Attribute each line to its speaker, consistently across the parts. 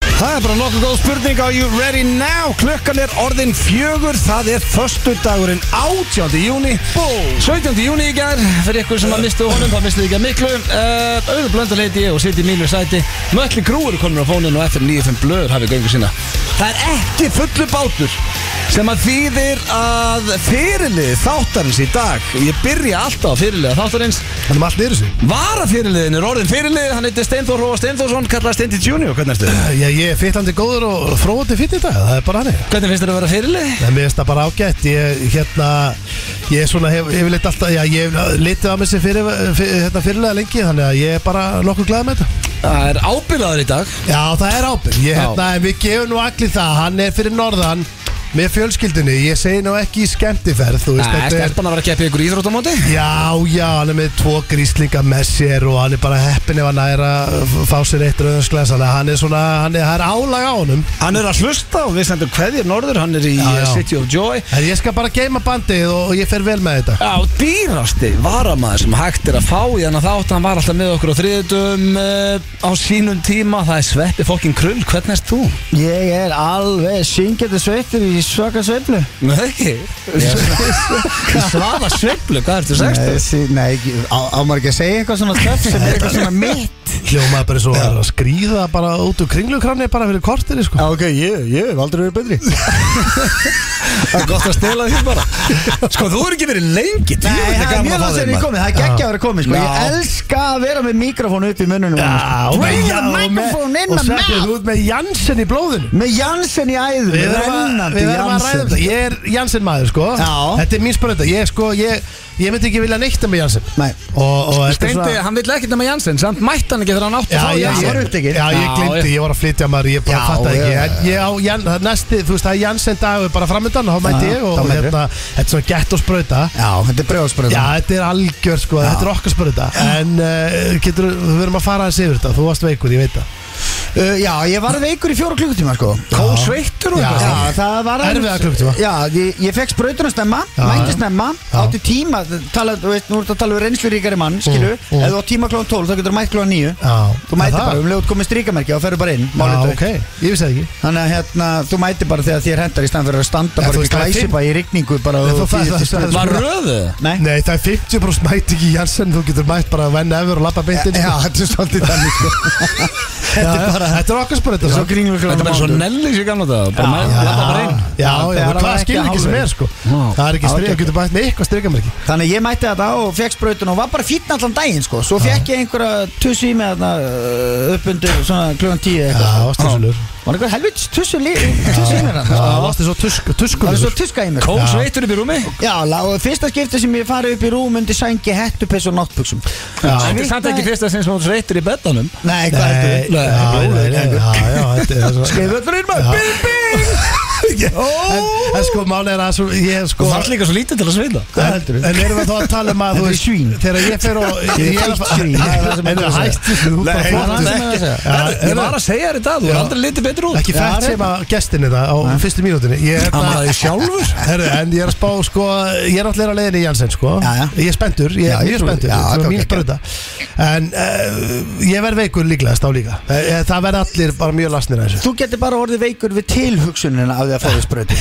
Speaker 1: Það er bara nokkuð góð spurning á You Ready Now Klukkan er orðin fjögur Það er föstudagurinn 18. júni 17. júni í gær Fyrir ykkur sem að mistu honum, þá mistu þið ekki að miklu uh, Auður blönda leiti ég og sitt í mínu sæti Mölli grúur komur á fóninu og eftir 95 blöður hafið göngu sína Það er ekki fullu bátur sem að þýðir að fyrirlið þáttarins í dag Ég byrja alltaf á fyrirlið þáttarins
Speaker 2: Hann er með allt niður sig
Speaker 1: Varafyrirliðin er orðin fyrirlið, hann heitir Steinþór Róa Steinþórsson, kallaði Steindi Junior, hvernig ertu?
Speaker 2: Eh, Já, ég er fyllandi góður og fróðandi fyrir þetta, það er bara hannig
Speaker 1: Hvernig finnst þér að vera fyrirlið?
Speaker 2: En mér finnst það bara ágætt, ég, hérna, ég er svona, hef, hef leitt alltaf, já, ég hef litið á mér sem fyrir, fyrir, hérna, fyrirlega lengi, þannig að ég er bara nokkuð glæð með þetta.
Speaker 1: Það er ábyrðaður í dag
Speaker 2: Já, það er ábyrg, ég,
Speaker 1: Já.
Speaker 2: hérna, en við gefum nú allir það, hann er fyrir norðan með fjölskyldunni, ég segi nú ekki í skemmtiferð, þú veist,
Speaker 1: Það er stelpan að vera að keppi ykkur íþróttamóti
Speaker 2: Já, já, hann er með tvo gríslinga með sér og hann er bara heppin ef hann er að fá sér eitt rauðansglæs Þannig að hann er svona, hann er, það er álag á honum
Speaker 1: Hann er að slusta og við sendum hverjir norður, hann er í
Speaker 2: Já, já.
Speaker 1: eh, City of Joy
Speaker 2: En ég skal bara geima bandið og og ég fer vel með þetta
Speaker 1: Já, dýrasti varamaður sem hægt er að fá í hann að þátt Hann var alltaf með okkur á þriðutum uh, á sínum tíma Það er sveppi fokkin krull, hvernig erst þú?
Speaker 3: Ég er alveg syngjandi sveittur í svaka sveiflu
Speaker 1: Nei, ekki Svafa svepplu, hvað ertu sagt?
Speaker 3: Nei, sí, nei ekki- á, á maður ekki að segja eitthvað svona töff sem er eitthvað svona mitt
Speaker 2: Hljómaði bara svo að skrýða bara út úr kringlukranni bara fyrir kortir sko.
Speaker 3: ok, ég, ég hef aldrei verið betri
Speaker 1: Það er gott að stela því bara Sko, þú er ekki verið lengi
Speaker 3: Nei, það er mjög langt sem ég komið, það er geggja að vera komið sko. Ég
Speaker 1: Já.
Speaker 3: elska að vera með mikrofónu upp í munnunum
Speaker 2: Já,
Speaker 3: sko.
Speaker 2: og
Speaker 3: Bring
Speaker 2: með-
Speaker 3: the
Speaker 2: já, og með-
Speaker 3: microphone in
Speaker 2: og
Speaker 3: my
Speaker 2: Sveppi,
Speaker 3: mouth
Speaker 2: þú ert með Janssen í blóðinu
Speaker 3: Með Janssen í æðum
Speaker 2: Við erum að,
Speaker 3: rennandi
Speaker 2: við erum að ræða
Speaker 3: Janssen.
Speaker 2: þetta Ég er Janssen maður sko
Speaker 3: Já.
Speaker 2: Þetta er mín spörönda Ég sko, ég, ég myndi ekki vilja neitt með Janssen
Speaker 3: Nei.
Speaker 2: Og, og þetta er
Speaker 1: Steindi,
Speaker 2: svona
Speaker 1: hann vill ekkert nema Janssen Samt mætti hann ekki þegar hann átti
Speaker 2: Já,
Speaker 1: að fá
Speaker 2: já,
Speaker 1: Janssen.
Speaker 3: var
Speaker 2: ég,
Speaker 3: upptekinn.
Speaker 2: já, ég
Speaker 1: Já,
Speaker 2: glimti,
Speaker 1: já.
Speaker 2: ég var að flytja maður, ég bara
Speaker 3: Já,
Speaker 2: fatta ekki
Speaker 3: já,
Speaker 2: En ég á, Jan, það er næsti, þú veist, það er Janssen dagur bara framöndan, þá mæti
Speaker 3: Já,
Speaker 2: ég og
Speaker 3: þá
Speaker 2: og
Speaker 3: mætirðu.
Speaker 2: hérna, þetta er svona gett og sprauta
Speaker 3: Já, þetta er brjóðsbröð
Speaker 2: Já, þetta er algjör sko, þetta er okkar spörða En uh, getur, við verum að fara aðeins yfir þetta Þú varst veikur, ég veit það
Speaker 3: uh, Já, ég var veikur í fjóra klukkutíma sko.
Speaker 1: Kósveittur og
Speaker 2: Já.
Speaker 1: eitthvað
Speaker 3: Já, það var aðeins-
Speaker 2: Erfiða klukkutíma.
Speaker 3: Já, ég, ég fekk sprautuna snemma,
Speaker 2: Já, já.
Speaker 3: mætti snemma
Speaker 2: Já.
Speaker 3: átti tíma, tala, þú veist, nú ertu að tala við reynsluríkari mann, skilu,
Speaker 2: Mm, mm.
Speaker 3: ef þú átt tíma klón 12 þá getur þú mætt klón 9
Speaker 2: Já,
Speaker 3: þú mætir
Speaker 2: það-
Speaker 3: bara, um lögut komið stríkamerki og ferðu bara inn, málið
Speaker 2: Já,
Speaker 3: dautt.
Speaker 2: ok, ég vissi það ekki
Speaker 3: þannig að hérna, þú mætir bara þegar þér hendar í stand fyrir að standa
Speaker 2: Já,
Speaker 3: bara
Speaker 2: þú
Speaker 3: upp í
Speaker 2: veist, það er
Speaker 3: glæsipa í rigningu bara
Speaker 2: Nei,
Speaker 3: og
Speaker 2: þú færð
Speaker 3: bíður
Speaker 2: það-
Speaker 3: til stund.
Speaker 2: það-
Speaker 1: Var röðu
Speaker 3: Nei,
Speaker 2: Nei, það er 50% mæti ekki í Janssen Þú getur mætt bara að venna yfir og lappa beintin
Speaker 3: já, þetta er svolítið þannig sko
Speaker 2: þetta er bara Þetta er okkar spörða
Speaker 3: Svo kringlur
Speaker 1: Þetta er bara svo nellis í gamla dag Bara með, lappa bara inn
Speaker 2: Já,
Speaker 3: Það
Speaker 2: já, hvað
Speaker 3: er alveg ekki
Speaker 2: skilur ekki sem
Speaker 3: hálfur.
Speaker 2: er sko
Speaker 1: Já.
Speaker 2: Það er ekki
Speaker 3: Já,
Speaker 2: strik,
Speaker 3: ok.
Speaker 2: þú getur mætt með eitthvað strikamerki
Speaker 3: Þannig að ég mætti þetta og fekk sprautun og var bara fýtn allan daginn sko Svo fekk ég einhverja tussi í mig þarna uh, upp undir svona klugan tíu
Speaker 2: Já,
Speaker 3: eitthvað sko.
Speaker 2: ástæðsulur
Speaker 3: Var einhver helvits tussi, li, tussi í mér þarna
Speaker 2: Já,
Speaker 3: sko.
Speaker 2: ástæð svo tusk,
Speaker 3: Það var svo
Speaker 2: tuskulur
Speaker 3: tuska í mér sko.
Speaker 1: Kósveittur upp í rúmi
Speaker 3: Já, lá- og fyrsta skipti sem ég farið upp í rúm undir sængi hettupess og náttbuksum
Speaker 1: Þetta er samt ekki fyrsta sinn sem hún sveitur í beddanum
Speaker 3: Nei, hvað
Speaker 2: Nei,
Speaker 3: heldur
Speaker 2: já, já, já, já, þetta er svo
Speaker 3: Skriðu þetta fyrir maður, bing, bing
Speaker 2: En, en sko, málið er að svo, ég
Speaker 1: Þú
Speaker 2: sko
Speaker 1: þarf líka svo lítið til að sveita
Speaker 3: Hvað heldur
Speaker 2: En erum við þá að tala um að þú
Speaker 3: Þetta er
Speaker 2: veist,
Speaker 3: svín.
Speaker 2: Þegar ég fer og
Speaker 3: Ég er feitt svín, það er það sem
Speaker 2: En
Speaker 3: hann
Speaker 2: þú
Speaker 3: er að segja.
Speaker 2: hættu svín, þú bara
Speaker 3: það er það
Speaker 2: fóttu
Speaker 3: sem hann er að segja.
Speaker 1: Ég var að segja þér í dag, þú er
Speaker 2: Já.
Speaker 1: aldrei litið betur út
Speaker 2: Ekki fætt sem að gestin þetta á fyrstu mínútinni Ég er
Speaker 1: Hann var það í sjálfur
Speaker 2: Herru, en ég er að spá, sko, ég er allir að leiðin í Janssen, sko
Speaker 3: Já, já.
Speaker 2: Ég er spendur, ég
Speaker 3: Já,
Speaker 2: er
Speaker 3: ég
Speaker 2: mjög
Speaker 3: trúi-
Speaker 2: spendur
Speaker 3: já,
Speaker 2: Það
Speaker 3: ok,
Speaker 2: er mín
Speaker 3: ok,
Speaker 2: spröta En eh, ég verð veikur líklegast á líka Eh, Það verð allir bara mjög lasnir að þessu
Speaker 3: Þú getur bara orðið veikur við tilhugsunina af því að fóðu sprautu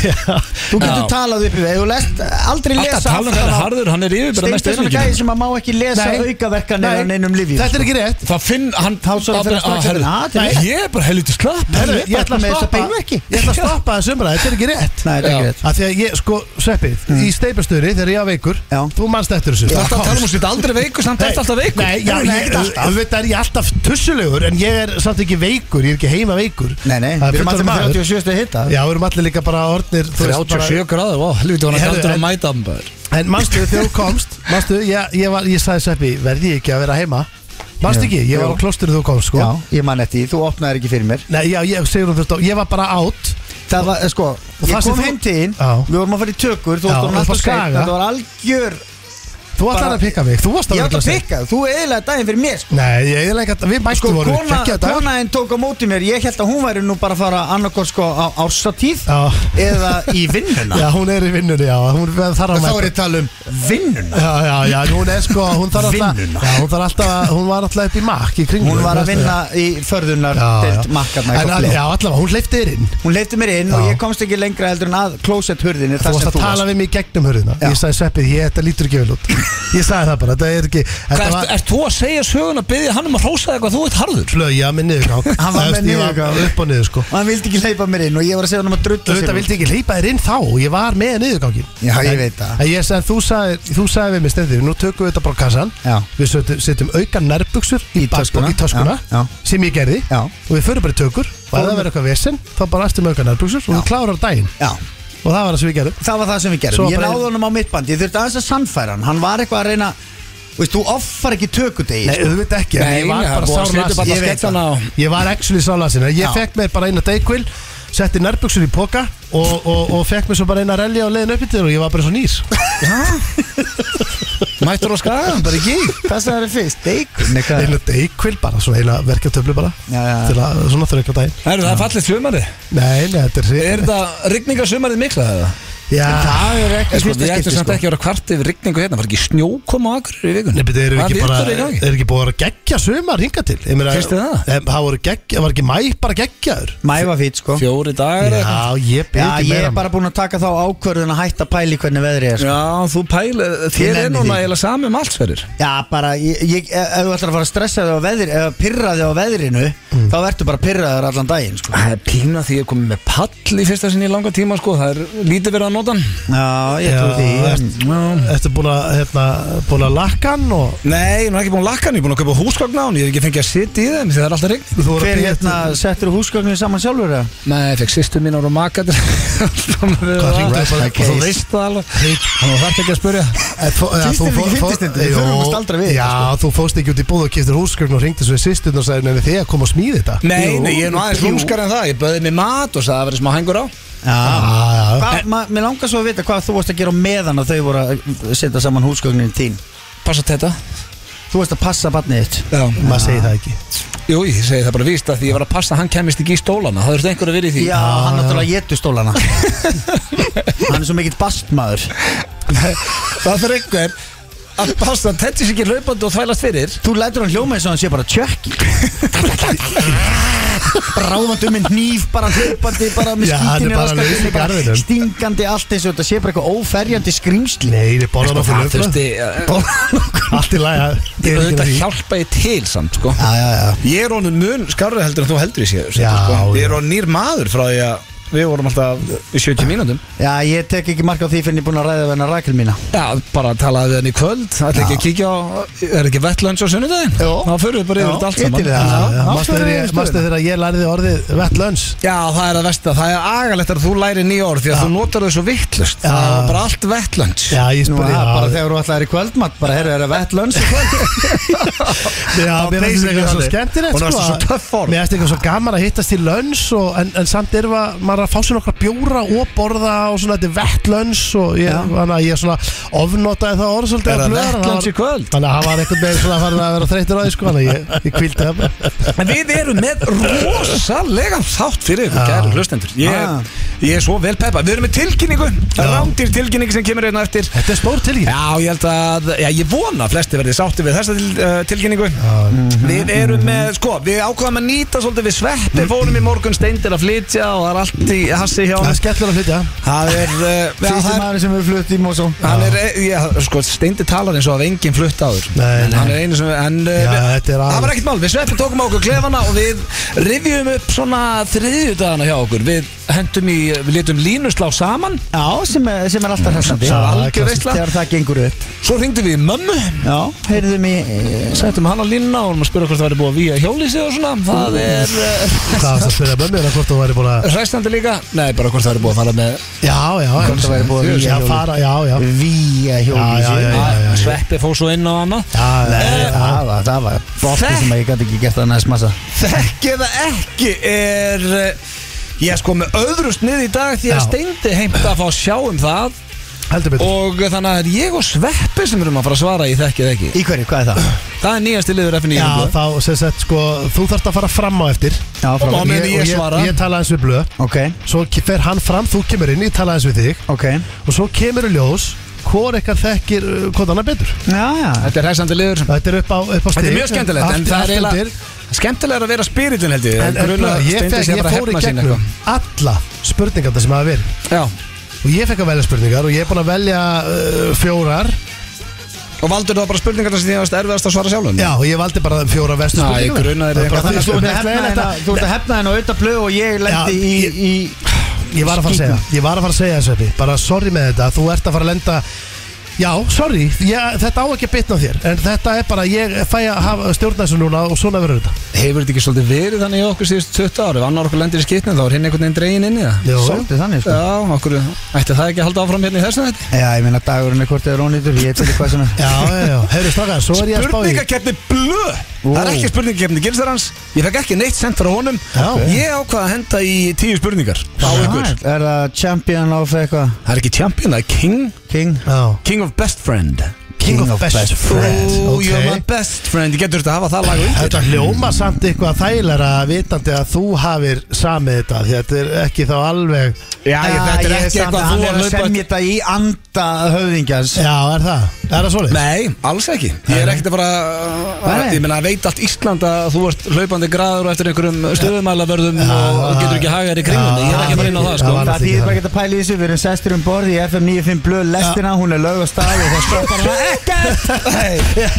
Speaker 3: Þú getur
Speaker 1: Já.
Speaker 3: talað upp í vei, þú lest aldrei lesa
Speaker 1: Alltaf tala um hvað
Speaker 3: aftan
Speaker 1: er
Speaker 3: á-
Speaker 1: harður, hann er yfirbyrða
Speaker 3: Steint
Speaker 1: mest
Speaker 3: er svona gæði sem að má ekki lesa
Speaker 2: Nei.
Speaker 3: aukaverkanir
Speaker 2: Nei.
Speaker 3: en einum lifi
Speaker 2: Þetta er ekki rétt
Speaker 1: Það finn, hann
Speaker 3: Þá svo fyrir að strax að- Ah, þetta er-
Speaker 1: Ég er bara helviti slapp
Speaker 2: Herru,
Speaker 3: Ég
Speaker 2: ég
Speaker 3: er bara
Speaker 2: ætla að
Speaker 3: með þessa
Speaker 2: stoppa
Speaker 3: beinverki.
Speaker 2: Ég ætla að stoppa þessu umræð, þetta er ekki rétt
Speaker 3: Nei, þetta
Speaker 1: Já.
Speaker 3: er ekki rétt Mm.
Speaker 2: Af því að ég, sko, sveppið Í steipastöri, þegar ég var veikur
Speaker 3: Já.
Speaker 2: Þú manst eftir þessu
Speaker 1: Þú
Speaker 2: Það
Speaker 1: ert að
Speaker 2: komst.
Speaker 1: tala um að þetta aldrei veikur, samt
Speaker 2: Nei,
Speaker 1: ertu alltaf veikur
Speaker 2: Nei, já,
Speaker 3: Nei,
Speaker 2: ég,
Speaker 3: ekkert alltaf.
Speaker 2: auðvitað er ég alltaf tussulegur En ég er samt ekki veikur, ég er ekki heima veikur
Speaker 3: Nei, nei,
Speaker 2: Það
Speaker 3: við
Speaker 2: er
Speaker 3: erum allir
Speaker 2: fullorðin
Speaker 3: með
Speaker 2: maður.
Speaker 3: 37 stuð hitta
Speaker 2: Já, við erum allir líka bara orðnir þú veist, bara-
Speaker 1: 37 gráður, ó, helviti hann er
Speaker 2: Herru,
Speaker 1: kaldur að
Speaker 2: en-
Speaker 1: mæta hann bara
Speaker 2: En manstu þegar þú komst Manstu, ég, ég, var, ég sagði Sveppi Verði ég ekki að vera heima Manstu ekki, ég var á
Speaker 3: Jú.
Speaker 2: klosturu þegar þú komst sko.
Speaker 3: Já, ég man eftir, því, þú opnaðir ekki fyrir mér
Speaker 2: Nei, já, ég, Sigrún, þú veist, ég var bara átt
Speaker 3: Það var, eh, sko,
Speaker 2: Og
Speaker 3: ég
Speaker 2: það sem
Speaker 3: kom
Speaker 2: þú-
Speaker 3: heim til þín
Speaker 2: Já.
Speaker 3: Við vorum að fara í tökur, þú
Speaker 2: Já,
Speaker 3: varst
Speaker 2: upp
Speaker 3: orðin
Speaker 2: á
Speaker 3: alltaf
Speaker 2: Skaga.
Speaker 3: skæð Þetta var algjör
Speaker 2: Þú ætlar að pikka mig, þú varst
Speaker 3: Ég
Speaker 2: að
Speaker 3: átt
Speaker 2: rugla
Speaker 3: að
Speaker 2: sig.
Speaker 3: pikka, þú eðlaði daginn fyrir mér sko.
Speaker 2: Nei, ég eða ekki að við
Speaker 3: Sko,
Speaker 2: mættum vorum við
Speaker 3: kona,
Speaker 2: geggjaði dagar.
Speaker 3: konaðin tók á móti mér Ég held að hún væri nú bara að fara annarkort sko á ársatíð
Speaker 2: Já,
Speaker 3: Eða í vinnuna
Speaker 2: já, hún er í vinnunni, já, hún þarf að
Speaker 3: Þá
Speaker 2: mæta.
Speaker 3: er ég að tala um vinnuna
Speaker 2: Já, já, já, hún er sko, hún þarf
Speaker 3: Vinnuna.
Speaker 2: alltaf, já, hún þarf alltaf, að- hún var alltaf upp í makk í kringu.
Speaker 3: Hún var að vinna í förðunar
Speaker 2: Já, já.
Speaker 3: Deilt makkarna í
Speaker 2: En,
Speaker 3: Kópavogi.
Speaker 2: Já, allavega, hún hleypti þér inn
Speaker 3: Hún leifti mér inn og
Speaker 2: Já.
Speaker 3: ég komst ekki lengra heldur en að klósett hurðinni
Speaker 2: Þú
Speaker 3: þar
Speaker 2: varst
Speaker 3: sem
Speaker 2: að
Speaker 3: þú
Speaker 2: tala
Speaker 3: varst
Speaker 2: við mig í gegnum hörðina
Speaker 3: Já.
Speaker 2: Ég sagði sveppið, ég, þetta lítur ekki vel út Ég sagði það bara, þetta er ekki Þetta
Speaker 1: Hvað,
Speaker 2: var
Speaker 1: ert, ert þú að segja sögun að byggja hann um að hrósa eitthvað þú ert harður?
Speaker 2: flöja með niðurgang
Speaker 3: Hann var
Speaker 2: Þú
Speaker 3: með
Speaker 2: veist, ég var
Speaker 3: niðurgang.
Speaker 2: Upp og niður sko
Speaker 3: Og hann vildi ekki leipa mér inn og ég var að segja hann um að
Speaker 2: Þú
Speaker 3: drulla
Speaker 2: veit að vildi ekki leipa þér inn þá Ég var með niðurgangin
Speaker 3: Já, ég
Speaker 2: En-
Speaker 3: veit það.
Speaker 2: En ég sagði, þú sagði, þú sagði við mig stendir Nú tökum við þetta bara á kassan
Speaker 3: Já.
Speaker 2: Við setjum, setjum auka nærbuksur í,
Speaker 3: Í töskuna.
Speaker 2: bakbók- í töskuna
Speaker 3: Já, já.
Speaker 2: Sem ég gerði
Speaker 3: Já.
Speaker 2: Og við förum bara í tökur Og ef
Speaker 3: Fórum-
Speaker 2: það verður eitthvað vesen Þá bara aftur með auka nærbuksur Og
Speaker 3: Já.
Speaker 2: þú klárar daginn
Speaker 3: Já,
Speaker 2: Og það var það sem við gerðum
Speaker 3: það var það sem við gerum
Speaker 2: Svo
Speaker 3: Ég
Speaker 2: bara-
Speaker 3: náði honum á mitt band, ég þurfti aðeins að sannfæra hann Hann var eitthvað að reyna Þú veist, þú offar ekki tökudegi
Speaker 2: Nei, auðvitað ekki, en ég var bara sár lasin.
Speaker 1: bara
Speaker 3: Ég veit
Speaker 1: skellana á
Speaker 2: Ég var actually sálasin Ég
Speaker 3: Já.
Speaker 2: fekk mér bara eina deikvil Setti nærbuksur í poka og, og, og fekk mér svo bara eina relja á leiðin upp í til Og ég var bara svo nýr
Speaker 1: Mættur og skaga
Speaker 3: Bara ekki, það sem það er fyrst Deik
Speaker 2: Eina deikvil bara, svo eina verkjartöflu bara
Speaker 3: Já, já, já.
Speaker 2: Til að svona þröka daginn
Speaker 1: Herru, það er fallið sumari
Speaker 2: Nei, nei, þetta er
Speaker 1: Er þetta rigningarsumarið mikla eða?
Speaker 2: Já,
Speaker 3: Það er
Speaker 1: Ég
Speaker 3: ekki
Speaker 1: sko,
Speaker 3: fyrsta
Speaker 1: við ættum
Speaker 3: skipti
Speaker 1: samt
Speaker 3: sko.
Speaker 1: ekki að vera kvart yfir rigningu hérna Var ekki snjókoma akkur í vikun?
Speaker 2: Nei, betur, erum við ekki bara,
Speaker 1: Hvað er þetta í gangi?
Speaker 2: er ekki búið að vera geggja sumar hinga til? Ég meina,
Speaker 1: Finnst þér það?
Speaker 2: em, það? voru geggja, var ekki mæ bara geggjaður?
Speaker 3: Mæ var fýtt sko
Speaker 1: Fjóri dagar eða eitthvað?
Speaker 2: Já, ég
Speaker 3: Já,
Speaker 2: byrði ekki
Speaker 3: ég
Speaker 2: meira um
Speaker 3: er bara búin að taka þá ákvörðun að hætta að pæli hvernig veðrið er sko.
Speaker 1: Já, þú pæla,
Speaker 3: Ég
Speaker 1: þér er
Speaker 3: nenni
Speaker 1: núna
Speaker 3: því.
Speaker 1: eiginlega sami um allt fyrir
Speaker 3: Já, bara, ég, ég, ef þú ætlar að fara að stressa þig á veðrið, eða pirra þig á veðrinu þá verður bara pirraður allan daginn sko.
Speaker 1: Það er pína því ég er komið með pall í fyrsta sinni í langa tíma sko, það er lítið verið að nota hann
Speaker 3: Já, ég trú því
Speaker 2: Já,
Speaker 3: en-
Speaker 2: ert- Ertu búin að, hérna, búin að lakka hann og
Speaker 1: Nei, ég er nú ekki búin að lakka hann, ég er búin að kaupa húsgagn á hann, ég hef ekki fengið að sitja í þeim því það er alltaf rigning
Speaker 2: þú voru
Speaker 3: Hver
Speaker 2: að byrja
Speaker 3: hérna settur húsgögnu saman sjálfur eða?
Speaker 1: Nei, ég fekk sýstu mín ára maka Hvað
Speaker 2: Hvað hringdu bara-
Speaker 1: Þú veist það alveg Þannig að þetta ekki að spurja
Speaker 2: En Eh, fó- eða,
Speaker 3: Kýstum
Speaker 2: þú
Speaker 3: við
Speaker 2: fó-
Speaker 3: ekki
Speaker 2: fó-
Speaker 3: fyndistundum, við
Speaker 2: Jú,
Speaker 3: þurfum að staldra við sko.
Speaker 2: Já, þú fóst ekki út í búð og kýftir húsgögn og ringdi svo í sýstun og sagði nefnir þið að koma og smíði þetta
Speaker 1: Nei,
Speaker 3: Jú,
Speaker 1: nei, ég er nú aðeins
Speaker 3: jú.
Speaker 1: lúmskar en það Ég böði mig mat og sagði að það verið smá hengur á
Speaker 3: Já
Speaker 2: Já, já,
Speaker 3: Mér langar svo að vita hvað þú varst að gera á meðan að þau voru að setja saman húsgögnin þín
Speaker 1: Passa þetta
Speaker 3: Þú varst að passa barnið þitt
Speaker 1: Já.
Speaker 2: maður segir það ekki
Speaker 1: Jú, ég segi það bara víst að því ég var að passa að hann kemist ekki í stólana Það þurfti einhver að vera í því
Speaker 3: Já, hann náttúrulega getur stólana Hann er svo mikill bastmaður
Speaker 1: Það þarf einhver að passa að þetta sé ekki hlaupandi og þvælast fyrir
Speaker 3: Þú lætur hann hljóma eins og hann sé bara tjökki Ráðandi um einn hníf bara hlaupandi bara með
Speaker 2: Já, hann er
Speaker 3: skítinni
Speaker 2: bara
Speaker 3: raskandi,
Speaker 2: laus í
Speaker 3: bara
Speaker 2: garðinum.
Speaker 3: stingandi allt eins og þetta sé bara eitthvað óferjandi skrýmsli
Speaker 2: Nei, þið borða
Speaker 1: Sko,
Speaker 2: nokkuð
Speaker 1: það
Speaker 2: löfla
Speaker 1: þurfti
Speaker 2: Allt í lagi, það er ekki
Speaker 1: auðvitað
Speaker 2: með því.
Speaker 1: hjálpa ég til samt sko.
Speaker 2: Já, já, já
Speaker 1: Ég er honum mun skarri heldur en þú heldur í sér
Speaker 2: Já,
Speaker 1: sko. Ég
Speaker 2: já.
Speaker 1: er honum nýr maður frá því að við vorum alltaf í 70 mínútum
Speaker 3: Já, ég tek ekki mark á því fyrir en ég er búin að ræða við hennar rakil mína
Speaker 1: Já, bara talaði við hann í kvöld ætla ekki að kíkja á, er ekki vettlönds á sunnudaginn?
Speaker 3: Jó.
Speaker 1: Þá förum við bara yfir
Speaker 3: Jó,
Speaker 1: þetta allt
Speaker 3: ég
Speaker 1: saman
Speaker 3: til í það. Já,
Speaker 2: Mastu
Speaker 3: ástæður í stöðuna.
Speaker 2: þegar ég lærði orðið vettlöns
Speaker 1: Já, það er að versta, það er agalegt að þú læri nýja orð því að þú notar þau svo vittlust
Speaker 2: Já.
Speaker 1: Það er bara allt vettlönds
Speaker 2: Já, ég
Speaker 3: Nú,
Speaker 2: spurði
Speaker 3: ja, bara
Speaker 2: já,
Speaker 3: þegar þú ætlaðir í kvöldmatt bara heyrðu, er það vett lönns í kvöld
Speaker 2: já, mér finnst
Speaker 1: basically
Speaker 2: þetta svo
Speaker 1: þannig.
Speaker 2: skemmtilegt
Speaker 1: Hún var
Speaker 2: sko,
Speaker 1: svo
Speaker 2: að-
Speaker 1: töff orð.
Speaker 2: Mér finnst eitthvað svo gaman að hittast í lönns og, en, en samt er að- maður að fá sér nokkra bjóra og borða og svona þetta er vettlöns og ég, þannig að ég svona ofnotaði það orð svolítið
Speaker 1: Er
Speaker 2: að
Speaker 1: það
Speaker 2: blöðra, hann
Speaker 1: vettlönds
Speaker 2: var-
Speaker 1: í kvöld?
Speaker 2: Þannig að hann var einhvern veginn svona farin að vera þreyttur á því sko, þannig að ég, ég kvíldi það bara.
Speaker 1: En við erum með rosalega þátt fyrir ykkur,
Speaker 2: Já.
Speaker 1: kæru hlustendur
Speaker 3: Ah.
Speaker 1: ég, ég er svo vel peppa, við erum með tilkynningu Rándir tilkynningu sem kemur einna eftir
Speaker 2: Þetta er stór tilgjum
Speaker 1: Já, ég held að, já, ég vona að flesti verði sátti við þessa til, uh, tilkynningu
Speaker 2: Mm-hmm.
Speaker 1: Við erum með, sko, við ákvaðum að nýta svolítið við sveppi Fórum í morgun steindir að flytja og það er allt í hassi hjá
Speaker 2: Það er
Speaker 1: hann
Speaker 2: skemmtilega að flytja
Speaker 1: Það er, uh, já,
Speaker 3: Fyrstu
Speaker 1: það er
Speaker 3: maður sem hefur flutt í Mosó
Speaker 1: Hann er, já, sko, Steindi talar eins og að enginn flutt áður
Speaker 2: Nei,
Speaker 1: En
Speaker 2: nei.
Speaker 1: Hann er einu sem, en uh,
Speaker 2: Já,
Speaker 1: við-
Speaker 2: þetta
Speaker 1: Það
Speaker 2: er
Speaker 1: var
Speaker 2: alveg-
Speaker 1: ekkert mál, við sveppi tókum á okkur klefana og við rivjum upp svona þriðjudagana hjá okkur Við hendum í, við létum línuslá saman
Speaker 3: Já, sem er, sem er alltaf hressandi
Speaker 1: Það var
Speaker 2: Já,
Speaker 1: algjör
Speaker 2: klassískt.
Speaker 1: veistla
Speaker 3: Þegar það gengur upp
Speaker 1: Svo ringdum við í mömmu
Speaker 3: Já, heyrðum í eh,
Speaker 1: Sættum hann að línna og erum að spura hvort það væri búið að víja hjólið sig og svona Það er uh,
Speaker 2: Hvað varst að spyrja mömmu eða hvort þú væri búin að
Speaker 1: hræstandi líka Nei, bara hvort það væri búið að fara með
Speaker 2: Já, já,
Speaker 3: Hvort það væri búið að
Speaker 2: já,
Speaker 3: vígja
Speaker 2: já,
Speaker 3: hjólið.
Speaker 2: fara, já, já Já,
Speaker 3: Vía
Speaker 2: já, já,
Speaker 3: hjólvísi
Speaker 2: já.
Speaker 1: Sveppi fór svo inn á annað
Speaker 2: Já, nei, eh. já,
Speaker 3: Það var, það var Bótti sem að ég gæti ekki gert að næst massa
Speaker 1: Þekki eða ekki er eh, Ég sko með öðru snið í dag Því að
Speaker 2: Já.
Speaker 1: Steindi heimta að fá að sjá um það
Speaker 2: Heldur betur
Speaker 1: Og þannig að það er ég og Sveppi sem erum að fara að svara í þekkið ekki
Speaker 4: Í hverju, hvað er það?
Speaker 1: Það er nýjasti liður F9
Speaker 2: Já, þá, sem sagt, sko, þú þarft að fara fram á eftir
Speaker 4: Já, frá
Speaker 1: Og- meðan ég
Speaker 2: og ég,
Speaker 1: svara.
Speaker 2: ég tala eins við blöð
Speaker 4: Ok,
Speaker 2: Svo ke- fer hann fram, þú kemur inn, ég tala eins við þig
Speaker 4: ok
Speaker 2: Og svo kemur í ljós Hvor ekkert þekkir uh, hvað annað betur
Speaker 4: Já, já
Speaker 1: Þetta er hæsandi liður
Speaker 2: Þetta er upp á, upp á stig
Speaker 1: Þetta er mjög skemmtilegt En
Speaker 2: Allt-
Speaker 1: það er
Speaker 2: allt undir.
Speaker 1: eiginlega skemmtilega að vera spiritin held ég
Speaker 2: En, en
Speaker 1: gruna
Speaker 2: blöð, ég,
Speaker 1: Steindi
Speaker 2: fekk,
Speaker 1: sé
Speaker 2: ég
Speaker 1: bara að
Speaker 2: fór í
Speaker 1: hefna sín
Speaker 2: gegnum alla spurningarna sem hafa verið
Speaker 1: eitthvað. Já
Speaker 2: og ég fekk að velja spurningar og ég er búin að velja uh, fjórar
Speaker 1: Og valdur þú þá bara spurningar sem þið varst erfiðast að svara sjálfum
Speaker 2: já og ég valdi bara fjórar vestu
Speaker 1: Já, ég
Speaker 2: spurningar
Speaker 1: grunaði þig eitthvað.
Speaker 4: Þannig að þú ert að hefna hérna Þú ert
Speaker 2: ég,
Speaker 4: að hefna hérna og auðvitað blöð og ég lendi
Speaker 2: Já,
Speaker 4: í, í
Speaker 2: ég var að fara að segja ég var að fara að segja Sveppi bara sorry með þetta þú ert að fara að lenda já sorry ég, þetta á ekki að bitna á þér en þetta er bara ég fæ að hafa stjórna þessu núna og svona verður þetta
Speaker 1: Hefur þetta ekki svolítið verið þannig í okkur síðust 20 ári Ef annar okkur lendir í skipnum þá er hinn einhvern veginn dregin inn í það
Speaker 2: Jú.
Speaker 4: Svolítið þannig, sko
Speaker 1: Já, okkur Ætti það ekki að halda áfram hérna í þessu þetta
Speaker 4: Já, ég meina dagurinn er hvort eða rónýtur Ég veit ekki hvað sem er
Speaker 2: já já já heyrðu strákar svo er ég að spá í
Speaker 1: Spurningakeppni blö Það er ekki spurningakefni gilsarans Ég fekk ekki neitt sent frá honum
Speaker 2: Já.
Speaker 1: Ég ákvað að henda í tíu spurningar Á ykkur
Speaker 4: Já, Er það champion of eitthvað
Speaker 1: Það er ekki champion, það er king
Speaker 4: King
Speaker 2: já
Speaker 1: King of best friend
Speaker 2: King of best friend
Speaker 1: Ooh, you're my
Speaker 2: ok
Speaker 1: best friend Ég getur þetta að hafa það lag undir
Speaker 2: Þetta hljóma samt eitthvað þægilega vitandi að þú hafir samið þetta því þetta er ekki þá alveg
Speaker 1: Já, Ah, ég- þetta er ekki eitthvað
Speaker 4: Hann
Speaker 1: þú
Speaker 4: er
Speaker 1: að
Speaker 4: að
Speaker 1: laupa
Speaker 4: semja þetta í anda höfðingjans
Speaker 2: Já, er það? Er það svolítið?
Speaker 1: Nei, alls ekki Ég er ekkert að fara að,
Speaker 4: Nei.
Speaker 1: Ég meina, veit allt Ísland að þú ert laupandi graður og eftir einhverjum stöðumælavörðum og og getur ekki hagað þér í kringunni Ég er ekki að fara inn á það, sko
Speaker 2: Já, var-
Speaker 4: Það þýðir bara ekki að pæla í þessu, við erum sestir um borði í FM 95 blöð, lestina, hún er lög og staði og það stoppar hana ekkert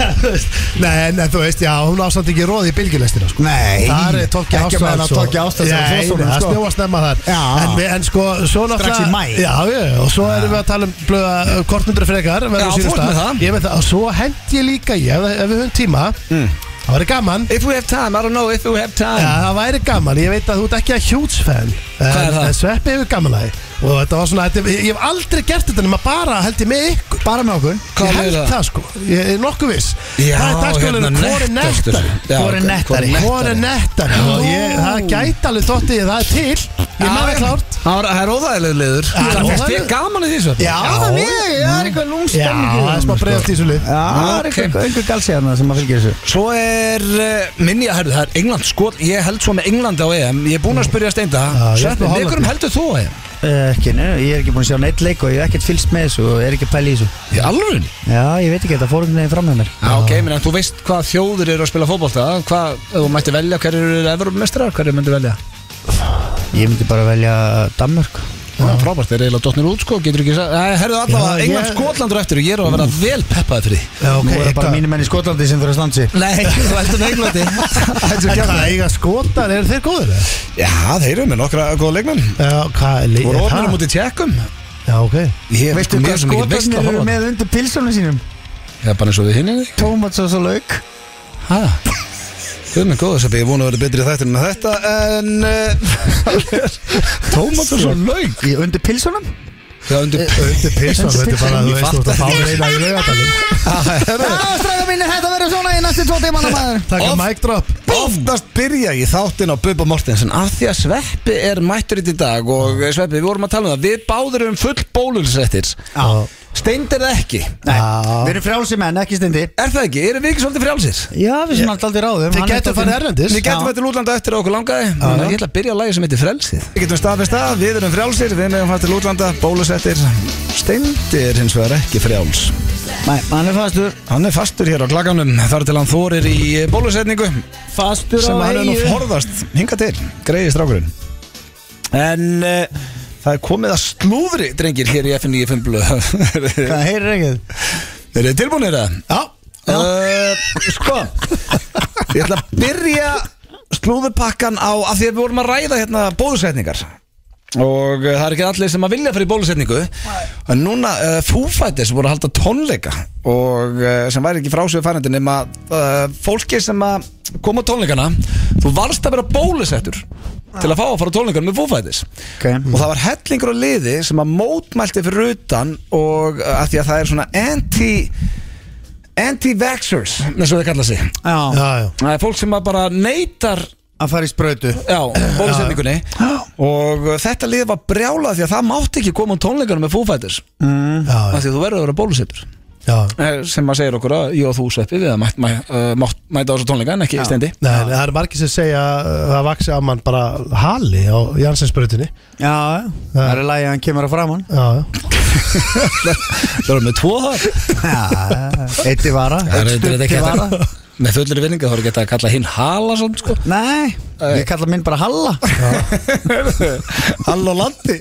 Speaker 2: Nei, en en þú veist, já, hún ásamt ekki róði í bylgjulestina sko.
Speaker 4: Nei,
Speaker 2: Þar er Tóki
Speaker 4: ekki
Speaker 2: Ástæðsson
Speaker 4: með hann að Tóki Ástæðsson og
Speaker 2: Nei,
Speaker 4: Þórssonar,
Speaker 2: það
Speaker 4: sko.
Speaker 2: snjóa snemma þar
Speaker 4: Já.
Speaker 2: en, við- en sko, svo náttúrulega
Speaker 4: í maí.
Speaker 2: Já, já, já, og svo erum við að tala um blöða uh, kortmyndur frekar verður
Speaker 1: Já,
Speaker 2: á sínum
Speaker 1: þú ert með
Speaker 2: stað.
Speaker 1: það.
Speaker 2: Ég með það, og svo hend ég líka ég, ef, ef við höfum tíma
Speaker 4: Mm.
Speaker 2: Það væri gaman
Speaker 1: If we have time, I don't know if we have time
Speaker 2: Já, það væri gaman, ég veit að þú ert ekki að huge fan
Speaker 1: Hvað er
Speaker 2: En-
Speaker 1: það?
Speaker 2: En sveppi hefur gaman að því Og þetta var svona, þetta, ég hef aldrei gert þetta nema bara held ég með ykkur
Speaker 4: Bara með okkur
Speaker 1: Hvað
Speaker 2: Ég held
Speaker 1: er
Speaker 2: það?
Speaker 1: það?
Speaker 2: sko, ég er nokkuð viss
Speaker 1: Já,
Speaker 2: Það er dagskólinu,
Speaker 1: hérna,
Speaker 2: hvor er
Speaker 1: nettastur.
Speaker 2: nettari?
Speaker 1: Já,
Speaker 2: Hvor er
Speaker 1: hvor er
Speaker 2: nettari? Hvor er
Speaker 1: nettari?
Speaker 2: nettari? Og ég, það gæti alveg þótti ég það er til Ég með það klárt
Speaker 1: Það var- það er óþægileg liður
Speaker 2: Já,
Speaker 1: Það fyrst
Speaker 2: óþægileg.
Speaker 1: ég gaman að því svo
Speaker 2: Já,
Speaker 4: það er eitthvað
Speaker 2: Já, það er smá breyðast í svo lið
Speaker 4: Já, það er
Speaker 1: Ok.
Speaker 4: eitthvað einhver galsi hérna sem að fylgja þessu
Speaker 1: Svo er uh, minni að herðu, það er England skot Ég held svo með England á EM Ég er búinn að spyrja Steinda
Speaker 2: Já, ég er
Speaker 1: Sveppi,
Speaker 2: með
Speaker 1: með hverjum
Speaker 2: Hollandi.
Speaker 1: heldur þú á EM?
Speaker 4: Eh, Ekki, nei, ég er ekki búin að sjá neitt leik og ég er ekkert fylgst með þessu og er ekki að pæla í þessu
Speaker 1: Í alveg?
Speaker 4: Já, ég veit ekki, þetta fór um neginn fram með mér
Speaker 1: Já, ok, menn þú veist hvað þjóður eru að spila fótbolta Hvað, ef þú mætti velja, hverjir eru Evropamestrar, hverjir myndir velja?
Speaker 4: Ég myndi bara velja Danmörk
Speaker 1: Það er frábært, þeir eru eiginlega dotnir út sko, getur ekki sagt Nei, herðu allavega,
Speaker 2: Já,
Speaker 1: England
Speaker 2: ég-
Speaker 1: Skotlandur eftir og ég er að vera vel peppaði fyrir því
Speaker 2: Já, ok,
Speaker 4: Nú er það bara
Speaker 2: eitthvað-
Speaker 4: mínir menn í Skotlandi sem fyrir að standa sig
Speaker 1: Nei, þú heldur með Englandi
Speaker 2: En Hvað eiga skotar, eru þeir góður? eða?
Speaker 1: Já, þeir eru með nokkra góða leikmenn
Speaker 2: Já, hvað er
Speaker 1: Þú
Speaker 2: lið?
Speaker 1: voru
Speaker 2: er
Speaker 1: ofnir
Speaker 2: það?
Speaker 1: mútið tjekkum
Speaker 2: Já, ok
Speaker 1: Ég er
Speaker 4: um- Veistu
Speaker 1: sko, mér
Speaker 4: hvað
Speaker 1: er svo mikið veist
Speaker 4: Skotlandin
Speaker 1: að
Speaker 4: eru
Speaker 1: horfa á
Speaker 4: með undir pilsunum sínum?
Speaker 1: það. Já, bara eins og við hinni
Speaker 4: Tómats og svo lauk
Speaker 1: Hæ? Guð með góða, Seppi, ég vona að vera betri í þættinum en eh, þetta En Tómatur svo laug
Speaker 4: Í- Undir pilsunum?
Speaker 1: Já, undir
Speaker 2: Undir pilsan, þetta er bara, þú veist, þú ert að fá reyna í laugatalum
Speaker 4: Já, stræða mínir, þetta verður svona í næstu tvo tímana maður
Speaker 2: Takk
Speaker 1: Oft-
Speaker 2: að mic drop
Speaker 1: Oftast byrja ég þáttinn á Bubba Mortensen af því að Sveppi er mættur í þetta dag og eh, Sveppi, við vorum að tala um það Við báður um full bólusettir
Speaker 2: Já
Speaker 1: Steind er það ekki
Speaker 4: Nei,
Speaker 2: Já.
Speaker 4: við erum frjálsi menn, ekki stindi
Speaker 1: Er það ekki? Erum við ekki svolítið frjálsir?
Speaker 4: Já, við sem alltaf aldrei ráðum
Speaker 2: Þið getur farið erlendis
Speaker 1: Við getum þetta útlanda eftir að okkur langaði Þannig að ég ætla að byrja að lagi sem heitir frelsið Við getum staðfest að við erum frjálsir Við meðum fættir útlanda, bólusettir Steind er hins vegar ekki frjáls
Speaker 4: Nei, hann er fastur
Speaker 1: Hann er fastur hér á klaganum Þar til hann þorir í eh, bólusetningu
Speaker 4: Fastur
Speaker 1: Sem
Speaker 4: á
Speaker 1: hann er nú
Speaker 4: eyju.
Speaker 1: forðast Hinga til, greiði strákurinn En uh, það er komið að slúðri Drengir hér í FN95 blöð
Speaker 4: Hvað, heyrir ekkið?
Speaker 1: Er þið tilbúinir það?
Speaker 2: Já
Speaker 1: Uh, sko Ég ætla að byrja slúðurpakkan á að því að við vorum að ræða hérna bólusetningar og uh, það er ekki allir sem að vilja fyrir bólusetningu en núna uh, fúfættir sem voru að halda tónleika og uh, sem væri ekki frásöðu færendin nema uh, fólki sem að koma á tónleikana þú varst að vera bólusettur til að fá að fara á tónleikana með fúfættis
Speaker 4: Ok.
Speaker 1: og það var hellingur á liði sem að mótmælti fyrir utan og uh, að því að það er svona anti anti-vaxxers eins og það kalla sig
Speaker 4: Já,
Speaker 2: Já, já
Speaker 1: það er fólk sem að bara neytar
Speaker 3: að fara í sprautu
Speaker 1: Já, bólusetningunni Og uh, þetta lið var brjálað því að það mátti ekki koma á tónleikana með Foo Fighters
Speaker 2: já,
Speaker 1: af Því að þú verður að vera bólusettur
Speaker 2: já
Speaker 1: Eh, Sem maður segir okkur að ég og þú sveppi við að mætt, mæ, uh, mátt, mæta á þessu tónleika en ekki stendi
Speaker 2: Nei, það er margir sem segja að það vaksi af mann bara hali á Jansinsbrautinni
Speaker 3: Já, það er lægið að hann kemur að framann
Speaker 2: Já,
Speaker 1: Það eru með tvo þar
Speaker 3: Eitt í vara,
Speaker 1: Það
Speaker 3: eitt
Speaker 1: er
Speaker 3: stutt
Speaker 1: þetta
Speaker 3: í
Speaker 1: ekki
Speaker 3: vara
Speaker 1: þetta Með fullri vinninga þá er ekki þetta að kalla hinn Halason sko
Speaker 3: Nei, ég kalla minn bara Halla Halla og landi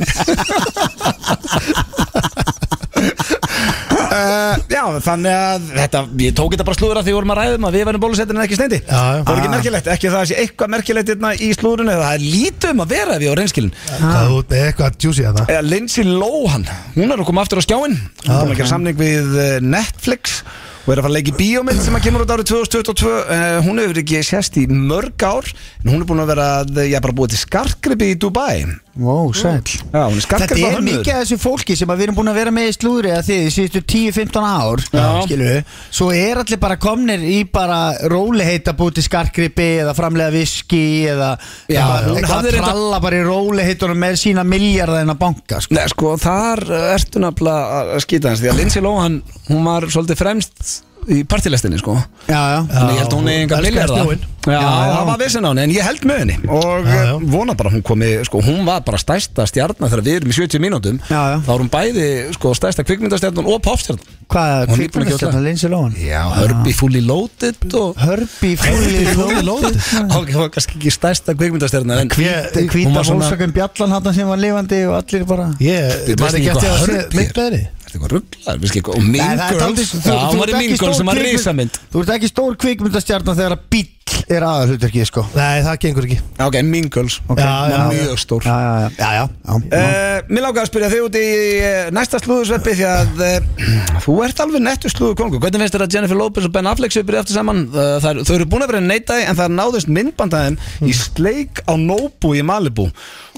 Speaker 1: uh, Já, þannig að þetta, ég tók þetta bara slúður að því vorum að ræðum að við verðum bólusettir en ekki steindi
Speaker 2: Já, já.
Speaker 1: Það er
Speaker 3: Ah.
Speaker 1: ekki merkilegt, ekki að það sé eitthvað merkilegt hérna í slúðurinn eða það er lítið um að vera ef ég á reynskilin
Speaker 2: það er út með eitthvað juicy að það
Speaker 1: eða Lindsay Lohan, hún er að koma aftur á skjáin hún er að gera samning við eh, Netflix og er að fara að leika í bíómynd sem að kemur út árið 2022 Eh, hún hefur ekki sést í mörg ár en hún er búin að vera, að, eh, já bara búið til skarkribi í Dubai já,
Speaker 3: Vó, sæll
Speaker 1: hún er
Speaker 3: Þetta
Speaker 1: skarkribi
Speaker 3: er mikið af þessu fólki sem að við erum búin að vera með í slúðri að þið síðustu 10-15 ár
Speaker 1: Já.
Speaker 3: skilur við, svo er allir bara komnir í bara róliheita búti skarkripi eða framlega viski eða
Speaker 1: Já,
Speaker 3: eitthvað-
Speaker 1: hún hafði
Speaker 3: eitthvað
Speaker 1: reynda-
Speaker 3: tralla bara í róliheitunum með sína miljardina banka sko.
Speaker 1: Nei, sko, þar eh, ertu nafnilega að skýta hans því að Lindsay Lohan, hún var svolítið fremst í partilestinni, sko
Speaker 3: Já, já
Speaker 1: Þannig ég held að hún eigi enga
Speaker 2: elskar
Speaker 1: milljarða
Speaker 2: snjóinn.
Speaker 1: Já,
Speaker 3: já.
Speaker 1: það var vissin á henni, en ég held með henni Og
Speaker 2: Já, já.
Speaker 1: eh, vona bara að hún komi, sko, hún var bara stærsta stjarnar þegar við erum í 70 mínútum
Speaker 3: Já, já.
Speaker 1: Þá er hún bæði, sko, stærsta kvikmyndastjarnan og popstjarnan
Speaker 3: Hvað,
Speaker 1: Hún er búin að
Speaker 3: kvikmyndastjarnan Lindsay Lohan?
Speaker 1: Já, Hörbi fully loaded og
Speaker 3: Hörbi fólið lóðið
Speaker 1: Ok, það var kannski ekki stærsta kvikmyndastjarnan en Hún
Speaker 3: Hvíta
Speaker 1: var svona-
Speaker 3: hólsakum bjallan hann sem var lifandi og allir bara
Speaker 2: Ég,
Speaker 1: Við veistum
Speaker 2: maður ekki
Speaker 1: ekki
Speaker 2: eftir
Speaker 1: hvað
Speaker 2: að sé
Speaker 1: hörp ég
Speaker 2: mynd með henni
Speaker 1: Þetta er eitthvað rugglar, við skilja, og Mean
Speaker 3: Nei, það er
Speaker 1: Girls
Speaker 3: daldið- þú-
Speaker 1: Já,
Speaker 3: þú
Speaker 1: hún var
Speaker 3: ert
Speaker 1: í
Speaker 3: ekki
Speaker 1: Mean
Speaker 3: stór
Speaker 1: Girls sem var
Speaker 3: kvikmynd-
Speaker 1: risamynd
Speaker 3: Þú ert ekki stór kvikmyndastjarnan þegar að bíll er aðalhutverkið sko
Speaker 2: Nei, það gengur ekki
Speaker 1: Já, Ok, Mean Girls
Speaker 3: Ok.
Speaker 1: Hún var
Speaker 2: Já, já.
Speaker 1: Mjög stór
Speaker 3: Já, já, já, já, já, já.
Speaker 1: Uh, mér langar að spyrja þig út í uh, næsta slúðusveppi því að uh, þú ert alveg nettur slúðu kongur hvernig finnst þér að Jennifer Lopez og Ben Affleck séu byrja eftir saman uh, þær, þau eru búin að vera neytaði en það náðist myndbandaðum
Speaker 2: Mm.
Speaker 1: í sleik á Nobu í Malibu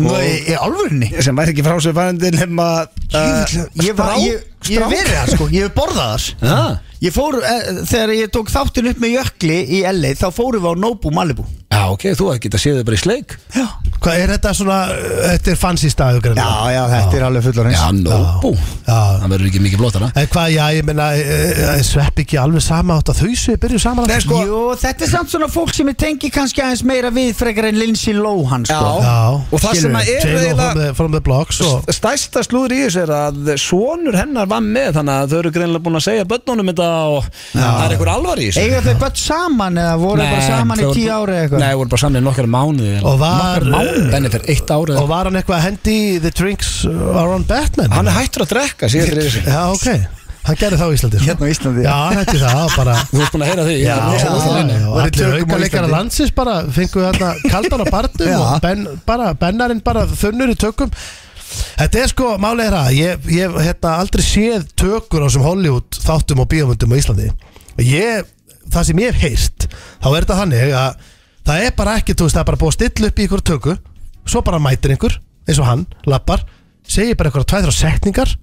Speaker 3: Nú,
Speaker 1: og,
Speaker 3: í, í alvörunni
Speaker 1: sem væri ekki frá sér færandi nema uh,
Speaker 3: Eh, Ég var,
Speaker 1: strá-
Speaker 3: ég, ég
Speaker 1: strá-
Speaker 3: hef verið það sko, ég hef borðað það
Speaker 1: Ha?
Speaker 3: Ég fór, e, þegar ég tók þáttin upp með Jökli í LA Þá fórum við á Nobu Malibu
Speaker 1: Já, ok, þú hefði getað séð þau bara í sleik
Speaker 3: Já,
Speaker 2: Hvað er þetta svona, uh, þetta er fancy staðu
Speaker 3: já, já þetta er alveg fullur eins
Speaker 1: Já, Nobu
Speaker 2: Já.
Speaker 1: Það verður ekki mikið blótara
Speaker 2: En hvað, já, ég meina, eh, eh, svepp ekki alveg sama átt að þau séu byrjuð saman
Speaker 1: Nei, sko-
Speaker 3: Jú, þetta er samt svona fólk sem ég tengi kannski aðeins meira við frekar en Lindsay Lohan sko.
Speaker 2: Já.
Speaker 1: og það sem að er
Speaker 2: J-Lo
Speaker 1: eiginlega-
Speaker 2: from the- from the blocks og
Speaker 1: stæsta slúður í þessu er að sonur hennar var með þannig að þau eru greinilega búin að segja börnunum þetta og það er einhver alvar í þessu
Speaker 3: Eiga þau bara saman eða voru
Speaker 1: Nei,
Speaker 3: bara saman í
Speaker 1: þau voru-
Speaker 3: tíu ári eða eitthvað
Speaker 1: Nei, voru bara saman í nokkar mánuði
Speaker 2: Og var- eh,
Speaker 1: Benni fyrir eitt ári
Speaker 2: Og var hann eitthvað að hendi í The Drinks Are on Batman?
Speaker 1: Hann er hættur að drekka síðan fyrir þessu
Speaker 2: Já, ok Hann gerði það á Íslandi sko.
Speaker 3: Hérna á Íslandi
Speaker 2: Já, hann hætti það og bara
Speaker 1: Þú ert búin að heyra því
Speaker 2: Já,
Speaker 1: Ég er rosa
Speaker 2: já,
Speaker 1: leinir.
Speaker 2: og allir
Speaker 3: tökum á
Speaker 2: auka leikara
Speaker 3: Íslandi.
Speaker 2: landsins bara fengu þarna kaldan á barnum
Speaker 3: Já.
Speaker 2: og ben, bara bennarinn bara þunnur í tökum Þetta er sko, málið er að ég hef hérna, aldrei séð tökur á sem Hollywood þáttum og bíómyndum á Íslandi ég, það sem ég hef heyrt þá er þetta þannig að það er bara ekki, þú veist, það er bara búið að stilla upp í ykkur tökur svo bara mætir einhver, eins og hann lappar, segir bara ykkur að tvæðra setningar,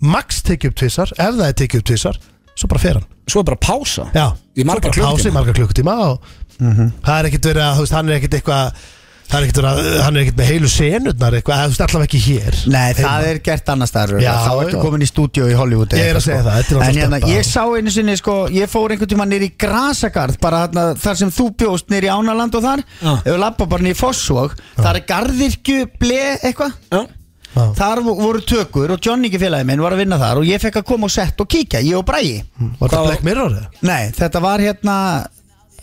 Speaker 2: max tekið upp tvisar ef það er tekið upp tvisar, svo bara fer hann
Speaker 1: Svo er bara pása
Speaker 2: Já,
Speaker 1: Í marga
Speaker 2: Svo bara pása í
Speaker 1: klukkutíma.
Speaker 2: marga klukkutíma og
Speaker 3: Mhm.
Speaker 2: það er ekkert verið að, þú veist, hann er ekkert eitthvað það er ekkert verið að, hann er ekkert með heilu senurnar eitthvað, eða, þú veist, allavega ekki hér
Speaker 3: Nei,
Speaker 2: Heima.
Speaker 3: það er gert annars staðar
Speaker 2: Já,
Speaker 3: Þá ertu
Speaker 2: já.
Speaker 3: komin í stúdíu í Hollywood
Speaker 2: Ég
Speaker 3: eða
Speaker 2: er að
Speaker 3: eitthvað,
Speaker 2: segja
Speaker 3: sko.
Speaker 2: það, þetta er
Speaker 3: En
Speaker 2: náttúrulega
Speaker 3: hérna,
Speaker 2: stöppa.
Speaker 3: ég sá einu sinni, sko Ég fór einhvern tímann nýr í Grasagarð Bara þarna, þar sem þú bjóst nýr í Ánaland og þar
Speaker 1: Já.
Speaker 3: Ef við lappa bara nýr í Fossvog Það er garðirkju ble eitthvað
Speaker 1: Já.
Speaker 2: Já.
Speaker 3: Þar vo- voru tökur og Johnny ekki félagi minn var að vinna þar Og ég fekk að koma og sett og kíkja, ég og Bragi
Speaker 2: Var þetta
Speaker 1: Hvað-
Speaker 2: Black Mirror? eða?
Speaker 3: Nei, þetta var hérna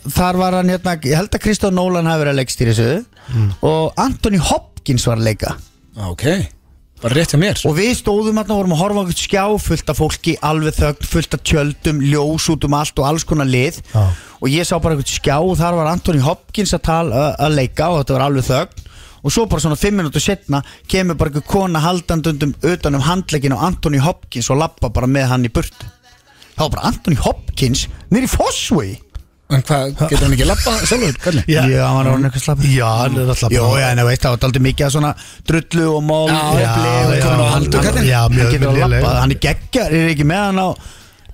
Speaker 3: Þar var hann hérna, ég held að Kristó Nólan hafi verið að leikstýri þessu
Speaker 2: Mm.
Speaker 3: Og Anthony Hopkins var að leika
Speaker 1: Ok Bara rétt hjá mér
Speaker 3: Og við stóðum hérna og vorum að horfa á einhvern skjá fullt af fólki, alveg þögn, fullt af tjöldum, ljós út um allt og alls konar lið
Speaker 2: Já.
Speaker 3: Og ég sá bara einhvern skjá og þar var Anthony Hopkins að, tala, að leika og þetta var alveg þögn Og svo bara svona fimm minútur setna kemur bara einhver kona haldandundum utan um handlegin á Anthony Hopkins og lappa bara með hann í burtu Það var bara Anthony Hopkins nýr í Fossway
Speaker 1: En hvað, getur hann ekki lappa sjálfur? Hvernig?
Speaker 2: Já.
Speaker 3: Já, hann var orðinn eitthvað slappur
Speaker 2: Já, hann er alltaf
Speaker 3: Jó, já, en þú veist, það var aldrei mikið að svona drullu og mól
Speaker 1: Já,
Speaker 3: og
Speaker 1: já,
Speaker 3: blei og
Speaker 1: já,
Speaker 3: komin á
Speaker 1: já,
Speaker 3: hand og
Speaker 1: já,
Speaker 3: kallinn
Speaker 2: já,
Speaker 3: Hann
Speaker 2: mjög
Speaker 3: getur að
Speaker 2: léleg.
Speaker 3: lappa, hann er geggjar, er ekki með hann á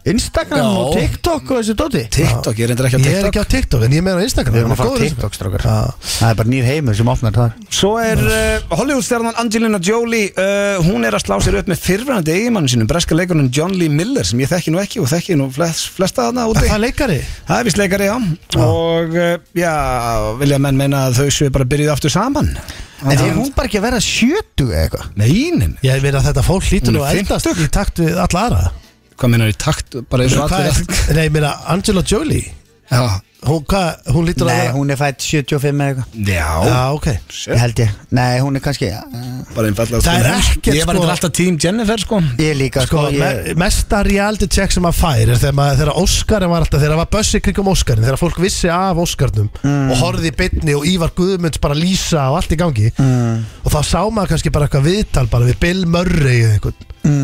Speaker 3: Instagram
Speaker 1: Já.
Speaker 3: og TikTok og þessu dóti
Speaker 1: TikTok, ég reyndir ekki á
Speaker 2: Ég er
Speaker 1: TikTok
Speaker 2: ekki á TikTok en ég er meira á Instagram
Speaker 3: Við erum að
Speaker 2: Ég er
Speaker 3: fara á
Speaker 2: góður í
Speaker 3: TikTok,
Speaker 2: þessu.
Speaker 3: strákar.
Speaker 2: Já.
Speaker 3: Það er bara nýr heimur sem opnar þar
Speaker 1: Svo er uh, Hollywoodstjarnan Angelina Jolie uh, Hún er að slá sér upp með fyrrverandi eigimann sínum Breska leikunum John Lee Miller sem ég þekki nú ekki og þekki nú flest, flesta þarna
Speaker 2: Er
Speaker 1: úti
Speaker 2: Það er leikari
Speaker 1: Það er vist leikari, já Og uh, já, vilja menn meina að þau séu bara byrjuð aftur saman
Speaker 3: En er hún bara ekki að vera 70 eða eitthvað?
Speaker 1: Neinin
Speaker 2: Ég meina að þetta fólk
Speaker 1: Hún
Speaker 2: hlýtur
Speaker 1: er
Speaker 2: nú að eldast
Speaker 1: 50.
Speaker 2: í takt við alla aðra
Speaker 1: Hvað minnar í takt, bara eins og
Speaker 2: Hvað
Speaker 1: allir
Speaker 2: er- Nei, ég meina Angela Jolie
Speaker 1: Já,
Speaker 2: Hún, hvað, hún lítur að
Speaker 3: Nei,
Speaker 2: vera-
Speaker 3: hún er fætt 75 eða eitthvað
Speaker 1: já
Speaker 2: Já, ok
Speaker 1: shit,
Speaker 3: Ég held ég Nei, hún er kannski uh,
Speaker 1: bara einfallega
Speaker 2: Það er ekkert,
Speaker 1: Ég var
Speaker 2: sko-
Speaker 1: eitthvað alltaf tím Jennifer, sko
Speaker 3: Ég líka,
Speaker 2: Sko,
Speaker 3: sko, ég,
Speaker 2: me mesta reality check sem maður fær er þegar, maður, þegar Óskarin var alltaf, þegar það var bössi kringum Óskarin þegar fólk vissi af Óskarnum
Speaker 1: Mm.
Speaker 2: og horfði í bytni og Ívar Guðmunds bara lýsa og allt í gangi
Speaker 1: Mm.
Speaker 2: og þá sá maður kannski bara eitthvað viðtal bara við Bill Murray eða einhvern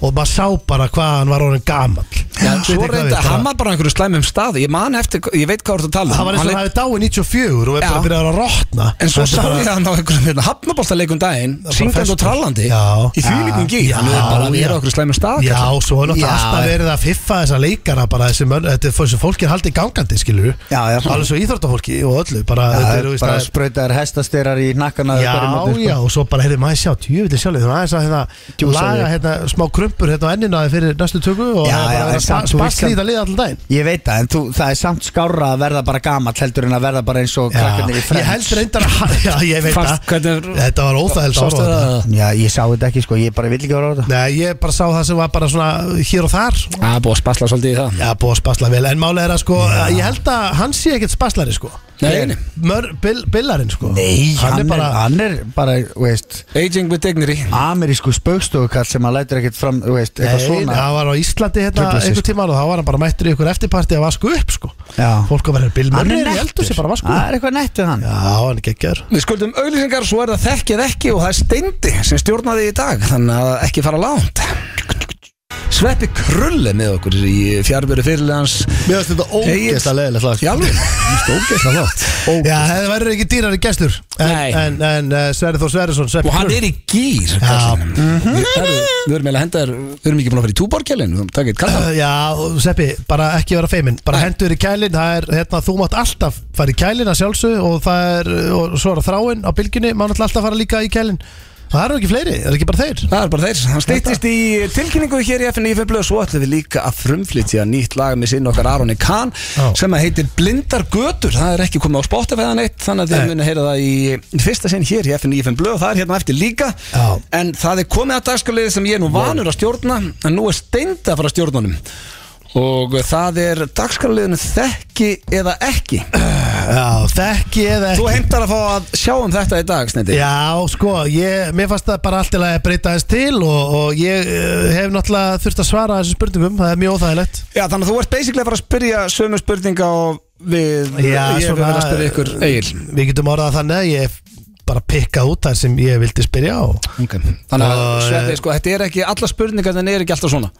Speaker 2: og maður sá bara hvað hann var orðin gamall
Speaker 1: Mhm. Já,
Speaker 2: Veit
Speaker 1: svo
Speaker 2: ekki hvað við,
Speaker 1: reynda,
Speaker 2: bara-
Speaker 1: hann var bara á einhverju slæmum stað Ég man eftir, ég veit hvað þú ert að tala um.
Speaker 2: Það var eins og hann
Speaker 1: leit-
Speaker 2: hafi dáið 94 og er bara
Speaker 1: Já.
Speaker 2: að byrja að rotna
Speaker 1: En svo
Speaker 2: Þetta
Speaker 1: sá
Speaker 2: er bara-
Speaker 1: ég hann á einhverjum hérna, hafnaboltaleik um daginn
Speaker 2: Það er bara
Speaker 1: Syngand
Speaker 2: festur.
Speaker 1: og trallandi
Speaker 2: Já.
Speaker 1: Í þvílíkum gír
Speaker 2: Já,
Speaker 1: Hann er bara að
Speaker 2: já.
Speaker 1: vera okkur slæmur stað
Speaker 2: Já, svo er náttúrulega
Speaker 3: Já,
Speaker 2: alltaf
Speaker 3: en-
Speaker 2: verið að fiffa þessa leikara bara þessi mönn, þetta er þessi fólki er haldið gangandi, skilur
Speaker 3: Já, já.
Speaker 2: Alveg svo íþróttafólki og öllu, bara,
Speaker 3: Það
Speaker 2: þetta
Speaker 3: er
Speaker 2: eru, veist,
Speaker 3: bara
Speaker 2: það er-
Speaker 3: sprautaðar hestastyrar í nakkana
Speaker 2: Já,
Speaker 3: sko.
Speaker 2: já, og svo bara, heyrðu, maður sjá, djúvillig sjálf Þannig aðeins að hérna,
Speaker 3: Djúsaði.
Speaker 2: laga hérna, smá krumpur hérna á ennina fyrir næstu tökku og
Speaker 3: Já,
Speaker 2: það er
Speaker 3: já,
Speaker 2: bara að
Speaker 3: en
Speaker 2: vera spa-
Speaker 3: samt, þú veist
Speaker 2: spassli í
Speaker 3: kann-
Speaker 2: þetta lið allan daginn
Speaker 3: Ég veit það, en þú, það er samt skárra að verða bara gamall heldur en að verða bara eins og krakkarnir í
Speaker 2: Já, ég held
Speaker 3: frends
Speaker 2: reyndar að, já, ég veit
Speaker 1: Fast,
Speaker 2: það
Speaker 1: hvernig er
Speaker 2: Þetta var óþægild
Speaker 1: Sástu það?
Speaker 3: Já, ég sá þetta ekki, sko, ég bara vill ekki vera á þetta
Speaker 2: Nei, ég bara sá það sem var bara svona hér og þar
Speaker 1: Það er búið að spasla svolítið í það
Speaker 2: Já, búið að spasla vel, en málega er að sko Ég held að hann sé ekkert spaslari sko
Speaker 1: Nei, nei.
Speaker 2: Mör, bill, Billarinn sko
Speaker 3: hann, er bara, hann er bara, veist
Speaker 1: Aging with dignity
Speaker 3: amerísku spaukstofukall sem að lætur ekkert fram, þú veist, eitthvað
Speaker 2: Nei,
Speaker 3: svona
Speaker 2: það var á Íslandi hérna
Speaker 3: Trufla sig,
Speaker 2: einhver
Speaker 3: sko.
Speaker 2: tíma og þá var hann bara mættur í ykkur eftirparti að vasku upp sko
Speaker 3: Já.
Speaker 2: Fólk var hérna Bill
Speaker 3: Hann
Speaker 2: Murray
Speaker 3: er
Speaker 2: er í eldur sem bara vasku
Speaker 3: það
Speaker 2: upp
Speaker 3: er eitthvað nett við hann
Speaker 2: Já, hann er geggjör
Speaker 1: Við skuldum auðlýsingar, svo er það þekkið ekki og það er steindi sem stjórnaði í dag þannig að ekki fara langt Sveppi Krulli með okkur í fjárveru fyrirlegans
Speaker 2: Mér finnst þetta
Speaker 1: ógeðslega
Speaker 2: leðilega slag
Speaker 1: Já, alveg Stókislega flott
Speaker 2: Já, það verður ekki dýrari gestur En,
Speaker 1: Nei.
Speaker 2: en, en uh, Sverri Þór Sverrisson Sveppi
Speaker 1: Og hann
Speaker 2: Krull.
Speaker 1: er í gýr
Speaker 2: Já. Mhm.
Speaker 1: Við erum- við erum eiginlega að henda þér Við erum ekki búin að fara í túborkjælin Við erum takið kallt
Speaker 2: Uh, Já, og Sveppi, bara ekki vera feiminn Bara hendur í kælinn, það er, hérna, þú mátt alltaf fara í kælinn að sjálfsög og það er, og svo er það þráinn á bylginni má náttúrulega alltaf fara líka í kælinn Það eru ekki fleiri, það eru ekki bara þeir
Speaker 1: Það er bara þeir, hann stýttist í tilkynningu hér í FNF og svo ætlum við líka að frumflytja nýtt lag með sinn okkar Aroni Kahn
Speaker 2: Já.
Speaker 1: sem að heitir Blindar Götur það er ekki komið á Spotify eða neitt þannig að þið
Speaker 2: Nei.
Speaker 1: munu að heyra það í fyrsta sinn hér í FNF og það er hérna eftir líka
Speaker 2: Já.
Speaker 1: en það er komið að dagskalið sem ég er nú vanur að stjórna en nú er steind að fara að stjórna honum og það er dagskaliðinu þekki eða ekki
Speaker 2: Eh, Já, þekki eða
Speaker 1: þú
Speaker 2: ekki
Speaker 1: heimtar að fá að sjá um þetta í dag Sneiti
Speaker 2: Já, sko, ég, mér fannst það bara allt til að breyta þess til og, og ég uh, hef náttúrulega þurft að svara þessum spurningum, það er mjög óþægilegt
Speaker 1: Já, þannig að þú ert basically að fara að spyrja sömu spurninga og við,
Speaker 2: Já,
Speaker 1: ég hef verið
Speaker 2: svona-
Speaker 1: að spyrja ykkur Egil
Speaker 2: Við getum orðað þannig að ég bara pikkað út þar sem ég vildi spyrja og
Speaker 1: okay. Þannig að
Speaker 2: Og, eh,
Speaker 1: Sveppi, sko, þetta er ekki, alla spurningar þannig er ekki alltaf svona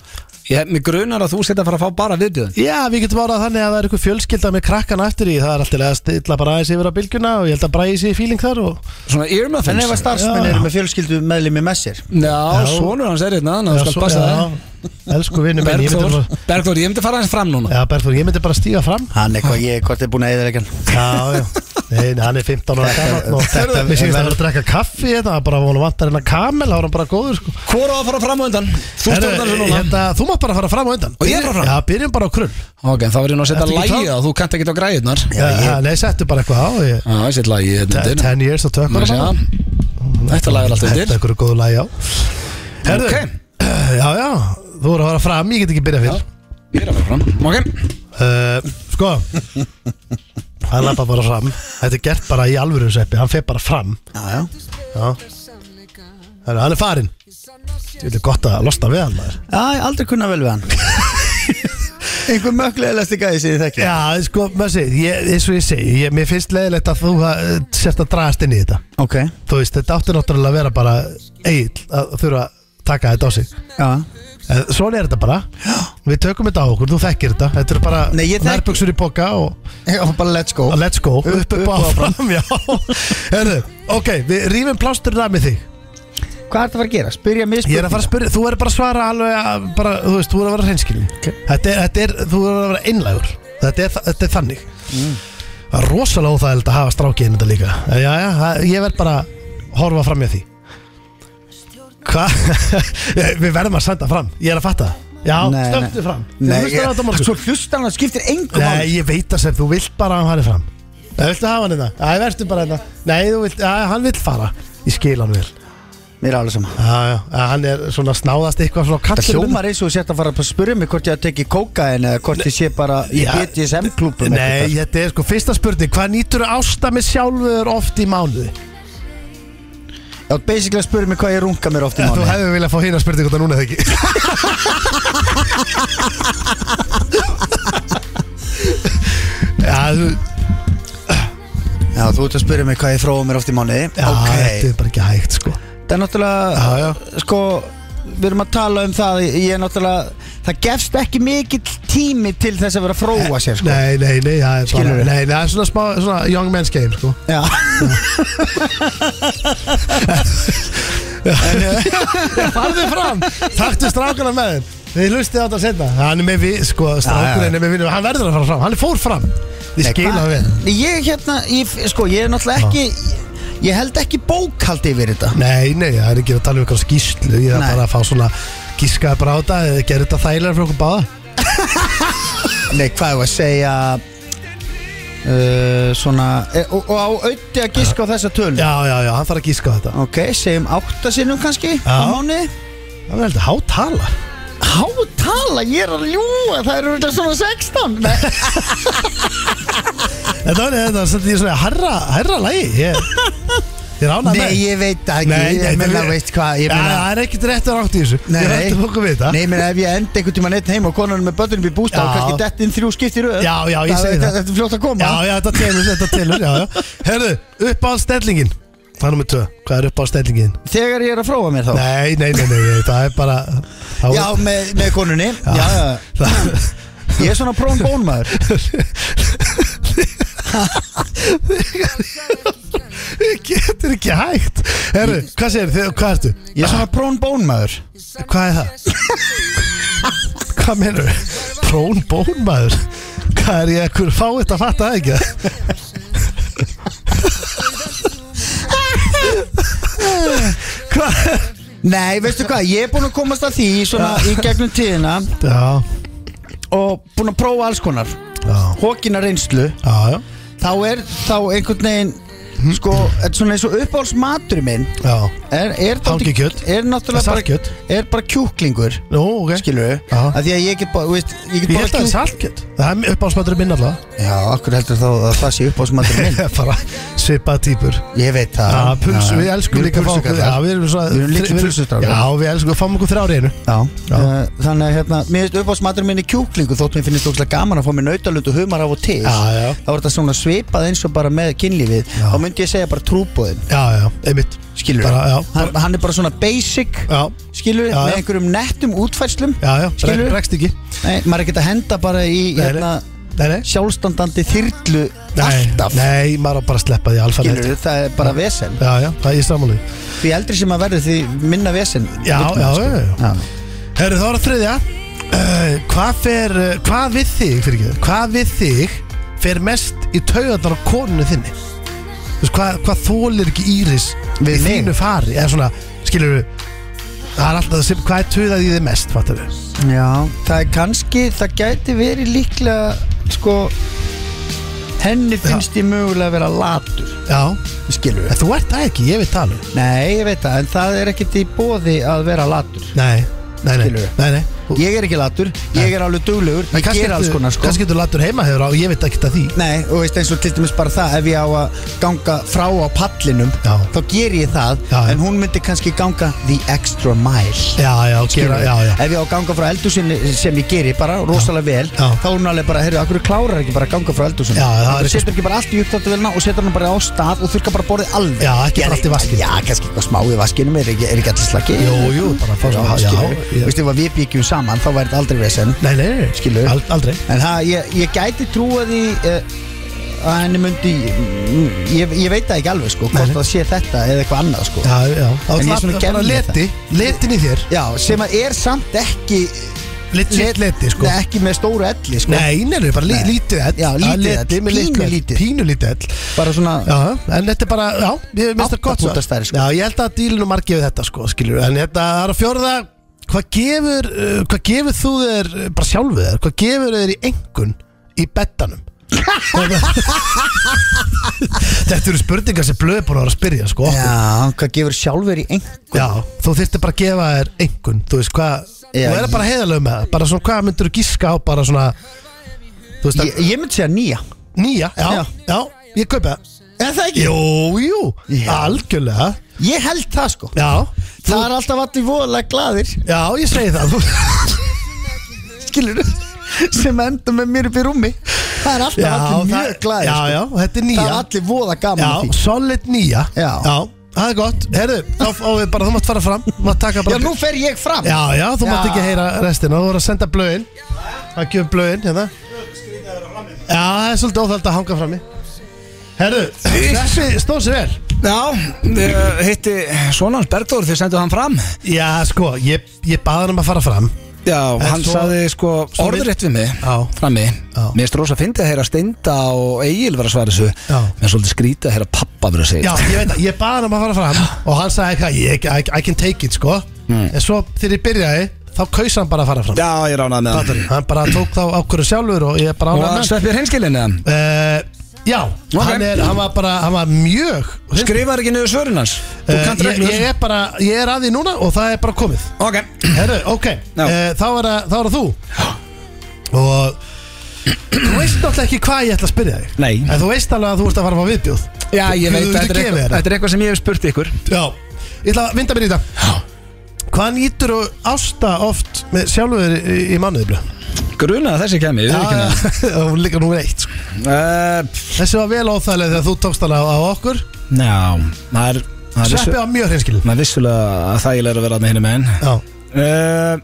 Speaker 1: Ég, mig grunar að þú setja að fara að fá bara viðbjöðin
Speaker 2: Já, við getum orðað þannig að það er eitthvað fjölskylda með krakkana eftir í, það er alltaf að stilla bara aðeins yfir á bylgjuna og ég held að bræði sér fíling þar og
Speaker 1: Svona
Speaker 3: En ef að
Speaker 1: earmuffins
Speaker 3: starfsmenn
Speaker 2: Já.
Speaker 3: eru með fjölskyldu meðlimi með sér
Speaker 1: Já,
Speaker 2: Já.
Speaker 1: sonur hans er hérna, þannig að
Speaker 2: Já,
Speaker 1: þú skal
Speaker 2: svo-
Speaker 1: passa það
Speaker 2: já, Elsku vinnum minn, ég myndi
Speaker 1: Bergþór,
Speaker 2: bara-
Speaker 1: Bergþór, ég myndi fara hans fram núna
Speaker 2: Já, Bergþór, ég myndi bara stíga fram
Speaker 3: Hann eitthvað, ég, hvort er búin að eða leikjan
Speaker 2: Já, já Nei, nei, hann er 15 ára gammal og þetta
Speaker 1: Herðu,
Speaker 2: við sést að hann er að drekka kaffi hérna, það er bara vonum vantar hérna kamel, þá er hann bara góður sko.
Speaker 1: Hvor á að fara fram og undan? Þú
Speaker 2: Herðu,
Speaker 1: stjórnar þessu núna
Speaker 2: hérna, Þú mátt bara fara fram og undan
Speaker 1: Og ég fara fram?
Speaker 2: Já, byrjum bara á krull
Speaker 1: Ok, þá verður ég nú að setja
Speaker 2: Ertu ekki
Speaker 1: lægið á, þú kannt ekki á græðunar Já,
Speaker 2: Já, Nei, settu bara eitthvað á ég,
Speaker 1: ég setja lægið hérna
Speaker 2: te-
Speaker 1: undir.
Speaker 2: 10 years á
Speaker 1: Má
Speaker 2: tökur
Speaker 1: sjá. Þetta lag er alltaf
Speaker 2: Þetta
Speaker 1: undir
Speaker 2: er eitthvað góðu lagi á Herðu,
Speaker 1: Ok.
Speaker 2: Já, já, þú voru að fara fram, ég get ekki byrjað fyrr
Speaker 1: Ég er að fara fram Ok
Speaker 2: uh, Sko Hann lappa bara fram Þetta er gert bara í alvöru seppi, hann fer bara fram
Speaker 3: Já, já
Speaker 2: Já Herðu, Hann er farinn Þetta er gott að losna við hann maður
Speaker 3: Já, ég aldrei kunna vel við hann Einhver möglegasti gæði sem ég þekki
Speaker 2: Já, sko, maður segir, ég, eins og ég segi, ég, mér finnst leiðilegt að þú uh, sért að dragast inn í þetta.
Speaker 3: Ok,
Speaker 2: Þú veist, þetta átti náttúrulega að vera bara eigin að þurfa að taka þetta á sig.
Speaker 3: já
Speaker 2: En Svona er þetta bara. Við tökum þetta á okkur, þú þekkir þetta. Þetta eru bara
Speaker 3: Nei, ég þekki-
Speaker 2: nærbuksur í boka og
Speaker 3: Já, bara let's go
Speaker 2: og let's go, upp, upp,
Speaker 3: upp
Speaker 2: og áfram, já. Herðu, ok, við rýfum plásturinn af með þig.
Speaker 3: Hvað er þetta að fara að gera? Spyrja mig
Speaker 2: Ég er að fara að spyrja, þú er bara að svara alveg að, bara, þú veist, þú er að vera hreinskilin þetta, er, þetta er, þú er að vera einlægur Þetta er, þetta er þannig
Speaker 3: Mm.
Speaker 2: Það er rosalega óþægild að hafa strákið inn þetta líka Eh, Já, já, ég verð bara að horfa fram hjá því Hvað? Við verðum að senda fram, ég er að fatta það Já,
Speaker 3: Nei,
Speaker 2: stöftu fram Þú
Speaker 3: Nei,
Speaker 2: hlustar á þetta á
Speaker 3: ég,
Speaker 2: morgun.
Speaker 3: svo hlustar hann að skiptir engum
Speaker 2: Nei,
Speaker 3: máli.
Speaker 2: ég veit það sem, þú vilt bara að hann fari fram Það viltu hafa hann hérna? Æ, verður bara hérna Nei, þú vilt, að, hann vill fara Ég skil hann vel
Speaker 3: Mér er alveg sama
Speaker 2: Já, já, að hann er svona snáðast eitthvað svona
Speaker 3: Það
Speaker 2: kallur
Speaker 3: hljómar eins og þú sért að fara að spyrja mig hvort ég að teki kókain eða hvort ég sé bara í
Speaker 2: Ja.
Speaker 3: BDSM-klúbum
Speaker 2: Nei, þetta er sko fyrsta spurning Hvað nýtur þú ásta með sjálfur oft í mánuði?
Speaker 3: Já, basically að spyrja mig hvað ég runga mér oft í
Speaker 2: Þú
Speaker 3: mánu
Speaker 2: hefur viljað fá hérna spurningu þetta núna eða ekki Já, þú,
Speaker 3: Já, þú ert að spyrja mig hvað ég fróa mér oft í mánu
Speaker 2: já
Speaker 3: Ok,
Speaker 2: þetta er bara ekki hægt sko
Speaker 3: það er náttúrulega
Speaker 2: Já, já.
Speaker 3: Sko, við erum að tala um það Ég er náttúrulega, það gefst ekki mikill tími til þess að vera að fróa sér sko.
Speaker 2: Nei, nei, nei, það er bara
Speaker 3: Skilurðu?
Speaker 2: Nei, nei, það er svona smá, svona young man's game sko
Speaker 3: Já,
Speaker 2: Farðu fram, taktu strákana með þeim Þið hlustið á þetta setna Hann er með við, sko,
Speaker 3: Já, já.
Speaker 2: strákurinn er með vinnum Hann verður að fara fram, hann er fór fram Þið skila
Speaker 3: Hvað?
Speaker 2: við
Speaker 3: Ég hérna, ég, sko, ég er náttúrulega ekki Ég held ekki bókhaldi yfir þetta
Speaker 2: Nei, nei, það er ekki að tala um eitthvað skýslu Ég er
Speaker 3: Nei.
Speaker 2: bara að fá svona gískaði bara á þetta eða gerir þetta þægilega fyrir okkur báða
Speaker 3: Nei, hvað er að segja uh, Svona e, og, og á auði að gíska á þessa tölu
Speaker 2: Já, já, já, hann þarf að gíska á þetta
Speaker 3: Ok, segjum átta sinnum kannski á mánu
Speaker 2: Það er heldur hátala
Speaker 3: Hátala, ég er að ljúa Það eru þetta svona 16 Nei,
Speaker 2: Þetta var þetta, þetta er svona herra, herra lægi Ég, ég rána
Speaker 3: Nei, ég veit það ekki Ég meina, veist hvað ég
Speaker 2: Já,
Speaker 3: meina,
Speaker 2: það er ekkit rétt að rátt í þessu
Speaker 3: Nei,
Speaker 2: Ég
Speaker 3: nei.
Speaker 2: hættum okkur við þetta
Speaker 3: Nei, menn ef ég enda einhvern tíma neitt heim og konan er með börnum í bústa og
Speaker 2: Já.
Speaker 3: kannski dett inn þrjú skipti í röð
Speaker 2: Já, já, ég segi það.
Speaker 3: Þetta er fljótt að koma
Speaker 2: Já, já, þetta telur, þetta telur, já, já Herðu, upp á stellingin Það er nummer 2, hvað er upp á stellingin?
Speaker 3: Þegar ég er að fróa mér þá
Speaker 2: Nei, nei, nei, nei, nei, það er bara þá-
Speaker 3: Já, með, með konunni já. Já,
Speaker 2: það,
Speaker 3: Ég er svona prón bónmaður
Speaker 2: Þið getur ekki hægt Herru, hvað segir þið, hvað ertu?
Speaker 3: Ég er svona prón bónmaður
Speaker 2: Hvað er það? hvað menur þið? Prón bón maður Hvað er ég ekkur fá þetta að fatta það ekki? hvað?
Speaker 3: Nei, veistu hvað, ég er búin að komast að því svona í gegnum tíðina
Speaker 2: Já,
Speaker 3: og búin að prófa alls konar
Speaker 2: já,
Speaker 3: hókina reynslu
Speaker 2: já, já,
Speaker 3: þá er þá einhvern veginn
Speaker 2: Mhm.
Speaker 3: sko, þetta er svona eins og uppáhaldsmatur minn
Speaker 2: já.
Speaker 3: er, er, dálítið-
Speaker 2: Hangikjöt.
Speaker 3: er náttúrulega bara,
Speaker 2: Saltkjöt.
Speaker 3: er bara kjúklingur
Speaker 2: Nú, ok
Speaker 3: skilur við,
Speaker 2: Já.
Speaker 3: að því að ég get bara, þú veist, ég
Speaker 2: Ég
Speaker 3: get bara
Speaker 2: held að það er saltkjöt Það er uppáhaldsmaturinn minn allavega
Speaker 3: já, okkur heldur þá að það sé uppáhaldsmatur minn
Speaker 2: Bara svipað týpur
Speaker 3: ég veit það
Speaker 2: Já, pulsu,
Speaker 3: Já.
Speaker 2: við elskum
Speaker 3: Ah, Við erum
Speaker 2: líka að fá okkur Já,
Speaker 3: pulsukall.
Speaker 2: við erum svona
Speaker 3: Við erum líka pulsustrákar.
Speaker 2: Já, við elskum að fá okkur þrjári einu
Speaker 3: Já,
Speaker 2: Já.
Speaker 3: Uh, þannig að hérna, mér finnst uppáhaldsmaturinn minni kjúklingu þótt mér finnst ógslag gaman að fá mér nautalund og humar af og til
Speaker 2: Já, já.
Speaker 3: þá var þetta svona svipað eins og bara með kynlífið
Speaker 2: Já.
Speaker 3: þá myndi ég segja bara trúbóðin
Speaker 2: Já, já, einmitt
Speaker 3: skilur
Speaker 2: Bara, já,
Speaker 3: hann, hann er bara svona basic
Speaker 2: Já,
Speaker 3: skilur
Speaker 2: Já, já.
Speaker 3: með einhverjum nettum útfærslum
Speaker 2: já, já,
Speaker 3: Skilurðu?
Speaker 2: Skilur? bregst ekki
Speaker 3: Nei, maður er ekki að henda bara í
Speaker 2: Nei,
Speaker 3: hérna,
Speaker 2: Nei, nei
Speaker 3: sjálfstandandi þyrlu
Speaker 2: Nei,
Speaker 3: alltaf
Speaker 2: nei maður á bara að sleppa því alfarið
Speaker 3: skilur það er bara vesen
Speaker 2: Já, já, það er ég samanlega
Speaker 3: því eldri sem maður verður því minna vesen
Speaker 2: Já,
Speaker 3: vill maður,
Speaker 2: já,
Speaker 3: sko.
Speaker 2: já, já. Herru, þá er að þriðja uh, Hvað fer, uh, hvað við þig, fyrir ekki Hvað við þig fer mest í taugarnar á konunni þinni Þú veist, hvað, hvað þólir ekki Íris
Speaker 3: Við
Speaker 2: í
Speaker 3: mig?
Speaker 2: þínu fari Eða svona, skilur Það er alltaf það sem, hvað er taugað í þið mest, fattar við
Speaker 3: Já, það er kannski, það gæti verið líklega, sko, henni finnst ég mögulega að vera latur,
Speaker 2: Já,
Speaker 3: skilur
Speaker 2: en þú ert það ekki, ég veit það alveg
Speaker 3: Nei, ég veit það, en það er ekkert í bóði að vera latur.
Speaker 2: Nei, nei, nei,
Speaker 3: Skilurðu?
Speaker 2: nei, nei. Þú-
Speaker 3: Ég er ekki latur, ég er alveg duglegur,
Speaker 2: En
Speaker 3: ég
Speaker 2: kannski
Speaker 3: ger alls
Speaker 2: ertu-
Speaker 3: konar, sko.
Speaker 2: Kannski þú latur heima hefur á, ég veit ekki það því
Speaker 3: Nei, og veist eins og til dæmis bara það, ef ég á að ganga frá á pallinum,
Speaker 2: Já.
Speaker 3: þá ger ég það,
Speaker 2: Já, já.
Speaker 3: en hún myndi kannski ganga the extra mile.
Speaker 2: Já, já, gera, já, já
Speaker 3: Ef ég á að ganga frá eldúsinni sem ég geri bara rosalega vel
Speaker 2: Já.
Speaker 3: þá er hún alveg bara, heyrðu, akkur klárar ekki bara að ganga frá eldúsinni
Speaker 2: Já, það er
Speaker 3: Þú
Speaker 2: eitthvað-
Speaker 3: setur ekki bara allt í upptáttuvélina og setur hann bara á stað og þurrkar bara borðið alveg
Speaker 2: Já, ekki
Speaker 3: Ég er
Speaker 2: bara allt í vaskinn.
Speaker 3: Já, kannski eitthvað smá í vaskinum er ekki, er ekki allir slagi
Speaker 2: Jú, jú, bara að fá
Speaker 3: Já,
Speaker 2: svona- já,
Speaker 3: skilur
Speaker 2: já.
Speaker 3: Veistu, ef að við byggjum saman þá væri þetta aldrei vesen
Speaker 2: Nei, nei, nei,
Speaker 3: Skilurðu?
Speaker 2: Ald, aldrei
Speaker 3: En það, ég, ég gæti trúa því uh,
Speaker 4: að henni myndi ég, ég veit það ekki alveg sko hvort það sé þetta eða eitthvað annað sko
Speaker 2: Já, já
Speaker 4: En ég
Speaker 2: Það
Speaker 4: er svona
Speaker 2: bara
Speaker 4: gemmi
Speaker 2: leti, letin í þér
Speaker 4: Já, sem að er samt ekki
Speaker 2: Legit leti, sko
Speaker 4: Nei, ekki með stóru elli sko
Speaker 2: Nei, neina, bara li,
Speaker 4: Nei.
Speaker 2: lítið ell
Speaker 4: Já, lítið ell,
Speaker 2: ell,
Speaker 4: pínu
Speaker 2: pínu
Speaker 4: lítið.
Speaker 2: lítið Pínu lítið ell
Speaker 4: bara svona
Speaker 2: Já, en þetta er bara, já, ég minnst það
Speaker 4: Átta
Speaker 2: gott
Speaker 4: púnta stærri, sko.
Speaker 2: Já, ég held að dílinu margið við þetta, sko, skilur En þetta það er að fjórða Hvað gefur, uh, hvað gefur þú þér uh, Bara sjálfu þér, hvað gefur þér í engun Í bettanum Þetta eru spurningar sem blöð er búin að vera að spyrja, sko okkur.
Speaker 4: Já, hvað gefur sjálfur í einhver
Speaker 2: Já, þú þyrfti bara að gefa þér engun Þú veist hvað,
Speaker 4: Já,
Speaker 2: þú verður
Speaker 4: ég-
Speaker 2: bara heiðalög með það Bara svona, hvað myndir þú gíska á bara svona Þú veist að,
Speaker 4: Ég, ég myndi segja nýja
Speaker 2: nýja, já,
Speaker 4: Já.
Speaker 2: já, ég kaupi það
Speaker 4: Er það ekki?
Speaker 2: Jú, jú,
Speaker 4: Já.
Speaker 2: algjörlega
Speaker 4: Ég held það sko
Speaker 2: Já,
Speaker 4: Það er alltaf allir voðalega glaðir
Speaker 2: já, ég segi það Þú-
Speaker 4: skilur sem enda með mér upp í rúmi Það er alltaf
Speaker 2: Já,
Speaker 4: allir
Speaker 2: það-
Speaker 4: mjög glaðir
Speaker 2: Já,
Speaker 4: sko.
Speaker 2: já, þetta er
Speaker 4: Það er
Speaker 2: nýja
Speaker 4: allir voða gaman af
Speaker 2: Já,
Speaker 4: því
Speaker 2: solid nýja
Speaker 4: Já.
Speaker 2: það er gott Herðu, þá fáum við bara, þú mátt fara fram þú mátt taka
Speaker 4: Já,
Speaker 2: bara
Speaker 4: nú fer ég fram
Speaker 2: Já, já, þú
Speaker 4: Já.
Speaker 2: mátt ekki heyra restina Þú voru að senda blöðin Það gefur blöðin, hérna Já, það er svolítið óþælt að hanga frammi Herðu, þessi stóð sér vel
Speaker 1: Já, eh, hitti Svonans Bergdór þegar sendu hann fram
Speaker 2: Já, sko, ég, ég baði hann um að fara fram
Speaker 1: Já,
Speaker 2: En
Speaker 1: hann
Speaker 2: svo-
Speaker 1: saði sko
Speaker 2: svo
Speaker 1: orðrétt við mig
Speaker 2: Já.
Speaker 1: frammi
Speaker 2: Já.
Speaker 1: Mér erst rosa að fyndi að heyra Steinda og Egil vera að svara þessu
Speaker 2: Já.
Speaker 1: Mér er svolítið skrítið að heyra pappa vera að segja
Speaker 2: Já, ég veit að, ég baði hann um að fara fram Og hann sagði eitthvað, ég- I, I can take it, sko En svo þegar ég byrjaði, þá kaus hann bara að fara fram
Speaker 1: Já, ég ránaði með
Speaker 2: Fattar,
Speaker 1: hann
Speaker 2: hann bara tók þá ákvörðu sjálfur og ég er bara
Speaker 1: Og
Speaker 2: ánægð
Speaker 1: hann
Speaker 2: með hann
Speaker 1: sveppir hreinskilin eða
Speaker 2: uh, Já,
Speaker 1: Ok.
Speaker 2: hann, er, hann var bara hann var mjög
Speaker 1: Skrifar ekki niður svörin hans Þú
Speaker 2: Eh,
Speaker 1: kannt
Speaker 2: ég,
Speaker 1: reglur
Speaker 2: ég er bara, ég er að því núna og það er bara komið
Speaker 1: Ok
Speaker 2: Herru, ok,
Speaker 1: Já.
Speaker 2: uh, þá, er að, þá er að þú Og Þú veist náttúrulega ekki hvað ég ætla að spyrja þig
Speaker 1: Nei.
Speaker 2: En þú veist alveg að þú ert að fara að fá viðbjóð
Speaker 1: Já, ég
Speaker 2: Þú-
Speaker 1: veit
Speaker 2: þú
Speaker 1: að þetta er
Speaker 2: getur gefið
Speaker 1: eitthvað-
Speaker 2: þér það.
Speaker 1: þetta er eitthvað sem ég hef spurt ykkur
Speaker 2: Já, ég ætla að vinda mér í þetta Hvað nýtur þú ásta oft með sjálfur í, í manniðblu?
Speaker 1: Grunaði að þessi kemi Já,
Speaker 2: hún líka númer eitt sko.
Speaker 1: já
Speaker 2: Þessi var vel óþægileg þegar þú tókst hana á, á okkur
Speaker 1: Já, það er það er vissu-
Speaker 2: Sveppi á mjög hreinskilin
Speaker 1: Það er vissulega þægilega að vera með henni með henn
Speaker 2: Já,
Speaker 1: Uh,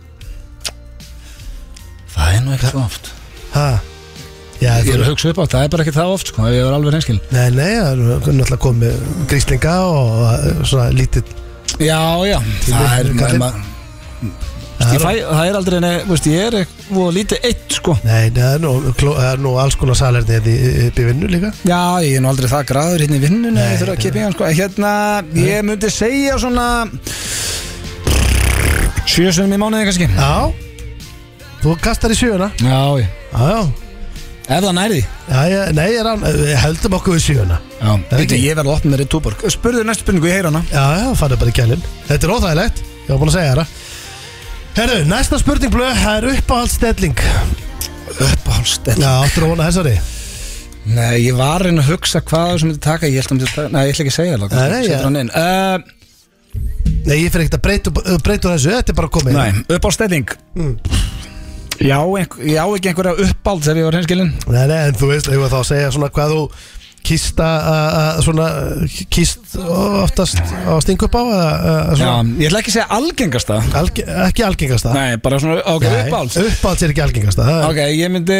Speaker 1: það er nú ekki það oft
Speaker 2: hæ Já,
Speaker 1: Ég
Speaker 2: þú,
Speaker 1: er að hugsa upp á þetta, það er bara ekki það oft sko, ef ég var alveg reynskil
Speaker 2: nei, nei, það er náttúrulega komið gríslinga og eh, svona lítill
Speaker 1: Já, já, það er,
Speaker 2: Kallinn.
Speaker 1: maður, maður,
Speaker 2: Það
Speaker 1: ég
Speaker 2: er-
Speaker 1: fæ, það er aldrei, neð, veist, ég er ekk- voða lítið eitt sko
Speaker 2: Nei, nei, það er nú, kló, það er nú alls konar salerni hérna í- upp í vinnu líka
Speaker 1: Já, ég er nú aldrei það graður hérna í vinnunni,
Speaker 2: Nei,
Speaker 1: ég þurfa að
Speaker 2: nei.
Speaker 1: kippa í hann sko Hérna, ég myndi segja svona Sjösunum í mánuði kannski Já,
Speaker 2: Já Þú kastar í sjöuna
Speaker 1: já,
Speaker 2: Já, já,
Speaker 1: ef það nærði
Speaker 2: já, já nei, ég er án, við heldum okkur við sjöuna
Speaker 1: Já,
Speaker 2: er
Speaker 1: veitu,
Speaker 2: ekki.
Speaker 1: ég verði opnum með Ritúborg Spurðu næstu spurningu, ég heyr hana
Speaker 2: Já, já, fannu bara í kælinn Þetta er óþægilegt, ég var búin að segja þér það Herru, næsta spurning blöð, það er uppáhaldsstelling
Speaker 1: Uppáhaldstell
Speaker 2: Já, áttur að vona þessari
Speaker 1: Nei, ég var að reyna að hugsa hvað sem myndi taka Ég held að myndi taka, nei, ég ætla ekki að segja það
Speaker 2: Nei, nei,
Speaker 1: Setur
Speaker 2: ég-
Speaker 1: hann inn. uh,
Speaker 2: Nei, ég fyrir ekkert að breyta, upp- eh, breyta úr þessu, þetta er bara komið
Speaker 1: Nei, upp á stelling já, einhver, já, ekki einhverja uppáld Þegar ég var hinskilin
Speaker 2: Nei, nei, en þú veist, ef þá að segja svona hvað þú kýst að, að- að- svona, eh, kýst oftast á að stinga upp á, að, að
Speaker 1: Já,
Speaker 2: svona,
Speaker 1: ég ætla ekki að segja algengasta
Speaker 2: alge, ekki algengasta.
Speaker 1: Nei, bara svona, ok, uppáld
Speaker 2: uppáhalds er ekki algengasta, það
Speaker 1: Ok, ég myndi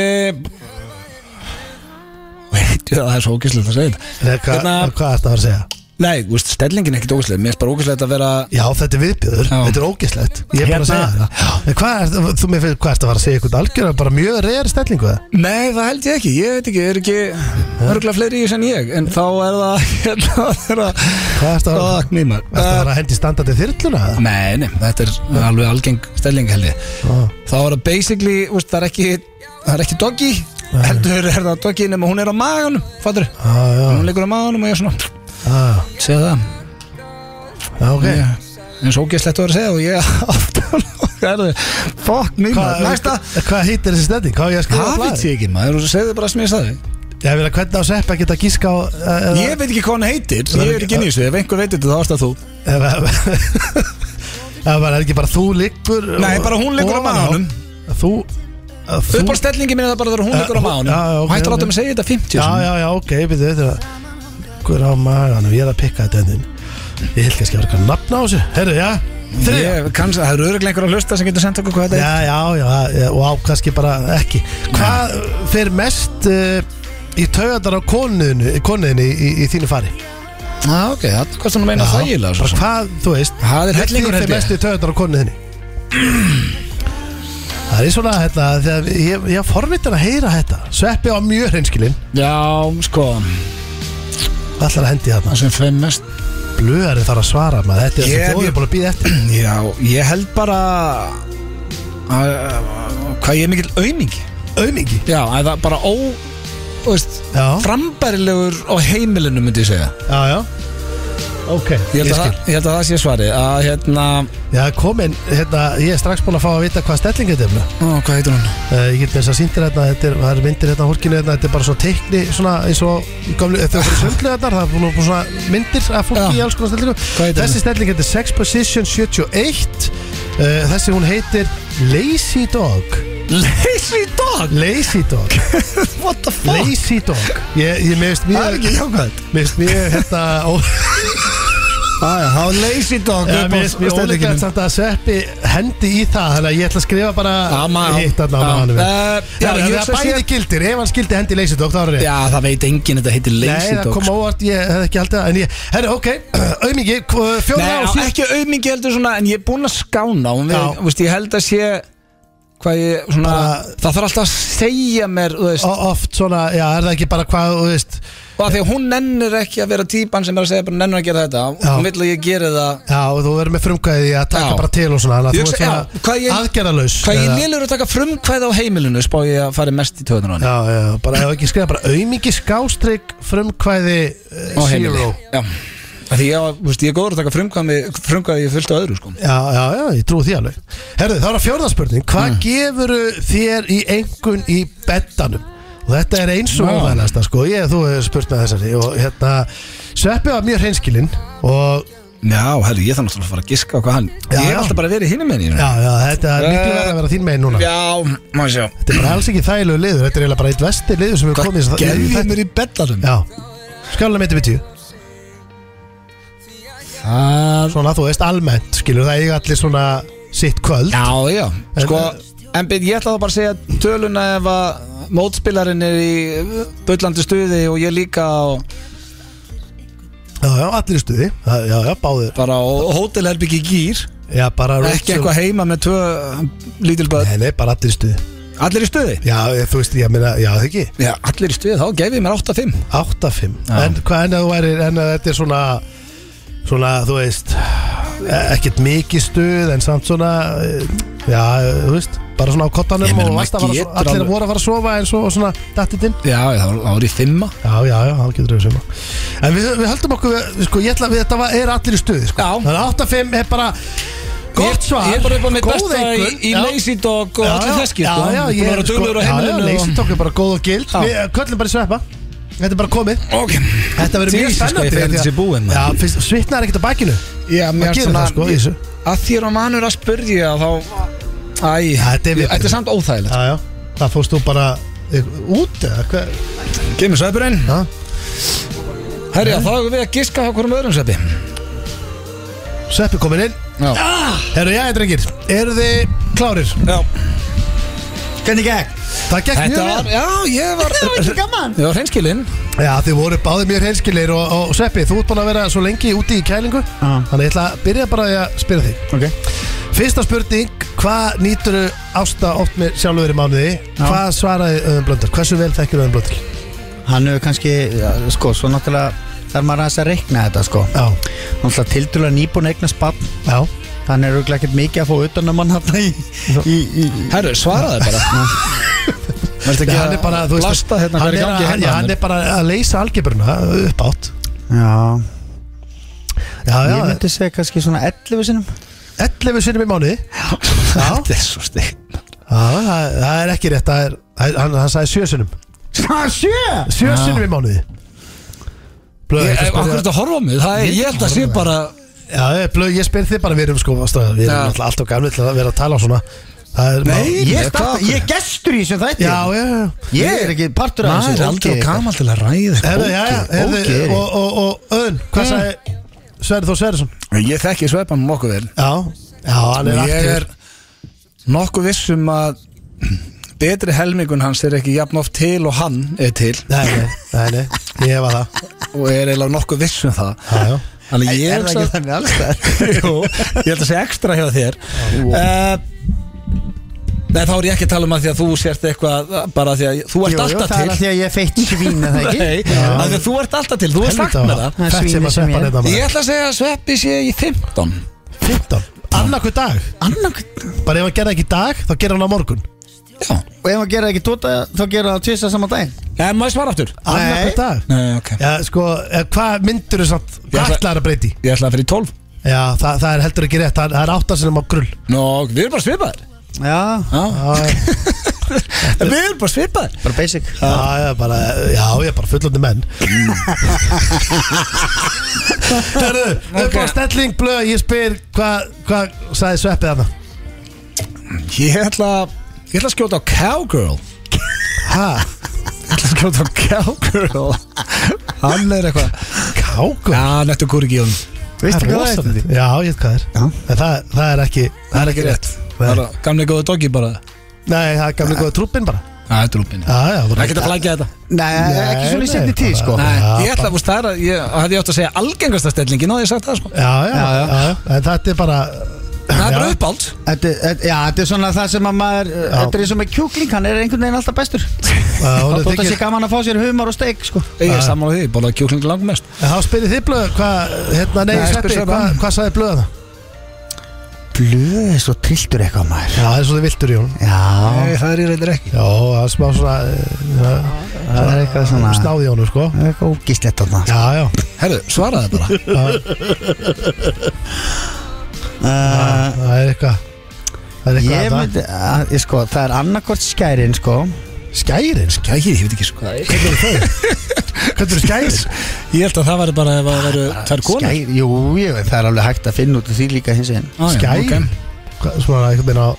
Speaker 1: Veitu það, það er svo ógæslega að segja þetta
Speaker 2: er, hvað,
Speaker 1: hérna-
Speaker 2: hvað ertu að fara að segja?
Speaker 1: Nei, þú veist, stellingin er ekkit ógæslega Mér er bara ógæslega að vera
Speaker 2: Já, þetta er viðbjöður,
Speaker 1: Já.
Speaker 2: þetta er ógislegt, ég er bara að
Speaker 1: Hérna-
Speaker 2: segja það. En hvað er, þú mér fyrir, hvað ertu að fara að segja eitthvað algjörða, bara mjög reyðar stellingu það?
Speaker 1: Nei, það held ég ekki, ég veit ekki, er ekki Örgla fleiri í þessu en ég En þá er það, hérna, það er að
Speaker 2: Hvað ertu að,
Speaker 1: Fuck me, maður.
Speaker 2: ertu að fara að hendi standandi þyrluna það?
Speaker 1: Nei, nei, þetta er alveg algeng stelling held ég Þá er það basically, úst, það er ekki það er ekki doggy heldur er það doggy nema hún er á maganum fattur,
Speaker 2: Já, já,
Speaker 1: hún liggur á maganum og ég svona
Speaker 2: já,
Speaker 1: segja það
Speaker 2: já, ok.
Speaker 1: ég, eins og ógeðslegt að vera að segja og ég aftur hvað er það, fuck me maður næsta,
Speaker 2: Hvað heitir þessi stelling? Hvað á ég að skrifa á
Speaker 1: það veit
Speaker 2: blaðið?
Speaker 1: ég ekki maður og segðu bara sem ég sagði
Speaker 2: Ég vil að hvernig á sepp að geta gíska á eða-
Speaker 1: ég veit ekki hvað hann heitir,
Speaker 2: Það er
Speaker 1: ég er
Speaker 2: ekki-
Speaker 1: ekki nýs ef einhver veit þetta þá varst það þú
Speaker 2: eða eða bara er ekki bara þú liggur
Speaker 1: Nei, bara hún liggur á
Speaker 2: ofan
Speaker 1: maganum.
Speaker 2: Þú að þú-
Speaker 1: upp á stellingi minni það bara þegar hún liggur á
Speaker 2: Eh,
Speaker 1: maganum
Speaker 2: já, já, ok,
Speaker 1: og hættur
Speaker 2: ok.
Speaker 1: áttum að segja þetta 50
Speaker 2: Já,
Speaker 1: sinnum.
Speaker 2: já, já, ok, við veitum það Liggur á maganum, ég er að pikka þetta endin Ég held kannski að vera eitthvað nafn á þessu Herru, já, þriðja
Speaker 1: Ég, kanns, það eru örugglega einhver að hlusta sem getur sendt okkur hvað þetta
Speaker 2: Já, já, já, já, og á kannski bara ekki Hvað fer mest uh, í taugatar á konuðinu, konuðinu í, í, í þínu fari
Speaker 1: Já, Ah, ok, það er hvað sem þú meina þægilega svo
Speaker 2: bara
Speaker 1: sem.
Speaker 2: hvað, þú veist
Speaker 1: Það er hellingur, held ég.
Speaker 2: held ég mest í taugatar á konuðinu það er svona hérna, þegar ég, ég forvitin að heyra þetta sveppi á mjög hreinskilin
Speaker 1: Já, sko,
Speaker 2: hvað ætlar að hendi þarna
Speaker 1: það sem feim mest
Speaker 2: blöðarinn þarf að svara maður þetta er
Speaker 1: Ég-
Speaker 2: það sem þjóðum búin að býða eftir
Speaker 1: Já, ég held bara að, Hvað ég er mikill aumingi
Speaker 2: aumingi
Speaker 1: Já, að það bara ó þú veist,
Speaker 2: já,
Speaker 1: Frambærilegur á heimilinu myndi ég segja
Speaker 2: já, já ok,
Speaker 1: Ég held, að,
Speaker 2: skil
Speaker 1: það- ég held að það sé svari að hérna,
Speaker 2: já, komin, hérna, ég er strax búin að fá að vita hvað stelling þetta er með
Speaker 1: ó, hvað heitir hún?
Speaker 2: Uh, ég get með þess að sýndir hérna, þetta er, það er myndir hérna á hólkinu hérna, þetta er bara svona teikni, svona eins og gamlu, þetta er sundlu hérna, það er búin að búin svona myndir af fólki
Speaker 1: Já.
Speaker 2: í alls konar
Speaker 1: Hvað
Speaker 2: stellingu.
Speaker 1: heitir
Speaker 2: Þessi stelling heitir Sex Position 71, uh, þessi hún heitir Lazy Dog.
Speaker 1: Lazy Dog
Speaker 2: Lazy Dog.
Speaker 1: What the fuck?
Speaker 2: Lazy Dog. Ég, ég meðist
Speaker 1: Það er
Speaker 2: mjög,
Speaker 1: ekki jákvæmt
Speaker 2: meðist mjög, hérna, ó,
Speaker 1: Það er lazy dog
Speaker 2: ja, meðist mjög óleikast
Speaker 1: stellingunum.
Speaker 2: samt að Sveppi hendi í það, þannig að ég ætla að skrifa bara
Speaker 1: Já, maður-
Speaker 2: hitt hérna á
Speaker 1: Já.
Speaker 2: mannum.
Speaker 1: Eh, já,
Speaker 2: Já,
Speaker 1: ég
Speaker 2: það
Speaker 1: hugsa
Speaker 2: er bæði
Speaker 1: sér-
Speaker 2: gildir, ef hann skildi hendi í Lazy Dog, þá er það rétt.
Speaker 1: Já, það veit enginn þetta heitir lazy
Speaker 2: Nei, það
Speaker 1: dog
Speaker 2: kom á óvart, ég hef ekki haldið það En ég, herru, ok, auðmingi, fjóra
Speaker 1: Nei,
Speaker 2: á
Speaker 1: á,
Speaker 2: síðan
Speaker 1: ekki auðmingi heldur svona En ég er búinn að skána og við,
Speaker 2: Já.
Speaker 1: veist, Ég held að sé Hvað ég, svona
Speaker 2: Bara-
Speaker 1: Það þarf alltaf að segja mér þú veist,
Speaker 2: O- Oft svona, já, er það ekki bara hvað, þú veist
Speaker 1: Og að því að hún nennir ekki að vera típan sem er að segja bara nennir að gera þetta
Speaker 2: Já.
Speaker 1: Hún vill að ég geri það
Speaker 2: Já, og þú verður með frumkvæði í að taka
Speaker 1: Já.
Speaker 2: bara til og svona Þannig að
Speaker 1: Ég
Speaker 2: þú
Speaker 1: hugsa-
Speaker 2: ert
Speaker 1: já,
Speaker 2: svona
Speaker 1: hvað ég-
Speaker 2: aðgerðalaus
Speaker 1: Hvað ég
Speaker 2: eða-
Speaker 1: nýlur að taka frumkvæð á heimilinu Spá ég að fari mest í töðunar hann
Speaker 2: Já, já, bara ef ekki skrifa bara auðmingi skástrík frumkvæði eh,
Speaker 1: Á heimili
Speaker 2: zero
Speaker 1: Já Af Því ég, þú veist, ég er góður að taka frumkvæði Frumkvæði ég fullt á öðru sko
Speaker 2: Já, já, já, ég trúi því alveg Herðu, þá er að fjórða spurning Hvað mm. gefur þér í engun í bettanum? Og þetta er eins og
Speaker 1: Já.
Speaker 2: óvæðanasta sko Ég, þú hefur spurt með þessari Og hérna, Sveppi var mjög hreinskilinn Og,
Speaker 1: Já, herri, ég þarf náttúrulega að fara að giska á hvað hann
Speaker 2: Já,
Speaker 1: Ég
Speaker 2: já.
Speaker 1: hef alltaf bara verið hinum enn í
Speaker 2: já, já, þetta er miklu
Speaker 1: Eh,
Speaker 2: verið að vera þín megin núna
Speaker 1: já, má ég sjá
Speaker 2: Þetta er bara alls ekki þægilegu liður Þetta er eiginlega bara eitt vesti liður sem við
Speaker 1: Hvað
Speaker 2: komið í þessa- í
Speaker 1: gerði
Speaker 2: þetta-
Speaker 1: mér í bellarum?
Speaker 2: Já, skálega myndi við tíu
Speaker 1: Það...
Speaker 2: Svona, þú veist, almennt, skilur Það eiga allir svona sitt kvöld
Speaker 1: Já, já,
Speaker 2: En-
Speaker 1: sko En byrð, ég ætla þá bara að segja töluna ef að mótspilarinn er í bullandi stuði og ég líka á,
Speaker 2: Já, já, allir í stuði Já, já, já, báðir
Speaker 1: bara á hótelherbyggi gýr
Speaker 2: Já, bara
Speaker 1: ekki eitthvað heima með tvö lítil börn
Speaker 2: Nei, nei, bara allir í stuði
Speaker 1: Allir í stuði?
Speaker 2: Já, ég- þú veist, ég meina, já, það ekki
Speaker 1: Já, allir í stuði, þá gef ég mér 8-5
Speaker 2: 8-5
Speaker 1: Já.
Speaker 2: En hvað enn að þú værir En að þetta er svona Svona, þú veist e- Ekkert mikið stuð En samt svona e, Já, þú veist Bara svona á
Speaker 1: Ég
Speaker 2: kottanum
Speaker 1: meina,
Speaker 2: Og
Speaker 1: maður
Speaker 2: varst að fara að so-
Speaker 1: getur
Speaker 2: allir
Speaker 1: alveg-
Speaker 2: voru að fara að sofa En svo og svona dattið inn
Speaker 1: Já, þá þá er ég 5
Speaker 2: Já, já, já, þá getur við svona En við, við höldum okkur við, við, Sko, ég ætla að við þetta var, er allir í stuði sko.
Speaker 1: Já.
Speaker 2: Þannig að 8-5 er bara Gott svar
Speaker 1: Ég er bara upp á mitt
Speaker 2: góð
Speaker 1: besta í,
Speaker 2: einkunn,
Speaker 1: í
Speaker 2: já.
Speaker 1: lazy dog og allir þesski sko.
Speaker 2: Já, já,
Speaker 1: Búin
Speaker 2: ég
Speaker 1: að vera duglegur á
Speaker 2: já, já,
Speaker 1: heimilinu
Speaker 2: Leysin tók er bara góð og gild
Speaker 1: Já.
Speaker 2: Við eh, köllum bara í sveppa Þetta er bara komið
Speaker 1: Ok
Speaker 2: Þetta verður mjög
Speaker 1: Jesus, sko,
Speaker 2: spennandi
Speaker 1: ég fer
Speaker 2: því að-
Speaker 1: þessi búinn, maður.
Speaker 2: Já, fyrst, svitnar ekkert á bakinu
Speaker 1: Já, mér
Speaker 2: Það
Speaker 1: er
Speaker 2: gerir
Speaker 1: svona
Speaker 2: það sko í þessu
Speaker 1: að því er að manur að spyrja þá Æ,
Speaker 2: Þetta er
Speaker 1: ég-
Speaker 2: viðbjóður.
Speaker 1: þetta er samt óþægilegt
Speaker 2: Já, já Það fórst þú bara eh, út eða hvað
Speaker 1: Gemið sveppurinn
Speaker 2: Já,
Speaker 1: Herja, þá erum við að giska á hverjum öðrum sveppi
Speaker 2: sveppi komin inn
Speaker 1: Já,
Speaker 2: Herru, já, drengir Eru þið klárir?
Speaker 1: já
Speaker 3: Hvernig gegn?
Speaker 2: Það gekk
Speaker 1: Þetta
Speaker 2: mjög
Speaker 1: var, já, ég var
Speaker 3: Það var ekki gaman
Speaker 1: Ég var hreinskilinn
Speaker 2: vel Já, þið voru báðið mjög hreinskilir og, og sveppi, þú ert búin að vera svo lengi úti í kælingu Þannig ég ætla að byrja bara því að spyrja þig
Speaker 3: Ok
Speaker 2: Fyrsta spurning, hvað nýtur ásta oft með sjálfur í mánuði? Hvað svaraði Öðun Blöndal? Hversu vel þekkir Öðun Blöndal?
Speaker 3: Hann hefur kannski, já, sko, svo náttúrulega þarf maður aðeins að reikna þetta, sko
Speaker 2: Já,
Speaker 3: Náttúrulega tildulega nýbúin að eigna spapp
Speaker 2: já,
Speaker 3: Þannig er auðvitað ekkert mikið að fá utan að mann hérna í, í, í, í
Speaker 1: Herru, svaraði bara Verðist
Speaker 2: Nei,
Speaker 1: ekki
Speaker 2: hann er bara, þú veist
Speaker 1: Blasta hérna hvað
Speaker 2: hann,
Speaker 1: er í
Speaker 2: er að,
Speaker 1: gangi
Speaker 2: hann, já,
Speaker 1: hérna
Speaker 2: hann er bara að leysa algebruna upp átt
Speaker 3: Já,
Speaker 2: Já, já,
Speaker 3: ég myndi segja kannski svona 11 sinum
Speaker 2: 11 sinnum í mánuði Já, já
Speaker 1: Þetta er svo stig
Speaker 2: það, það er ekki rétt það er, það er- hann, hann sagði 7 sinnum
Speaker 3: Svona 7
Speaker 2: 7 sinnum í mánuði Blöð, ég, ég,
Speaker 1: Akkur
Speaker 2: spyr,
Speaker 1: þetta horfa á mig Það er, ég held að sé bara
Speaker 2: já, eh, blöð, ég spyr þið bara við erum sko, stöð, við
Speaker 1: Já.
Speaker 2: erum alltaf, alltaf gamli til að vera að tala svona Það er,
Speaker 1: Nei,
Speaker 3: Ég,
Speaker 1: Hvað
Speaker 3: starta,
Speaker 1: okkur?
Speaker 3: ég er gestur í þessum þætti
Speaker 2: já, já, já
Speaker 3: Ég er ekki partur af
Speaker 1: Maður er aldrei
Speaker 3: ógeði.
Speaker 1: og gamal til að ræða
Speaker 2: Herðu, já, já, herðu,
Speaker 3: ógeð er ég.
Speaker 2: og, og, og öðun, hvað sagði Sverri Þór Sverrisson?
Speaker 1: Ég þekki sveppan nokkuð vel
Speaker 2: Já, já, hann er
Speaker 1: Ég
Speaker 2: aktífur
Speaker 1: er nokkuð viss um að betri helmingun hans er ekki jafn oft til og hann er til
Speaker 2: Nei, nei, nei, nei, ég hefa það
Speaker 1: og er eiginlega nokkuð viss um það
Speaker 2: Já, já.
Speaker 1: Þannig ég
Speaker 3: Er það
Speaker 1: hugsa-
Speaker 3: ekki þannig alls það?
Speaker 1: Jú, ég held að segja ekstra hjá þér uh, Nei, þá er ég ekki að tala um að því að þú sért eitthvað bara því að þú ert
Speaker 3: það
Speaker 1: alltaf
Speaker 3: er að
Speaker 1: til
Speaker 3: því að ég er feitt svín er það ekki?
Speaker 1: Nei, af því að þú ert alltaf til, þú ert sagt með það
Speaker 3: Það
Speaker 2: Fett
Speaker 3: er
Speaker 2: sem
Speaker 3: svínið
Speaker 2: að
Speaker 3: sem
Speaker 2: sveppa
Speaker 3: ég er.
Speaker 2: nefna
Speaker 1: Ég
Speaker 2: maður
Speaker 1: ætla að segja að sveppi sé í 15
Speaker 2: 15, annarkur dag
Speaker 3: Annarkvæmt
Speaker 2: Bara ef hann gerði ekki í dag, þá gerði hann á morgun
Speaker 1: Já,
Speaker 3: Og ef maður gera ekki tóta þá gera það tvisa saman daginn
Speaker 1: en maður svara aftur
Speaker 2: Annarkur dag
Speaker 1: Nei, ok
Speaker 2: Já, sko, eh, hvað myndur þú samt,
Speaker 1: Ég
Speaker 2: hvað
Speaker 1: ætla-
Speaker 2: ætlar að breyti?
Speaker 1: Ég ætla að fyrir í 12
Speaker 2: Já, það, það er heldur ekki rétt, það, það er áttasinum á grull
Speaker 1: Nó, við erum bara svipaðir
Speaker 3: Já,
Speaker 1: Já,
Speaker 2: Já, já.
Speaker 1: við erum bara svipaðir
Speaker 3: bara basic
Speaker 2: Já, já, bara, já, ég er bara fullandi menn Hörru, upp á stelling blöð Ég spyr, hvað hva sagði sveppið hana?
Speaker 1: Ég ætla, ég ætla að skjóta á Cowgirl
Speaker 2: Ha,
Speaker 1: Ég ætla að skjóta á Cowgirl Hann er eitthvað
Speaker 2: kákur
Speaker 1: Já, nettu kúri ekki í honum
Speaker 3: Veistu hvað það er?
Speaker 2: það er? Já, ég veit hvað það er En það, það er ekki, það er ekki rétt
Speaker 1: Það er
Speaker 2: Nei,
Speaker 1: gamlega góða doggi bara
Speaker 2: Nei, það er gamlega góða trúppin bara
Speaker 1: Það er drúpin
Speaker 2: Já, já, þú
Speaker 1: Það geta að flækja þetta
Speaker 3: Nei, ekki svona í setni tíð sko
Speaker 1: Nei,
Speaker 2: Já,
Speaker 1: ég ætla að, þú veist, það er að ég, hafði ég átt að segja algengasta stellingin og ég sagt það sko
Speaker 2: Já, já, já, já, en þetta er bara
Speaker 1: Það er
Speaker 2: Já.
Speaker 1: bara uppáld
Speaker 3: Þetta, þetta, já, þetta er svona það sem að maður Þetta er eins og með kjúkling, hann er einhvern veginn alltaf bestur
Speaker 2: Já, hún er
Speaker 3: Þótt að sé
Speaker 2: þykir-
Speaker 3: gaman að fá sér humar og steik sko.
Speaker 1: Ég er sammála því, bólaði kjúkling langmest
Speaker 2: En Þá spyrir þið blöð, hvað, hérna, nei,
Speaker 1: Nei, spyr
Speaker 2: sveppi,
Speaker 1: Sveppi.
Speaker 2: hvað hva sagði blöð hana?
Speaker 3: Blöð er svo trilltur eitthvað maður
Speaker 2: Já, það er svo þið viltur í hún
Speaker 3: Já,
Speaker 1: Nei, það er í reyndir ekki
Speaker 2: Já, það er smá svona eh,
Speaker 3: það er eitthvað svona
Speaker 2: svona snáði í honum, sko
Speaker 3: það er Eitthvað ógislegt þarna
Speaker 2: Já, já,
Speaker 1: Herru, svaraði bara
Speaker 3: uh,
Speaker 2: það er eitthvað Það er
Speaker 3: Ég
Speaker 2: eitthvað að
Speaker 3: myndi, að, ég, sko, það er annarkort skærin sko.
Speaker 2: það Skærin, sk-
Speaker 1: Gæði, ég veit ekki sko
Speaker 2: hvernig eru þau? Hvernig eru skærin?
Speaker 1: Ég held að það væri bara ef það væri tvær konur
Speaker 3: Skærin, jú, jú, það er alveg hægt að finna út af því líka hins einn
Speaker 1: Á, já,
Speaker 2: Skærin?
Speaker 1: ok.
Speaker 2: Hvað, Svona einhvern veginn á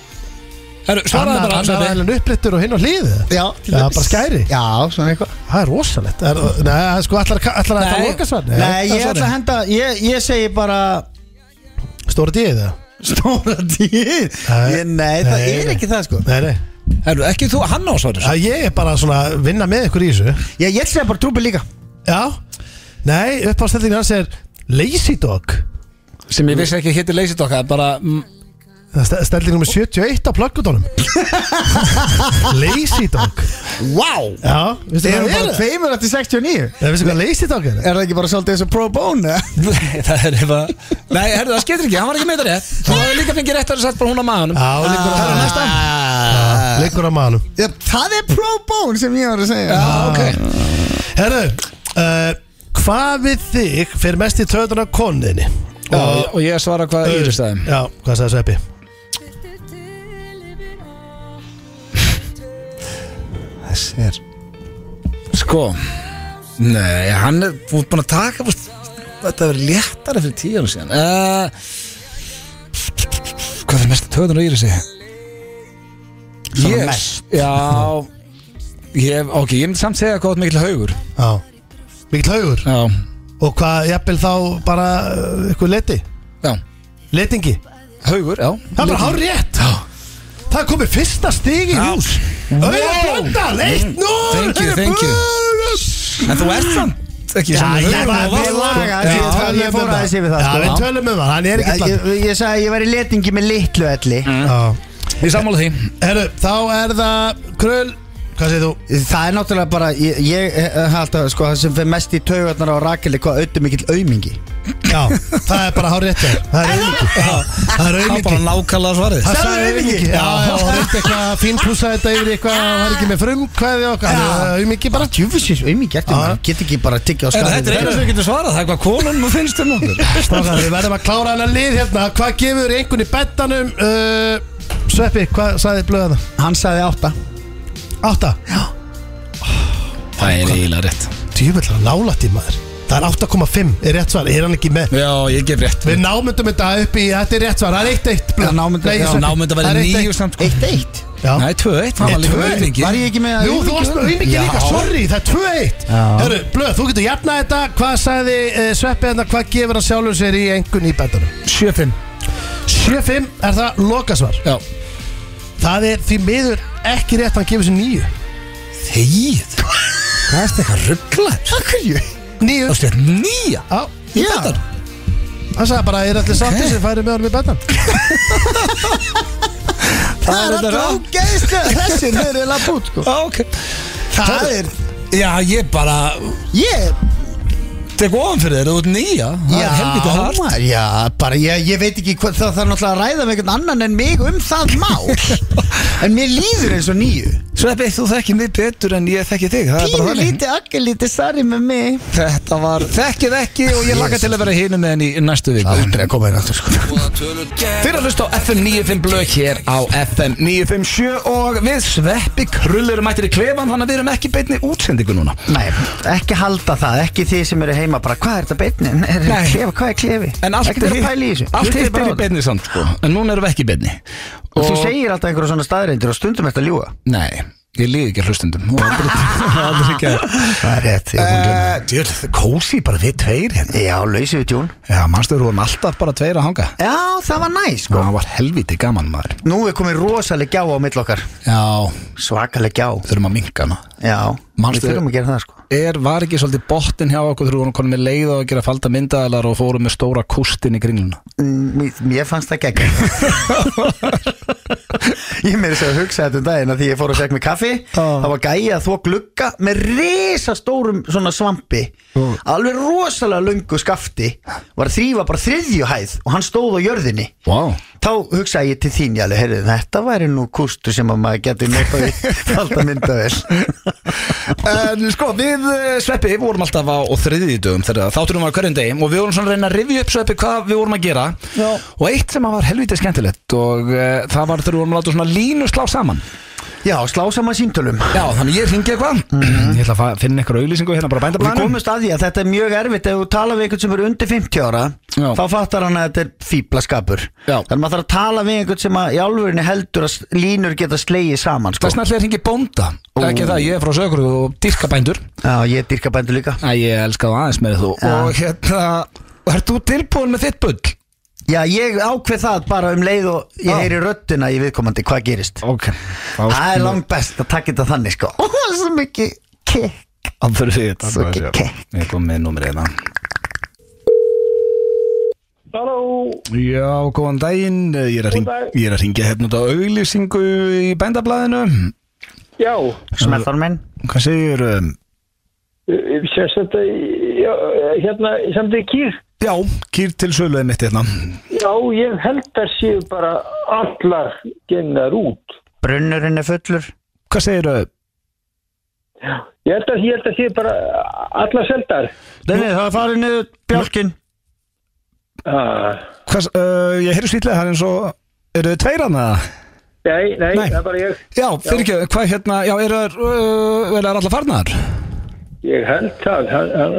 Speaker 1: Herru, svaraði bara
Speaker 2: Annar
Speaker 1: Sveppi.
Speaker 2: aðeins upprittur og hinn á hliðið
Speaker 3: Já,
Speaker 2: Já, bara skæri
Speaker 3: Já, svona eitthvað
Speaker 2: Það er rosalegt er, Nei, það er sko, ætlar að- ætlar að þetta
Speaker 1: Nei.
Speaker 2: loka svar
Speaker 3: Nei,
Speaker 1: það
Speaker 3: ég
Speaker 1: er
Speaker 3: ætla að henda, ég, ég segi bara
Speaker 2: Stóra dýðið það?
Speaker 3: Stóra dýr Ég- Nei, það
Speaker 2: Nei,
Speaker 3: er
Speaker 2: nei.
Speaker 3: ekki það sko
Speaker 2: Nei, nei
Speaker 1: Herru, ekki þú, hann á svarið
Speaker 2: Það ég er bara svona að vinna með ykkur í þessu
Speaker 3: Ég, ég ætla að segja bara trúpi líka
Speaker 2: Já Nei, uppástellingin hans er Lazy Dog
Speaker 1: Sem ég vissi ekki að héti leysið okkar Bara, mm,
Speaker 2: Stellingin nummer 71 á plöggutónum Lazy Dog
Speaker 3: Wow
Speaker 2: Já, veistu
Speaker 3: Þeir eru
Speaker 2: hvað það
Speaker 3: bara
Speaker 2: er?
Speaker 3: tveimur eftir 69
Speaker 2: Nei, veistu hvað Lazy Dog er?
Speaker 3: Er það ekki bara svolítið eins og pro bone?
Speaker 1: það er ef að Nei, herru, það skiptir ekki, hann var ekki með þetta rétt Þú hafði líka fengið rétt að það sett bara hún á maðanum
Speaker 2: Já, leikur á
Speaker 1: Herru,
Speaker 2: maðanum
Speaker 1: næsta
Speaker 2: Já, Leikur Ah, á maðanum
Speaker 3: Já, það er pro bone sem ég var að segja
Speaker 1: Já, ok
Speaker 2: Herru, uh, hvað við þig fyrir mest í töðuna konniðinni?
Speaker 1: Og, og ég svara hvað Íris sagði
Speaker 2: Já, hvað sagði Sveppi?
Speaker 1: Þessi er Sko Nei, hann er þú ert búin að taka búst, Þetta verið léttara fyrir tíu ára síðan uh, Hvað er mest töðun á Írisi?
Speaker 3: Svona
Speaker 1: Ég-
Speaker 3: mest.
Speaker 1: Já ég, Ok, ég myndi samt segja hvað þú ert mikil haugur
Speaker 2: Já Mikill haugur
Speaker 1: Já,
Speaker 2: Og hvað, jafnvel þá bara uh, ykkur leti?
Speaker 1: já
Speaker 2: Letingi?
Speaker 1: Haugur, já
Speaker 2: Það er bara hár rétt Það er komið fyrsta stig í hús Auða blönda, leitt nú
Speaker 1: Thank you, thank you. En þú ert samt ekki
Speaker 2: Já,
Speaker 1: svona
Speaker 2: ég
Speaker 1: haugur
Speaker 2: var
Speaker 1: og
Speaker 2: við
Speaker 1: varst-
Speaker 2: laga
Speaker 3: Já,
Speaker 2: Við tölum
Speaker 3: ég
Speaker 2: um
Speaker 3: fór aðeins yfir það,
Speaker 2: Já,
Speaker 3: sko.
Speaker 2: við tölum um það, hann er ekki
Speaker 3: Ég, ég sagði að ég væri letingi með litlu elli
Speaker 2: Mm. blönda
Speaker 1: Ég sammála því
Speaker 2: Herru, þá er það Krull, hvað segir þú?
Speaker 3: Það er náttúrulega bara Ég, ég eh, held að sko, það sem fyrir mest í taugarnar á Rakeli Hvað auðvitað mikill aumingi
Speaker 2: Já, það er bara hár rétt hjá þér. Það er auðviki Það er
Speaker 1: Það er
Speaker 2: auðviki
Speaker 1: bara nákvæmlega svarið
Speaker 2: Það
Speaker 3: Sagði
Speaker 2: sagði auðviki
Speaker 3: aumingi.
Speaker 2: Já, já, og reyndi eitthvað að fínpússa þetta yfir í eitthvað Það var ekki með frumkvæði og okkar Auðviki bara
Speaker 3: Tjúfisins aumingi ertu
Speaker 2: Já.
Speaker 3: maður Get ekki bara að tyggja á
Speaker 1: En þetta
Speaker 3: skarðið
Speaker 1: er einu sem við getum svarað Það er hvað konunum finnst um okkur
Speaker 2: Strákar, við verðum að klára hennar lið hérna Hvað gefur einhvern í bettanum uh, Sveppi, hvað sagði blöða það?
Speaker 3: Hann sagði átta
Speaker 2: Átta
Speaker 1: Það er eiginlega rétt
Speaker 2: Djúvill er nálætt í maður Það er 8,5 er rétt svar, er hann ekki með
Speaker 1: Já, ég gef rétt
Speaker 2: Við námyndum þetta upp í, þetta er rétt svar Það er eitt eitt
Speaker 3: Já, námyndum- já,
Speaker 1: Námynda
Speaker 2: Það er
Speaker 1: verið
Speaker 2: eitt
Speaker 1: nýju samt sko.
Speaker 3: Eitt eitt
Speaker 2: Já.
Speaker 1: Nei, tvö eitt Hann
Speaker 2: Nei,
Speaker 1: var líka
Speaker 2: tvö
Speaker 1: með
Speaker 2: eitt.
Speaker 1: auðvingi
Speaker 3: Var ég ekki með
Speaker 2: Jú, þú
Speaker 3: aumingi?
Speaker 2: varst með auðmikið líka,
Speaker 3: Já.
Speaker 2: sorry, það er 2-1
Speaker 3: Já.
Speaker 2: Hörru, blöð, þú getur jafnað þetta Hvað sagði uh, Sveppi hérna, hvað gefur hann sjálfur sér í einhvern í bettanum?
Speaker 1: Sjö fimm
Speaker 2: 7-5 er það lokasvar
Speaker 1: Já
Speaker 2: það er því miður ekki rétt að hann gefur sér nýju
Speaker 1: Þegið Hvað er þetta eitthvað rugglar?
Speaker 2: Hverju? Nýju
Speaker 1: Það er nýja
Speaker 2: Já,
Speaker 1: Í betan
Speaker 2: hann sagði bara, er allir sáttið sem færi með honum í betan
Speaker 1: Það er þetta ráð
Speaker 3: ógeðslega þessi niður er lapp út sko.
Speaker 1: Já, ok
Speaker 3: Það er,
Speaker 1: Já, ég bara
Speaker 3: ég
Speaker 1: Tek ofan fyrir þér, þú ert nýja Það er helviti hart
Speaker 3: maður, já, bara ég, ég veit ekki hvað, það þarf náttúrulega að ræða með einhvern annan en mig um það mál En mér líður eins og nýju
Speaker 1: Sveppi, þú þekkir mig betur en ég þekki þig Það er bara
Speaker 3: Pínu
Speaker 1: þannig
Speaker 3: lítið, akkur lítið, sari með mig
Speaker 1: Þetta var Þekkið ekki og ég laka til að vera hinu með henni í næstu viku
Speaker 3: Aldrei að koma inn aftur sko
Speaker 1: Fyrir að hlusta á FM 95 blöð hér á FM 957 og við Sveppi Krull eru mættir í klefan þannig að við erum ekki í beinni útsendingu núna
Speaker 3: Nei, ekki halda það, ekki þið sem eru heima bara, hvað er þetta beinni? Er
Speaker 1: Nei.
Speaker 3: klefa, hvað er klefi?
Speaker 1: En allt
Speaker 3: Ekki
Speaker 1: er
Speaker 3: þurfa að pæla í þessu
Speaker 1: Allt
Speaker 3: Hlustið
Speaker 1: hitt er
Speaker 3: bara á
Speaker 1: í beinni samt sko En núna erum við ekki í beinni
Speaker 3: þetta. Og þú segir alltaf einhverja svona staðreindir og stundum eftir að ljúga
Speaker 1: Nei, ég líði ekki að hlustendum Þú aldrei- þú aldrei ekki að-
Speaker 3: Það er rétt, ég uh,
Speaker 1: Eh, Djöld, kósi bara við tveir hérna
Speaker 3: Já, lausið við tjún
Speaker 1: Já, mannstu, við vorum alltaf bara tveir að hanga
Speaker 3: Já, það var næ, sko
Speaker 1: Það var helviti gaman maður
Speaker 3: Nú er komið rosaleg gjá á mill okkar
Speaker 1: Já,
Speaker 3: Svakaleg gjá
Speaker 1: þurfum að minka hana
Speaker 3: Já,
Speaker 1: Manstu-
Speaker 3: við þurfum að gera það sko
Speaker 1: er, var ekki svolítið bottin hjá okkur þegar við vorum konum með leið og að gera falda myndaðalar og fórum með stóra kústin í kringluna
Speaker 3: Mm, Mér, mér fannst það gegn Ég meiri sér að hugsa þetta um daginn að því ég fór að segja mig kaffi Það var gæja að þvó glugga með risastórum svona svampi Alveg rosalega lungu skafti Var að þrýfa bara þriðju hæð og hann stóð á jörðinni
Speaker 1: wow.
Speaker 3: Þá hugsaði ég til þín, ég alveg, heyrðu, þetta væri nú kústur sem að maður geti notað í alltaf myndavel
Speaker 1: En sko, við eh, Sveppi vorum alltaf á og þriðið dögum þegar þátturum var hverjum degi og við vorum svona að reyna að rifja upp Sveppi hvað við vorum að gera
Speaker 4: Já.
Speaker 1: og eitt sem var helvítið skemmtilegt og uh, það var þegar við vorum að láta svona línu slá saman
Speaker 3: Já, slá saman símtölum
Speaker 1: Já, þannig ég ringi eitthvað Ég ætla að fa- finna eitthvað auðlýsingu hérna bara á
Speaker 3: Og Mhm. við
Speaker 1: bændablanum
Speaker 3: komumst að því að þetta er mjög erfitt ef þú tala við einhvern sem er undir 50 ára
Speaker 1: Já.
Speaker 3: þá fattar hann að þetta er fíblaskapur
Speaker 1: Já.
Speaker 3: þannig að maður þarf að tala við einhvern sem að í alvörinni heldur að s- línur geta slegið saman
Speaker 1: Það
Speaker 3: sko.
Speaker 1: er snart að ringi bónda Ekki það, ég er frá sögur og dýrka bændur
Speaker 3: Já, ég dyrka bændu líka
Speaker 1: Æ, ég elska það aðeins meira þú Og hérna, ert þú tilbúin með þitt bull?
Speaker 3: Já, ég ákveð það bara um leið og ég
Speaker 1: Já.
Speaker 3: heyri röddina í viðkomandi hvað gerist
Speaker 1: Ok
Speaker 3: Það er langt best að taka þetta þannig sko Ó, svo mikið kikk
Speaker 1: Það fyrir því þetta
Speaker 3: Svo ekki kekk.
Speaker 1: Ég kom með numrið hérna
Speaker 5: Halló,
Speaker 1: Já, góðan daginn Ég er að, hring,
Speaker 5: dag.
Speaker 1: ég er að ringja hérna út á auglýsingu í bændablaðinu
Speaker 5: já,
Speaker 3: Smeltar minn
Speaker 1: Hvað segir um?
Speaker 5: e, sérst þetta, já, hérna, sem þið kýr,
Speaker 1: Já, kýr til söluðið mitt hérna
Speaker 5: já, ég held að séu bara allar gengnar út.
Speaker 3: Brunnurinn er fullur
Speaker 1: Hvað segir um?
Speaker 5: Ég held að, ég held að séu bara allar seldar.
Speaker 3: Nei, nei, það er farið niður bjálkin
Speaker 5: Ah.
Speaker 1: Hvað, uh, ég heyrðu svítlega það er eins og Eru þið tveir hana?
Speaker 5: Nei, nei,
Speaker 1: Nei.
Speaker 5: það er bara ég,
Speaker 1: Já, fyrir ekki, hvað hérna, já, eru þær, uh, er allar farnar?
Speaker 5: ég held það, hann- hann-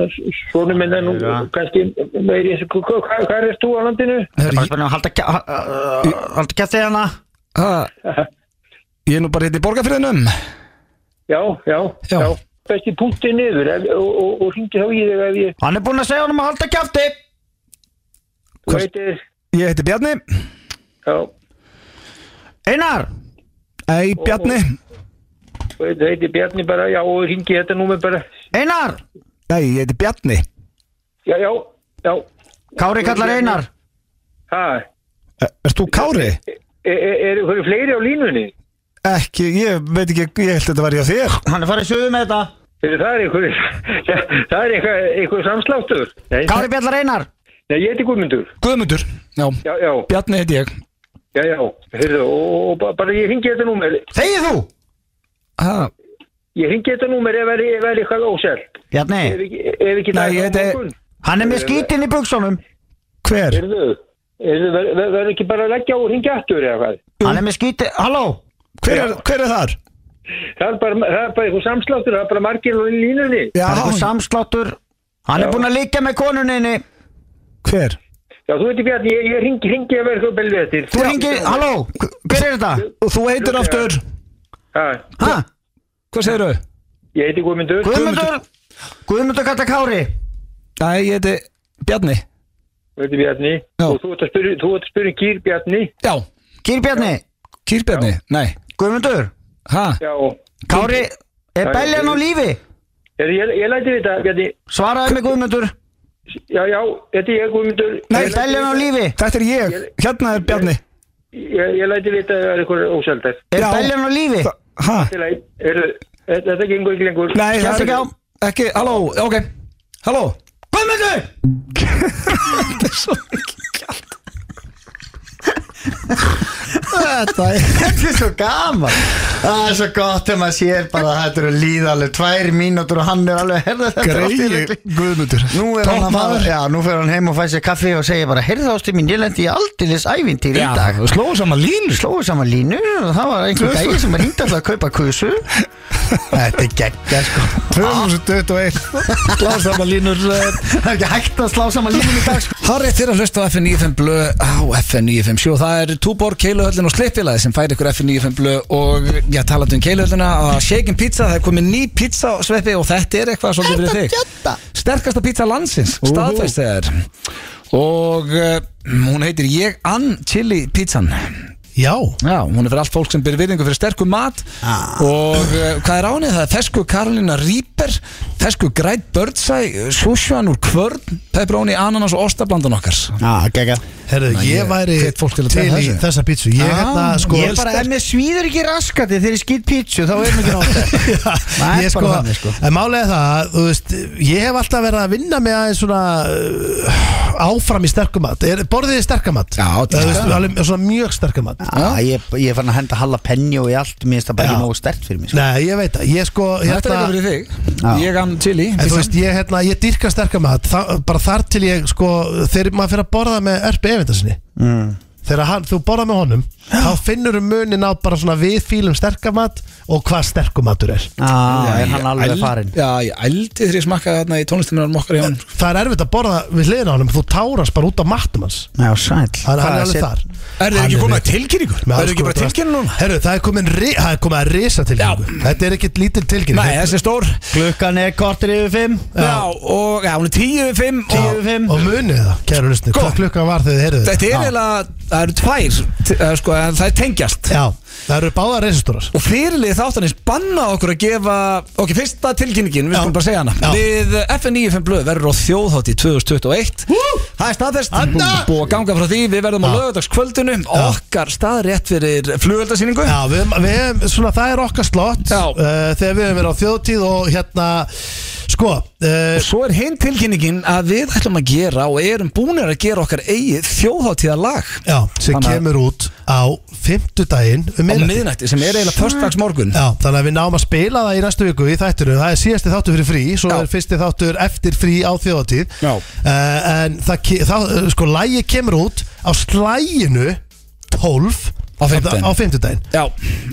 Speaker 5: svona minn er nú kannski meiri, eins og- hvað hva, hva er þú á landinu?
Speaker 3: Það er bara spennið að halda kja- ha- ha- halda hérna. kjæftið hana
Speaker 1: Ha, ég er nú bara hérna í borgarfyrðinum
Speaker 5: Já, já,
Speaker 1: Já.
Speaker 5: já, besti punktið niður ef, og, og, og hringi þá í þig ef ég,
Speaker 3: Hann er búinn að segja honum að halda kjæfti
Speaker 5: þú veitir,
Speaker 1: Ég heiti Bjarni
Speaker 5: já,
Speaker 3: Einar
Speaker 1: Ei, Bjarni
Speaker 5: þú veitir Bjarni bara, já, og hringi þetta númer bara,
Speaker 3: Einar
Speaker 1: Ei, ég heiti Bjarni
Speaker 5: já, já, já,
Speaker 3: Kári kallar Einar
Speaker 5: hæ,
Speaker 1: Er- Ert þú Kári?
Speaker 5: Er- e, er- Eru er, fleiri á línunni?
Speaker 1: Ekki, ég veit ekki, ég held þetta var ég á þér
Speaker 3: Hann er farið suðu með þetta
Speaker 5: Eru það er einhver, það er einhver, einhver samsláttur? Nei,
Speaker 3: Kári bjallar Einar
Speaker 5: nei, ég heiti Guðmundur.
Speaker 1: Guðmundur, já,
Speaker 5: Já, já,
Speaker 1: Bjarni heiti ég
Speaker 5: já, já, heyrðu, og, og ba- bara ég ringi þetta númer,
Speaker 3: Þegið þú
Speaker 1: ha,
Speaker 5: ég ringi þetta númer ef er, ef er eitthvað ósælt. Ef
Speaker 3: Bjarni
Speaker 5: ekki, ef ekki
Speaker 1: Nei, ég heiti-
Speaker 3: Hann er með skítinn í buksunum
Speaker 1: Hver?
Speaker 5: Heyrðu, heyrðu, verður ver, ver ekki bara að leggja á og ringja aftur eða hvað?
Speaker 3: Hann er með skítinn Halló
Speaker 1: Hver er, hver er þar?
Speaker 5: Það er bara, það er bara einhver samsláttur, það er bara margir á línunni.
Speaker 1: Já,
Speaker 3: Það er eitthvað samsláttur Hann er búinn að líka með konuninni
Speaker 1: hver?
Speaker 5: Já, þú veitir Bjarni, ég, ég ringi, ringi að vera eitthvað belvið eftir.
Speaker 3: Þú ringir Halló Hver er þetta?
Speaker 1: Og þú heitir aftur,
Speaker 5: Ha,
Speaker 3: Ha?
Speaker 1: hvað segirðu?
Speaker 5: ég heiti Guðmundur.
Speaker 3: Guðmundur Guðmundur kallar Kári
Speaker 1: Ei, ég heiti Bjarni
Speaker 5: Þú veitir Bjarni,
Speaker 1: Já.
Speaker 5: og þú ert að spyrja, þú ert að spyrja um kýr Bjarni.
Speaker 1: Já,
Speaker 3: Kýr Bjarni
Speaker 1: Kýrbjörni? Nei
Speaker 3: Guðmundur,
Speaker 1: Hæ?
Speaker 5: Já,
Speaker 3: Kári, er
Speaker 5: Já,
Speaker 3: beljan á
Speaker 5: ég-
Speaker 3: lífi?
Speaker 5: ég, ég, ég læti þetta, Bjarni.
Speaker 3: Svaraði mig Guðmundur,
Speaker 5: Já, já, þetta er ég, Guðmundur.
Speaker 3: er beljan á lífi?
Speaker 1: Þetta er ég, hérna er Bjarni
Speaker 5: Ég, ég læti vita að það er eitthvað ósældar.
Speaker 3: Er
Speaker 1: Já.
Speaker 3: beljan á lífi?
Speaker 1: Hæ?
Speaker 5: Þetta gengur ekki lengur.
Speaker 1: Nei,
Speaker 3: Skelltu
Speaker 1: það er
Speaker 3: ekki á.
Speaker 1: Ekki, halló, ok Halló
Speaker 3: Guðmundur!
Speaker 2: Þetta er
Speaker 3: Þetta er svo gaman Það er svo gott þegar maður sér bara að þetta eru líða alveg tvær mínútur og hann er alveg herða þetta er allt í
Speaker 2: greið
Speaker 3: rugli.
Speaker 2: Guðmundur
Speaker 3: Nú er
Speaker 1: Topp
Speaker 3: hann að
Speaker 1: maður.
Speaker 3: fara Já, nú fer hann heim og fæ sér kaffi og segir bara Herða ástu mín, ég lendi í aldeilis ævintýr í dag
Speaker 1: þú slóðu saman línu
Speaker 3: Slóðu saman línu og það var einhver gæði sem var hindi alltaf að kaupa kusu Þetta er geggja sko
Speaker 2: 2021
Speaker 1: Slóðu saman línur
Speaker 3: Það er ekki hægt að slá saman línu í dag sko
Speaker 1: Harrið þér að hlusta á FN95 blö á FN95 sjó það er Túborg, Keiluhöllin og Slippfélagi sem fær ykkur FN95 blö og já, talandi um Keiluhöllina að Shaken Pizza, það er komið ný pizza sveppi og þetta er eitthvað svolítið fyrir þig
Speaker 3: Þetta
Speaker 1: sterkasta pizza landsins staðfæst þegar og uh, hún heitir Ég Ann Chili Pizzan
Speaker 2: Já
Speaker 1: já, hún er fyrir allt fólk sem byrði virðingu fyrir sterkum mat og uh, hvað er ánið það er fesku Karolina Rýper fesku græt bördsæ súsjuan úr kvörn, pepperoni, ananas og ostablandan okkar
Speaker 3: Já, geggja
Speaker 2: Herðu, ég
Speaker 1: ég
Speaker 2: væri
Speaker 1: hvet fólk til
Speaker 2: til,
Speaker 1: að taka
Speaker 2: í
Speaker 1: þessu.
Speaker 2: þessa pítsu Ég
Speaker 1: Ah,
Speaker 2: hérna sko
Speaker 3: Ég bara, ef mér svíður ekki raskati þegar ég skýt pítsu þá er mér ekki náttúrulega Það
Speaker 2: ég
Speaker 3: er
Speaker 2: sko,
Speaker 3: bara þannig, sko.
Speaker 2: en málega það að, þú veist, ég hef alltaf verið að vinna með aðeins svona uh, áfram í sterkumat, er, borðið þið sterkamat
Speaker 1: Já,
Speaker 2: Þú
Speaker 1: til
Speaker 2: veist,
Speaker 1: sterkamat.
Speaker 2: alveg, svona mjög sterkamat
Speaker 3: Ah, ég, ég er fann að henda halda penni og í allt Mér finnst það bara ekki nógu stert fyrir mig sko.
Speaker 2: nei, ég veit það, ég sko
Speaker 1: þetta er eitthvað fyrir þig,
Speaker 3: Já.
Speaker 1: Ég Ann Chili
Speaker 2: En þú
Speaker 1: pizzan.
Speaker 2: veist, ég, hérna, ég dýrka sterkamat Þa, bara þar til ég, sko, þegar maður fyrir að borða með erpi efindarsinni mm. þegar hann, þú borða með honum þá finnur um munin á bara svona við fílum sterkamat og hvað sterkumatur er
Speaker 3: ah,
Speaker 1: Já,
Speaker 3: Er hann
Speaker 1: ég
Speaker 3: alveg
Speaker 1: eld-
Speaker 3: farinn
Speaker 1: Já, ég ældi þegar ég smakkaði þarna í tónlistunarum okkar hjá hann
Speaker 2: það er erfitt að borða við hliðin á honum þú tárast bara út á mattum hans
Speaker 3: Já, sæll
Speaker 2: hann, hann
Speaker 3: Hvað
Speaker 2: er alveg
Speaker 3: set-
Speaker 2: þar
Speaker 1: Er þeir
Speaker 2: Hann
Speaker 1: ekki komið
Speaker 2: með-
Speaker 1: að tilkynningu?
Speaker 2: með
Speaker 1: Er þeir
Speaker 2: alls
Speaker 1: ekki
Speaker 2: konar
Speaker 1: bara
Speaker 2: drast.
Speaker 1: tilkynningu núna?
Speaker 2: Herru, það er komin ri, það er komið að risa tilkynningu Þetta er ekkit lítil tilkynning
Speaker 1: Nei, þessi er stór
Speaker 3: Klukkan er kortir yfir fimm
Speaker 1: Já, og já, hún er 10 yfir 5
Speaker 3: Tíu
Speaker 1: og
Speaker 3: yfir fimm
Speaker 2: Og munið það, kæru lusni,
Speaker 1: Sko.
Speaker 2: hvað klukkan var þegar þið heyrðu
Speaker 1: þetta er hérna-
Speaker 2: Já.
Speaker 1: eiginlega, það eru tvær t- eh, sko, en það er tengjast
Speaker 2: Já, það eru báða reisastórar
Speaker 1: Og fyrirlið þáttanins banna okkur að gefa Ok, fyrsta tilkynningin, við
Speaker 2: Já.
Speaker 1: skulum bara segja hana
Speaker 2: Já.
Speaker 1: Við FN95 blöð verður á þjóðhátt í 2021 Það er staðfest Búið að ganga frá því, við verðum á
Speaker 2: Já.
Speaker 1: lögadagskvöldinu Okkar stað rétt fyrir flugöldasýningu
Speaker 2: Já, við, við, hefum- svona, það er okkar slott
Speaker 1: Já.
Speaker 2: uh, Þegar við hefum verið á þjóðtíð og hérna Sko,
Speaker 1: Og
Speaker 2: uh,
Speaker 1: Svo er hinn tilkynningin að við ætlum að gera og erum búinir að gera okkar eigið þjóðháttíðalag
Speaker 2: já, sem
Speaker 1: Þannig að-
Speaker 2: kemur út á fimmtudaginn
Speaker 1: á
Speaker 2: um miðnætti.
Speaker 1: miðnætti sem er eiginlega föstags morgun
Speaker 2: Já, þannig að við náum að spila það í næstu viku í þættunum, það er síðasti þáttur fyrir frí svo
Speaker 1: Já.
Speaker 2: er fyrsti þáttur eftir frí á þjóðatíð
Speaker 1: Já.
Speaker 2: en það, ke- það, eh, sko, lægi kemur út á slæginu 12
Speaker 1: Á fimmtudaginn.
Speaker 2: á fimmtudaginn
Speaker 1: Já,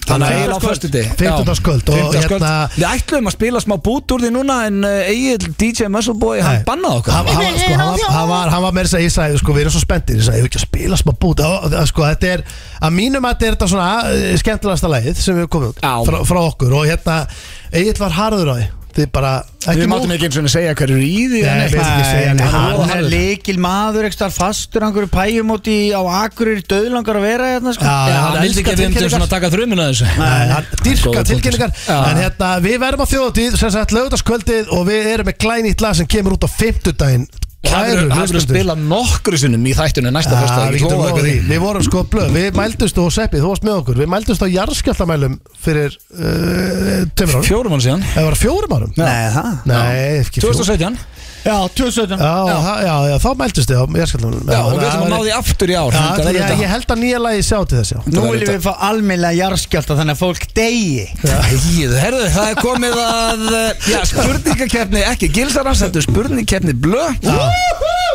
Speaker 1: þannig að eiginlega á
Speaker 2: Fimmtudagskvöld.
Speaker 1: föstuti
Speaker 2: Fimmtudagskvöld og hérna-
Speaker 1: Við ætlum að spila smá bút úr því núna en uh, eigið DJ Muscleboy hann
Speaker 2: Nei.
Speaker 1: bannaði
Speaker 2: Hann-
Speaker 1: okkar
Speaker 2: hann var- sko, hann var- hann var- Hann var meira að segja, ég sagði, sko, við erum svo spenntir Ég sagði, ég vil ekki að spila smá bút Á- það- Sko, þetta er, að mínum að þetta er þetta svona eh, skemmtilegasta lagið sem við komum út
Speaker 1: Já.
Speaker 2: frá, frá okkur og hérna, Egil var harður á því Þið bara,
Speaker 1: Við
Speaker 2: ekki
Speaker 1: máttum
Speaker 2: nóg-
Speaker 1: ekki eins og segja hverju er í því
Speaker 2: Nei,
Speaker 1: en
Speaker 2: við
Speaker 1: eitthvað.
Speaker 2: ætlum ekki að segja neitt.
Speaker 1: Hann
Speaker 3: Hann er likil maður, ekki þar fastur einhverju pæjum út í á akurir döðlangar að vera hérna sko.
Speaker 2: Já,
Speaker 1: Já, hann
Speaker 2: hann
Speaker 1: vildi ekki
Speaker 2: elskar
Speaker 1: að við myndum
Speaker 2: tilkynningar.
Speaker 1: svona taka þrumina þessu
Speaker 2: Nei, hann dyrka
Speaker 1: Góður
Speaker 2: tilkynningar
Speaker 1: punktur. Já.
Speaker 2: En hérna, við verðum á þjóðatíð sem sagt lögutaskvöldið og við erum með glænýtt lag sem kemur út á fimmtudaginn
Speaker 1: Hann
Speaker 2: Kæru
Speaker 1: verður hann verður að
Speaker 2: hlustendur
Speaker 1: spila nokkru sinnum í þættunum næsta
Speaker 2: Já,
Speaker 1: föstudag,
Speaker 2: við
Speaker 1: ég lofa
Speaker 2: getum lofað
Speaker 1: ykkur
Speaker 2: því.
Speaker 1: því.
Speaker 2: Við vorum sko blöð, við mældumst og Seppi, þú varst með okkur Við mældumst á jarðskjaldamælum fyrir uh, tömur árum
Speaker 1: Fjórum hann síðan
Speaker 2: Það var fjórum árum
Speaker 3: Nei, það
Speaker 2: Nei, ekki fjórum
Speaker 1: 2017
Speaker 3: Já, 2017
Speaker 2: Já, það- já, já, þá mældumst þið á jarðskjaldamælum
Speaker 1: Já, og við ætlum að ná því aftur í ár þetta verður
Speaker 2: Já,
Speaker 1: þetta.
Speaker 2: ég held að nýja lagi sjá til þess, já
Speaker 3: Nú
Speaker 1: Það er
Speaker 3: viljum við fá almennlega jarðskjálta þannig að fólk degi
Speaker 1: Ægir, herðu, það er komið að uh, já, spurningakefni, ekki gilsarans þetta er spurningakefni blö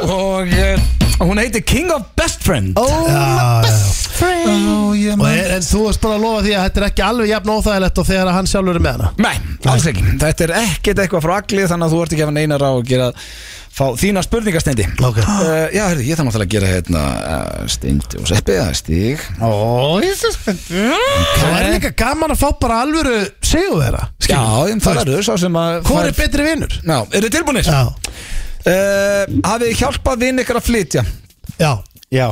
Speaker 1: og uh, hún heitir King of Best Friend oh,
Speaker 2: Já, já, já
Speaker 1: yeah,
Speaker 2: Og er, en þú varst bara að lofa því að þetta er ekki alveg jafn óþægilegt og þegar að hann sjálfur er með hana
Speaker 1: Nei, alls ekki, þetta er ekkert eitthvað frá agli þannig að þú ert ekki að hafa neinar á að gera fá þína spurningastendi
Speaker 2: Ok.
Speaker 1: uh, Já, herðu, ég þarf náttúrulega að gera hérna uh, stendi og seppi, það er stig
Speaker 3: Ó, ég sé spennt
Speaker 2: Það er líka gaman að fá bara alvöru segjum þeirra
Speaker 1: Já, en það eru sá sem að
Speaker 2: Hvor
Speaker 1: fær-
Speaker 2: er betri vinnur?
Speaker 1: Já, eru Eh, tilbúinir?
Speaker 2: Já,
Speaker 1: Uh, hafið þið hjálpað vinn ykkur að flytja?
Speaker 2: já,
Speaker 3: Já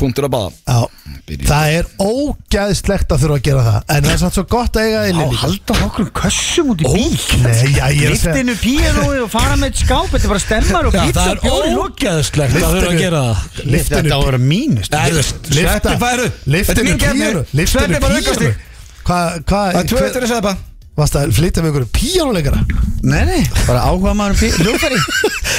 Speaker 6: punktur að baða
Speaker 2: Já, það er ógæðslegt að þurfa að gera það En það er samt svo gott að eiga það inni
Speaker 3: Á,
Speaker 2: líka
Speaker 3: halda nokkrum kössum út í bíl
Speaker 2: Nei, já, ég er að segja
Speaker 3: Liftinu píanói og fara með eitt skáp Þetta er bara stemmar og
Speaker 1: Já,
Speaker 3: pizza
Speaker 1: það er ógeðslegt að þurfa að gera það
Speaker 2: Liftinu
Speaker 3: Þetta á að vera mínust
Speaker 1: Nei, þú veist, sveppi færu Þetta er
Speaker 2: Liftinu
Speaker 1: mín keppni.
Speaker 2: píanu
Speaker 1: Sveppi
Speaker 2: Liftinu
Speaker 1: bara aukast
Speaker 2: píanu Hvað, hvað
Speaker 1: Það er tvö eftir að sveppa
Speaker 2: Varst að flytja með ykkur píanuleikara
Speaker 3: Nei, nei, bara áhuga maður um pí- hljóðfæri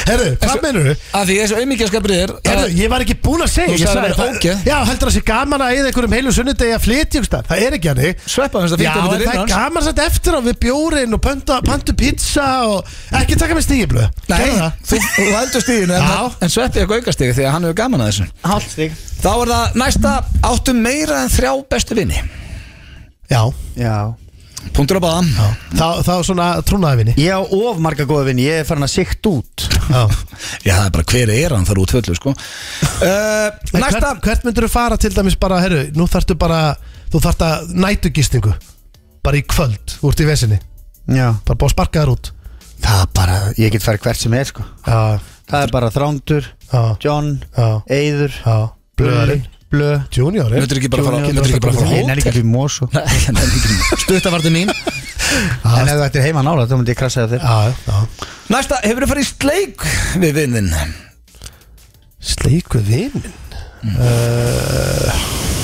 Speaker 2: Herru, hvað menur þú?
Speaker 1: Af því þessu auðmíkjaskapur er
Speaker 2: Herru, ég var ekki búinn að segja
Speaker 1: Þú
Speaker 2: ég
Speaker 1: sagði
Speaker 2: sagði
Speaker 1: það væri
Speaker 2: það-
Speaker 1: ógeð.
Speaker 2: Já, heldur það sé gaman að eða einhverjum heilu sunnudegi að flytja ykkur stað Það er ekki hannig
Speaker 1: Sveppa finnst að fínt
Speaker 2: Já,
Speaker 1: að þetta
Speaker 2: en það er
Speaker 1: innan
Speaker 2: gaman satt eftir á við bjórin og pöntu, pöntu pizza og ekki taka með stígiblu Gerðu
Speaker 1: Nei,
Speaker 2: það.
Speaker 1: þú þú heldur stíðinu
Speaker 2: Já.
Speaker 1: en, en sveppi ekki aukast þig því að hann hefur gaman að þessu
Speaker 3: Hálfstig
Speaker 1: Þá er það næsta áttu meira en þrjá bestu vini
Speaker 2: Já,
Speaker 3: Já
Speaker 1: Punktur að baða
Speaker 2: já. Þá, þá svona trúnaði vinni
Speaker 3: Ég á of marga góða vini, ég er farin að sikt út
Speaker 2: Já.
Speaker 1: Já, það er bara hver er hann þar út fullu sko uh,
Speaker 2: En
Speaker 1: Næsta
Speaker 2: Hvert, hvert myndur þú fara til dæmis bara, herru, nú þarftu bara þú þarft að nætugistingu bara í kvöld, úr til vesinni
Speaker 3: Já
Speaker 2: bara búið að sparka þær út
Speaker 3: Það er bara, ég get farið hvert sem er sko
Speaker 2: Já,
Speaker 3: Það er bara Þrándur,
Speaker 2: Já.
Speaker 3: John,
Speaker 2: Já.
Speaker 3: Eyður
Speaker 2: já, blöðurinn
Speaker 3: Blö
Speaker 2: Junior, eh? er
Speaker 1: Myndur ekki bara fara
Speaker 2: Junior,
Speaker 1: Myndur ekki bara fara á
Speaker 3: Ég nefnir ekki
Speaker 1: hótel
Speaker 3: fyrir Mós og
Speaker 1: Nei, Stuttavartu mín
Speaker 3: En ef þetta er heima nála, þá myndi ég krasja það þér
Speaker 2: Já, já
Speaker 1: Næsta, hefur farið í sleik við vinnin
Speaker 2: Sleiku vinn uh,
Speaker 1: Mm.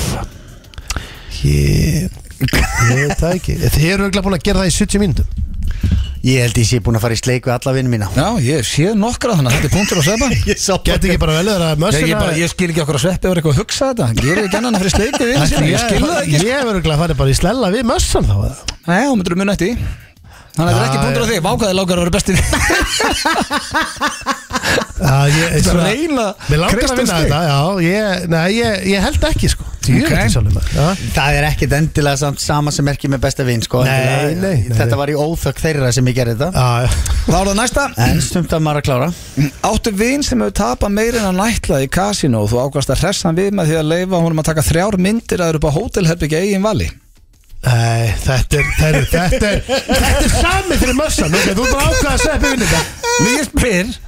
Speaker 2: Ég Ég veit það ekki Þið eru auðvitað búin að gera það í 70 mínútum
Speaker 3: Ég held ég sé búin að fara í sleik við alla vini mína
Speaker 1: Já, ég sé nokkra þannig að þetta er punktur á sveppa Ég sá
Speaker 2: Gæti ekki bara vel verið að
Speaker 1: Ég, ég,
Speaker 2: mössina
Speaker 1: bara, ég skil ekki okkur að sveppi var eitthvað að hugsa þetta Hann gerir ekki annan að fyrir sleik við vinnin sína Ég skil það ekki sko.
Speaker 2: Ég verður auðvitað að fara bara í slella við mössan þá eða?
Speaker 1: Nei, þá myndur þú munna eftir því. Þannig að þetta er ekki
Speaker 2: Já,
Speaker 1: punktur á þig Vákaði lágar að vera besti vinnin
Speaker 2: Já, ég
Speaker 1: Þetta er
Speaker 2: svona-
Speaker 1: reyna
Speaker 2: Mér langar að
Speaker 1: Kristinn
Speaker 2: vinna
Speaker 1: Steig.
Speaker 2: þetta Já, ég, nei, ég, ég held ekki sko Ég
Speaker 1: Ok.
Speaker 2: veit ekki sjálfum það Já.
Speaker 3: Það er ekkit endilega samt sama sem merkið með besta vin sko.
Speaker 2: Nei,
Speaker 3: Endilega-
Speaker 2: nei, nei, nei.
Speaker 3: Þetta var í óþökk þeirra sem ég gerði þetta
Speaker 2: Já, já.
Speaker 1: Þá er það næsta
Speaker 3: En stumt að maður að klára
Speaker 1: Áttu vin sem hefur tapað meira en að nætla í kasinu og þú ákvæmst að hressa hann við með því að leifa honum að taka þrjár myndir að eru upp á hótelherbyggi eigin vali
Speaker 2: Nei, þetta er Þetta er, þetta er, þetta er samið fyrir mössan ok, Þú bara ákvað að segja upp yfir þetta
Speaker 1: Mér spyr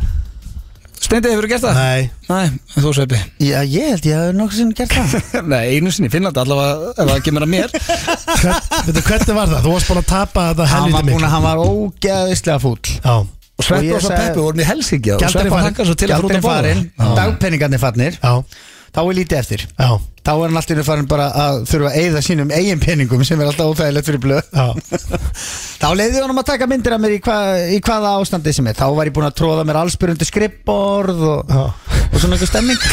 Speaker 1: Steindi, hefur þú gert það?
Speaker 2: Nei
Speaker 1: Nei, en þú sveppi
Speaker 3: Já, ég held ég hafði nokkuð sem gert það
Speaker 1: Nei, einu sinni í Finnlandi allavega ef það kemur að mér
Speaker 2: Hvern, veitu, hvernig var það? Þú varst búin að tapa þetta
Speaker 3: Hann var
Speaker 2: helviti
Speaker 3: búin
Speaker 2: mikið
Speaker 3: að hann var ógeðislega fúll
Speaker 2: Já,
Speaker 1: og Sveppi
Speaker 3: ég
Speaker 1: og svo
Speaker 3: sagði-
Speaker 1: Peppi vorum í Helsingi og
Speaker 2: Gjaldurinn
Speaker 1: Sveppi
Speaker 2: farinn.
Speaker 1: takkar svo til að fara út
Speaker 3: Gjaldirinn
Speaker 1: að borða
Speaker 3: farinn, dagpenningarnir farnir
Speaker 2: já,
Speaker 3: Þá er lítið eftir
Speaker 2: já,
Speaker 3: Þá er hann alltaf innu farin bara að þurfa að eyða sínum eigin peningum sem er alltaf óþægilegt fyrir blöð
Speaker 2: já
Speaker 3: Þá leiði honum að taka myndir af mér í, hva, í hvaða ástandi sem er Þá var ég búin að tróða mér allspyrundu skrippborð og,
Speaker 2: Já.
Speaker 3: og svona einhver stemming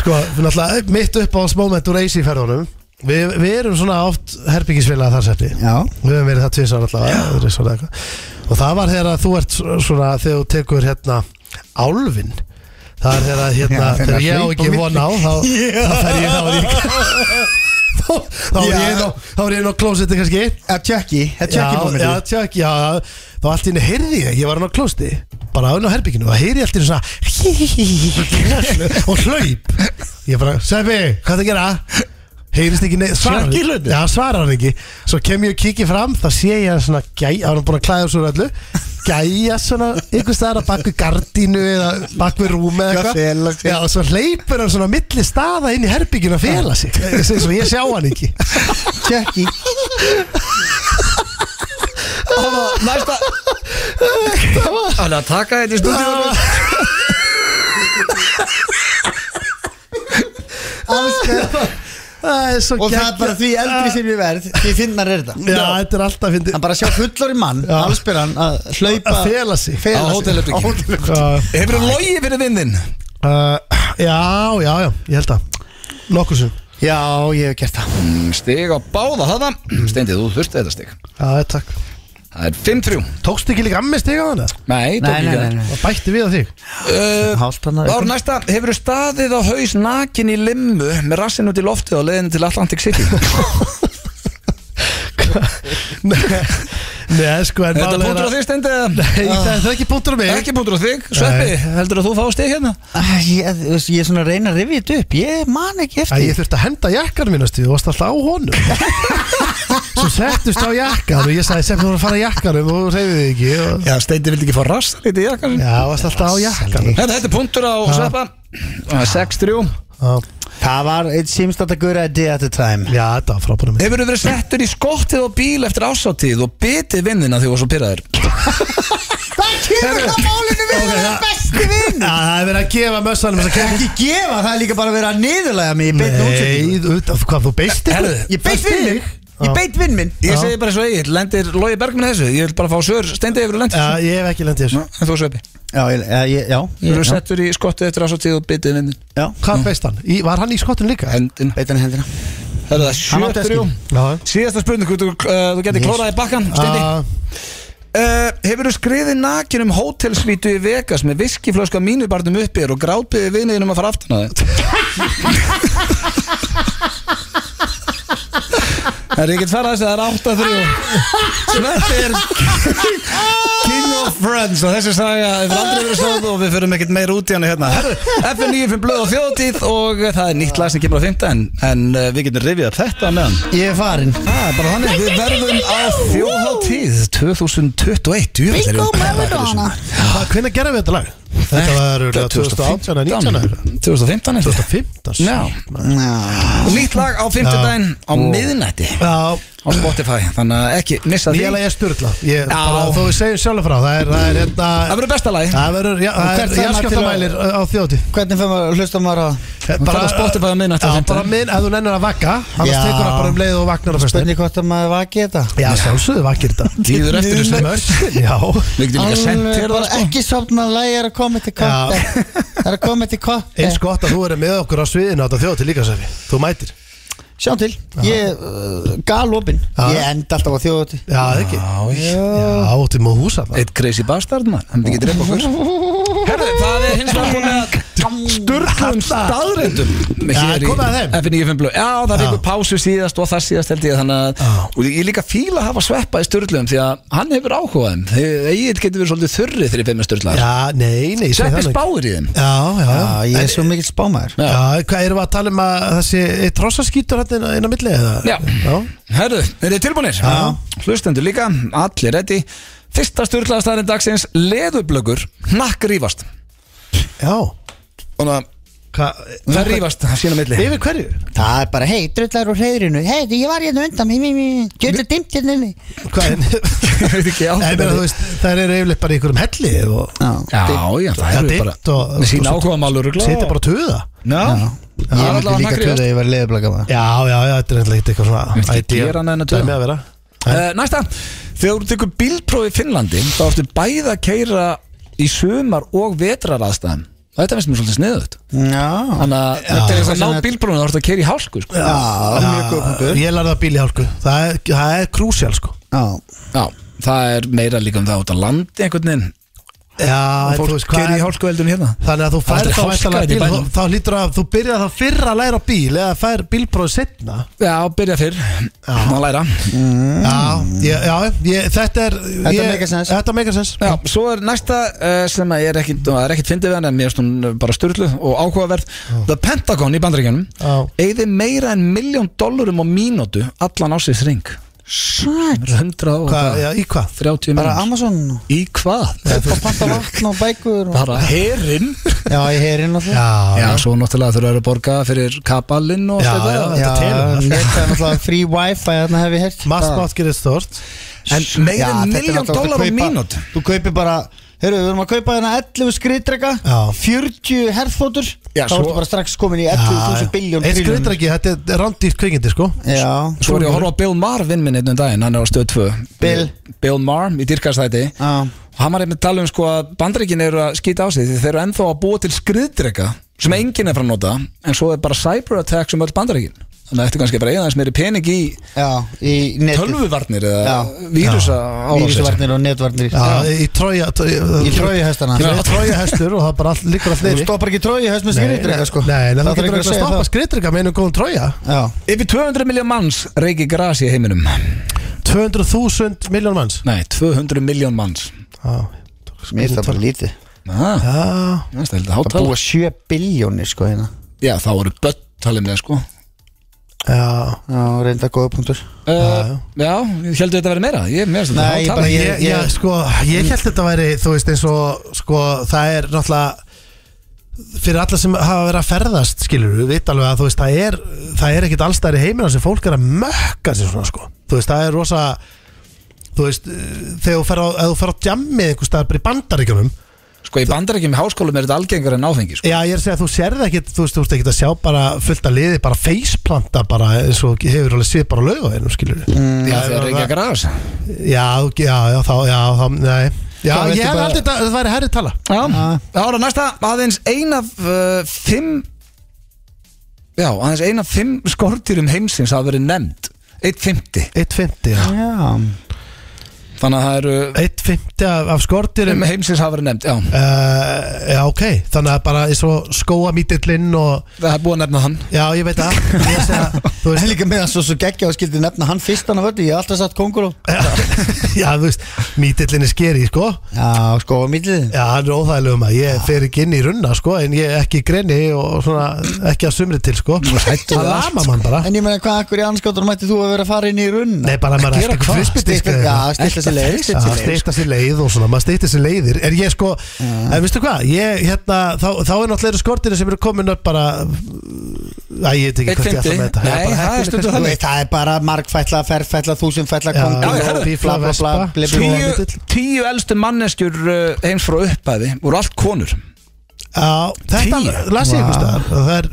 Speaker 2: Sko, náttúrulega mitt uppáhaldsmoment úr AC ferðunum Við, við erum svona oft herbyggisfélag þar setti
Speaker 3: Já.
Speaker 2: Við höfum verið það tvisar allavega þrisvar eða eitthvað. Og það var þegar að þú ert svona þegar þú tekur hérna álfin Það er þegar að hérna,
Speaker 3: Já, þegar
Speaker 2: þegar ég á
Speaker 3: hlaup á
Speaker 2: ekki
Speaker 3: milli.
Speaker 2: von á þá, þá fer ég þá er ég þá, þá er
Speaker 3: Já.
Speaker 2: ég inn á þá er ég inn á klósetti kannski
Speaker 3: Að tjökki, að tjökki
Speaker 2: já, já, tjökk, já þá allt í henni heyrði ég, ég var hann á klósti bara án á herbygginu og það heyrði ég allt í henni svona og hlaup ég bara, Sveppi, hvað það gera? heyrist ekki neitt, svarar
Speaker 1: Slakir hluti.
Speaker 2: já, svarar hann ekki, svo kem ég og kiki fram þá sé ég hann svona, gæ, hann er búin að klæða svo öllu, gæja svona einhver staðar að baku gardínu eða baku rúmi
Speaker 3: Já,
Speaker 2: eða
Speaker 3: fela
Speaker 2: eitthvað
Speaker 3: sig.
Speaker 2: já, og svo hleypur hann svona á milli staða inn í herbygginu að fela sig, svo ég sjá hann ekki
Speaker 3: Tjökki
Speaker 1: Og Næsta Þannig að taka þetta í stúdíu
Speaker 2: Það er svo
Speaker 3: Og það er
Speaker 2: geggjað.
Speaker 3: bara því eldri sem ég verð Því finnar er þetta
Speaker 2: Já, þetta er alltaf fyndið
Speaker 3: Hann bara sjá fullori mann
Speaker 2: Já.
Speaker 3: Allspyrann að hlaupa
Speaker 2: Að fela sig.
Speaker 3: fela
Speaker 1: Á
Speaker 3: sig.
Speaker 1: hótelherbergi.
Speaker 3: Á hótelherbergi.
Speaker 2: uh,
Speaker 1: Hefur þú logið fyrir vinnin?
Speaker 2: uh, Já, já, já, ég held að Nokkur sem
Speaker 3: Já, ég hef gert það
Speaker 1: Mm, Stig á báða þaða Steindi, þú þurfti þetta stig
Speaker 2: Já, takk
Speaker 1: Það er 5-3
Speaker 2: Tókstu ekki líka ammið stig á hana?
Speaker 1: Nei, tók
Speaker 3: Nei, nei,
Speaker 1: ekki
Speaker 3: nei,
Speaker 1: það.
Speaker 3: nei.
Speaker 2: Það bætti við á þig
Speaker 1: Uh,
Speaker 3: Hálftanna
Speaker 1: Þá er næsta, hefur þú staðið á haus nakin í limmu með rassin út í loftið á leiðinu til Atlantic City
Speaker 2: Nei, sko, en
Speaker 1: Þetta
Speaker 2: málið er
Speaker 1: punktur á
Speaker 2: að-
Speaker 1: þig stendi
Speaker 2: Nei, það það er ekki punktur á mig
Speaker 1: Ekki punktur á þig, Sveppi, heldur að þú fá stig hérna?
Speaker 3: Ég þú veist, ég er svona að reyna að rifja þetta upp Ég man
Speaker 2: Æ,
Speaker 3: ekki
Speaker 2: ég
Speaker 3: eftir
Speaker 2: þurfti að henda jakkanum mínu, stu, þú varst alltaf á honum Svo settust á jakkanum og ég sagði, sem þú voru að fara á jakkanum og þú reyfið þig ekki og...
Speaker 1: Já, steindi vildi ekki fá rassin í jakkan
Speaker 2: Já, varst alltaf á jakkanum
Speaker 1: Þetta, þetta er punktur á Sveppa Það er 6-3
Speaker 2: Já,
Speaker 3: Það var, it seems not a good idea at the time
Speaker 2: Já, þetta var frábæra mynd
Speaker 1: Hefur þú verið settur í skottið á bíl eftir ásáttíð og bitið vinnina þegar þú var svo pyrraður?
Speaker 3: Það kemur það málinu við að vera besti vinn
Speaker 2: Já, það er verið að gefa mössanum þessa kemur
Speaker 3: Ekki gefa, það er líka bara verið að niðurlega mig Ég beitt útsendingu
Speaker 2: Nei, auðvitað, hvað þú beist ykkur?
Speaker 1: Herðu,
Speaker 3: Ég beitt vinn minn
Speaker 2: Já.
Speaker 3: Ég beitt vinn minn
Speaker 1: Ég segi bara svo eigið, lendir Lói Bergman þessu Ég vil bara fá svör, steindi yfir og lendir
Speaker 2: Já, ég hef ekki lendið þessu
Speaker 1: En þú sveppi
Speaker 3: Já, ég, ég, já,
Speaker 1: Þú
Speaker 3: ég,
Speaker 1: eru
Speaker 3: já,
Speaker 1: settur í skottið eftir ásáttíð og bitið vinnin
Speaker 3: já.
Speaker 2: Hvað beist hann? Í, var hann í skottinu líka?
Speaker 1: Hendin
Speaker 3: Beitt hann í hendina
Speaker 1: Það er
Speaker 3: Hann
Speaker 1: það
Speaker 3: átti
Speaker 1: 7-3
Speaker 3: að
Speaker 2: Já
Speaker 1: Síðasta spurning, þú, uh, þú getur klórað í bakkan Steindi
Speaker 2: Ah,
Speaker 1: uh, Hefur þú skriðið nakin um hótelsvítu í Vegas með viskiflösku að mínubarnum uppið og grátbiðið vinninum að fara aftan að þið Það er ekkert fara þessi, það er 8-3 Sveppi er King of Friends og þessi saga hefur aldrei verið sáð og við förum ekkert meir út í hann hérna Herru, FN9 fyrir blöð og þjóðtíð og það er nýtt lag sem kemur á 5 en, en uh, við getum rifið upp þetta á meðan
Speaker 3: Ég er farin
Speaker 1: Það er bara þannig, við verðum á þjóðháttíð 2021 djúvill er ég
Speaker 6: Bingo
Speaker 1: að peppa fyrir
Speaker 6: Maradona
Speaker 2: Hvað, hvernig gerðum við þetta lag? Þetta var örugglega 2018 eða 19 eða eitthvað.
Speaker 1: 2015 er þetta
Speaker 2: 2015
Speaker 1: Já, og nýtt lag á 50 daginn á miðnætti
Speaker 2: Já,
Speaker 1: á Spotify, þannig að ekki missa því
Speaker 2: nýja lag er styrla Ég,
Speaker 1: Já.
Speaker 2: bara, þó við segjum sjálf frá Það er, það er hérna
Speaker 1: Það verður besta lagi
Speaker 2: Það verður, já, það
Speaker 3: hvert
Speaker 2: er
Speaker 3: fer maður til að-
Speaker 2: jarðskjálftamælir á þjóti
Speaker 3: Hvernig fyrir maður, hlusta maður á
Speaker 1: ferð á Spotify á miðnætti á
Speaker 2: Já,
Speaker 1: fimmtudaginn.
Speaker 2: bara minn, ef þú nennir að vakka Annars
Speaker 3: Já.
Speaker 2: tekur það bara um leið og vaknar á föstudaginn.
Speaker 3: Hvernig hvort að maður vakið þetta
Speaker 2: Já, sjálfsögðu vakir þetta
Speaker 1: Líður eftir þessu.
Speaker 2: Mörkin, Já
Speaker 1: Við getum líka sendt þér
Speaker 3: Alveg
Speaker 1: það
Speaker 3: bara
Speaker 1: sko
Speaker 3: Ekki sopna læg er að koma til kotti Það er að koma til kotti
Speaker 2: Eins gott að þú eru með okkur á sviðinu á þetta þjóti líka sefi Þú mætir Já,
Speaker 3: Sjá til, ég uh, gal opinn
Speaker 2: Já.
Speaker 3: Ég enda alltaf á þjóðuti
Speaker 2: það ekki Já, óttum á húsa bara.
Speaker 1: Eitt crazy bastard mann, hann myndi ekki drepa okkur Herðu, það er hins vegar komið að Sturlum staðreyndum
Speaker 2: Já, komið að þeim.
Speaker 1: F95 blöð Já, það fengur pásu síðast og það síðast held ég Þannig að, og ég líka fíla að hafa sveppa í Sturlum Því að hann hefur áhugaðum Egil getur verið svolítið þurrið þegar ég feim með Sturlar
Speaker 2: Já, nei, nei, ég segi
Speaker 1: Sveppi
Speaker 2: það nú ekki.
Speaker 1: spáir í þeim
Speaker 2: Já, já, já
Speaker 3: Já, ég er svo mikill spámaður
Speaker 1: Já.
Speaker 2: Já, hvað erum við að tala um að þessi eitt trossaskítur hann inn á milli eða?
Speaker 1: Já. Herðu, er þið tilbúinir? Já Hlustendur líka, allir reddi Fyrsta Sturlaða staðarinn dagsins Leðublöggur, hnakk rífast
Speaker 2: Já.
Speaker 1: Þannig að
Speaker 2: Hva,
Speaker 1: það rífast sína á milli
Speaker 2: Yfir hverju?
Speaker 3: Það er bara, hei, drullar úr hreðrinu Hei, ég var hérna undan Gjöldu dimmt hérna inni
Speaker 2: Hvað er
Speaker 1: Ég veit ekki
Speaker 2: Nei,
Speaker 1: alveg
Speaker 2: meina, þú veist, það er yfirleitt bara í einhverjum helli og
Speaker 1: Já, já, það
Speaker 2: Já,
Speaker 1: eru
Speaker 2: dimmt
Speaker 1: bara
Speaker 2: og-
Speaker 1: Með sína
Speaker 2: og-
Speaker 1: áhuga málur
Speaker 2: setja bara töða
Speaker 1: Já, það er
Speaker 3: Ég myndi
Speaker 1: allavega
Speaker 3: líka
Speaker 1: hnakk
Speaker 3: töða
Speaker 1: rífast
Speaker 3: að ég var leiðblaka maður
Speaker 2: Já, já, já, þetta er eitthvað eitthvað
Speaker 1: Ég
Speaker 2: svona
Speaker 1: veist ekki gera annað en að tuða.
Speaker 2: með að vera
Speaker 1: Eh, Næsta, þegar þú tekur bílprófi í Finnlandi þá ertu bæði að keira í sumar og vetraraðstæðum Þetta finnst mér svolítið sniðut
Speaker 3: Já,
Speaker 1: Þannig að þetta er
Speaker 3: já.
Speaker 1: þess að ná bílprófinu þá ertu að keira í hálku sko.
Speaker 3: já, mjög góð punktur.
Speaker 2: Ah, Ég lærði að bíli hálku Það er, það er krúsjál sko
Speaker 3: Já,
Speaker 1: Já, það er meira líka um það út á landi einhvern veginn
Speaker 2: Já, en þú
Speaker 1: Eh, Fólk
Speaker 2: veist hvað
Speaker 1: keira í
Speaker 2: er-
Speaker 1: hálku eldun hérna
Speaker 2: Þannig að þú
Speaker 1: Það
Speaker 2: fær
Speaker 1: er
Speaker 2: þá
Speaker 1: hálka
Speaker 2: væntanlega
Speaker 1: hérna í
Speaker 2: bíl
Speaker 1: bænum.
Speaker 2: þá- Þá hlýtur að þú byrjar þá fyrra að læra á bíl eða fær bílprófið setna
Speaker 1: Já, byrja fyrr, að læra Mm.
Speaker 2: Já, ég- já, ég- þetta er
Speaker 3: Þetta
Speaker 2: ég-
Speaker 3: make sense.
Speaker 2: Þetta make sense
Speaker 1: Já, svo er næsta uh, sem að ég er ekkit, það er ekkit fyndið við hann en mér finnst hún eh, bara styrlu og áhugaverð The Pentagon í bandaríkjanum
Speaker 2: Já.
Speaker 1: eigði meira en miljón dollurum á mínútu allan ásins ring
Speaker 3: svætt
Speaker 1: 100 og
Speaker 2: Hvað,
Speaker 1: hvað?
Speaker 2: já, í hvað?
Speaker 1: 30
Speaker 3: Bara
Speaker 1: mínútur
Speaker 3: Amazon
Speaker 1: Í hvað?
Speaker 3: Upp að panta vatn og bækur og...
Speaker 1: Bara herin
Speaker 3: Já, ég heyri hérna inn á því
Speaker 2: Já,
Speaker 1: Já, svo náttúrulega þurfa að borga fyrir kabalinn og
Speaker 2: Já,
Speaker 1: allt þetta.
Speaker 2: já, já.
Speaker 3: Já,
Speaker 2: Þetta telur.
Speaker 3: þetta er náttúrulega free wifi Þarna hef ég heyrt
Speaker 2: Massmátt gerir stort
Speaker 1: En meira
Speaker 3: Já,
Speaker 1: en
Speaker 3: þetta er
Speaker 1: miljón
Speaker 3: náttúrulega
Speaker 1: dollar á
Speaker 3: að kaupa-
Speaker 1: mínútu
Speaker 3: Þú kaupir bara, heyrðu, við erum að kaupa hérna 11 skriðdrega
Speaker 2: Já.
Speaker 3: 40 herðfótur
Speaker 1: Já,
Speaker 3: Þá
Speaker 1: svo-
Speaker 3: ertu bara strax komin í 11.000 biljón
Speaker 2: Eitt skriðdra ekki, þetta er rándýrt kvikindi sko
Speaker 3: Já,
Speaker 1: Svo er ég að horfa á Bill Maher vinn minn einn um daginn, hann er á stöð 2
Speaker 3: Bill.
Speaker 1: Bill Maher í dyrkastæti
Speaker 3: Já.
Speaker 1: og hann var einmitt að tala um sko að bandaríkin eru að skýta á sig því þeir eru ennþá að búa til skriðdreka sem enginn er frá að nota en svo er bara cyberattack sem öll bandaríkin þannig að þetta er kannski bara eigðans meiri pening í
Speaker 3: já, í netið
Speaker 1: tölvuvarnir
Speaker 3: Já.
Speaker 1: eða vírusa árásir
Speaker 3: Vírusavarnir og netvarnir
Speaker 2: Já, í trója
Speaker 3: Í tróju hestana
Speaker 2: Já, trója hestur og það bara all, líkur allt
Speaker 3: Þú
Speaker 2: neyri
Speaker 3: stoppar ekki tróju hest með skriðdrega sko
Speaker 2: Nei, nei,
Speaker 3: Það
Speaker 2: það
Speaker 3: þarf
Speaker 2: getur
Speaker 3: ekki
Speaker 2: ekki að stoppa skriðdrega með einu góðum trója
Speaker 3: Já,
Speaker 1: Yfir 200 miljón manns reiki gras í heiminum
Speaker 2: 200.000 miljón manns
Speaker 1: Nei, 200 miljón manns
Speaker 2: Já,
Speaker 3: mér finnst það bara lítið
Speaker 1: ah,
Speaker 2: já,
Speaker 1: Það er þetta
Speaker 3: Að
Speaker 1: hátal
Speaker 3: búa 7 biljónir sko hérna
Speaker 1: Já, þá eru börn talið með sko
Speaker 2: já.
Speaker 3: Já, reynda góða punktur
Speaker 1: Uh, já, ég heldur þetta að vera meira Ég, mér finnst þetta
Speaker 3: Nei, ég
Speaker 1: há
Speaker 3: bara-
Speaker 1: tala.
Speaker 2: Ég, ég,
Speaker 3: ég-
Speaker 2: sko, ég held þetta væri, þú veist, eins og sko, það er náttúrulega fyrir alla sem hafa verið að ferðast skilur við veit alveg að þú veist það er það er ekkit allstæri heimina sem fólk er að mökka sér svona sko þú veist það er rosa þú veist eh, þegar þú fer á, ef þú fer á djammið einhvers staðar bara í bandaríkjunum
Speaker 1: Sko í bandarækjum í háskólum er þetta algengar en áfengi sko.
Speaker 2: Já, ég er að segja að þú sérð ekkit, þú veist, þú ert ekkit að sjá bara fullt að liði, bara faceplanta bara eins og hefur alveg séð bara lög á einum, skilur mm,
Speaker 1: Já, þeir eru ekki að græs
Speaker 2: Já, þú- já, já, þá, já, þá, nei Já,
Speaker 1: Hvað,
Speaker 2: ég
Speaker 1: viltu
Speaker 2: hef
Speaker 1: bara-
Speaker 2: aldrei, þetta- þetta væri herri tala
Speaker 1: Já, þá er það næsta aðeins ein af uh, fimm Já, aðeins ein af fimm skortýrum heimsins hafa verið nefnd 1.50
Speaker 2: 1.50, já
Speaker 3: Já,
Speaker 1: Þannig að það eru
Speaker 2: 1.50 af, af skortirum
Speaker 1: fimm heimsins hafa verið nefnd Já,
Speaker 2: Uh, já, ok, þannig að bara eins og skóamítillinn og
Speaker 1: það er búið að nefna hann
Speaker 2: Já, ég veit að, ég er að segja, þú
Speaker 3: En
Speaker 2: veist,
Speaker 3: líka með að svo, svo geggja og skildi nefna hann fyrstan af öllu, ég hef alltaf satt konguló
Speaker 2: já, þú veist, mítillinn er skeri, sko
Speaker 3: Já, sko, millið
Speaker 2: Já, hann er óþægilegum að ég fer ekki inn í runna, sko En ég er ekki í greni og svona, ekki að sumri til, sko
Speaker 1: hræddur
Speaker 2: Það
Speaker 1: við allt,
Speaker 2: lama mann bara
Speaker 3: En ég meina, hvað akkur í anskotur mætti þú að vera að fara inn í runn?
Speaker 2: Nei, bara maður
Speaker 1: Gera
Speaker 2: ekki
Speaker 1: hvað?
Speaker 2: frisbydisk
Speaker 3: Já, stilla sér leið
Speaker 2: Já,
Speaker 1: sko.
Speaker 2: stýta sér leið og svona, maður stýta sér leiðir En ég sko, en veistu hvað, ég hérna, þá, þá er náttúrulega eru skortirnir sem eru komin upp bara Æ, ég veit ekki hvert ég ætla
Speaker 1: 1.50.
Speaker 2: með þetta
Speaker 1: Nei,
Speaker 2: Ég er bara
Speaker 1: það er
Speaker 2: heppinn
Speaker 1: stundum
Speaker 2: kannski.
Speaker 3: Þú veit, það er bara margfætla, ferfætla, þúsundfætla,
Speaker 2: Já,
Speaker 1: já,
Speaker 3: konguló,
Speaker 1: herðu,
Speaker 3: bla bla bla
Speaker 2: vespa.
Speaker 3: bla, bla, bla.
Speaker 1: tíu, tíu elstu manneskjur uh, heims frá uppæði voru allt konur
Speaker 2: Já, þetta
Speaker 1: Tíu?
Speaker 2: las ég einhvers staðar og Það er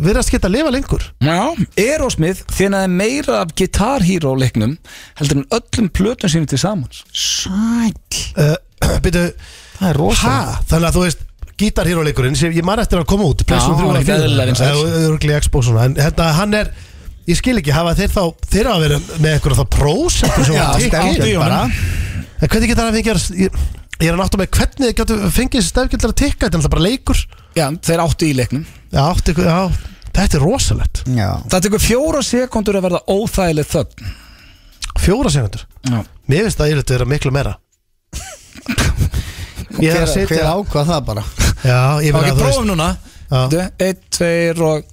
Speaker 2: verðast geta að lifa lengur
Speaker 1: Já, Erosmith þjónaði meira af Guitar Hero leiknum heldur en öllum plötum sínum til samans
Speaker 3: Sæll
Speaker 2: uh, Byrju,
Speaker 3: Það
Speaker 2: ha,
Speaker 3: er rosalega
Speaker 2: þannig að þú veist Gítarhýróleikurinn sem ég man eftir að koma út
Speaker 1: Já, hann er ekki eðlilega vinsæll.
Speaker 2: Örgli Xbox svona En hérna, hann er, ég skil ekki hafa þeir þá, þeir hafa verið með einhverja þá prósentur sem
Speaker 3: Já,
Speaker 2: var tekið.
Speaker 3: stefnir
Speaker 2: Bara.
Speaker 3: bara.
Speaker 2: En hvernig geta það að fengja ég, ég er að náttúrulega með hvernig þið getur fengið þessi stefgjaldar að tikka, þetta er alltaf bara leikur
Speaker 1: Já, þeir áttu í leiknum
Speaker 2: Já, átti, ykkur- já, þetta er rosalegt
Speaker 3: Já
Speaker 1: Það tekur fjóra sekundur að verða óþægileg þögn
Speaker 2: Fjóra segundur
Speaker 1: Já.
Speaker 2: Mér finnst það yfirleitt vera miklu meira Ég er
Speaker 3: Hver,
Speaker 2: að
Speaker 3: hver
Speaker 2: setja
Speaker 3: ákvað það bara?
Speaker 2: Já, ég
Speaker 1: Ok,
Speaker 2: meina að þú veist
Speaker 1: prófum
Speaker 3: um-
Speaker 1: núna
Speaker 2: Já.
Speaker 1: Þú, Einn, tveir og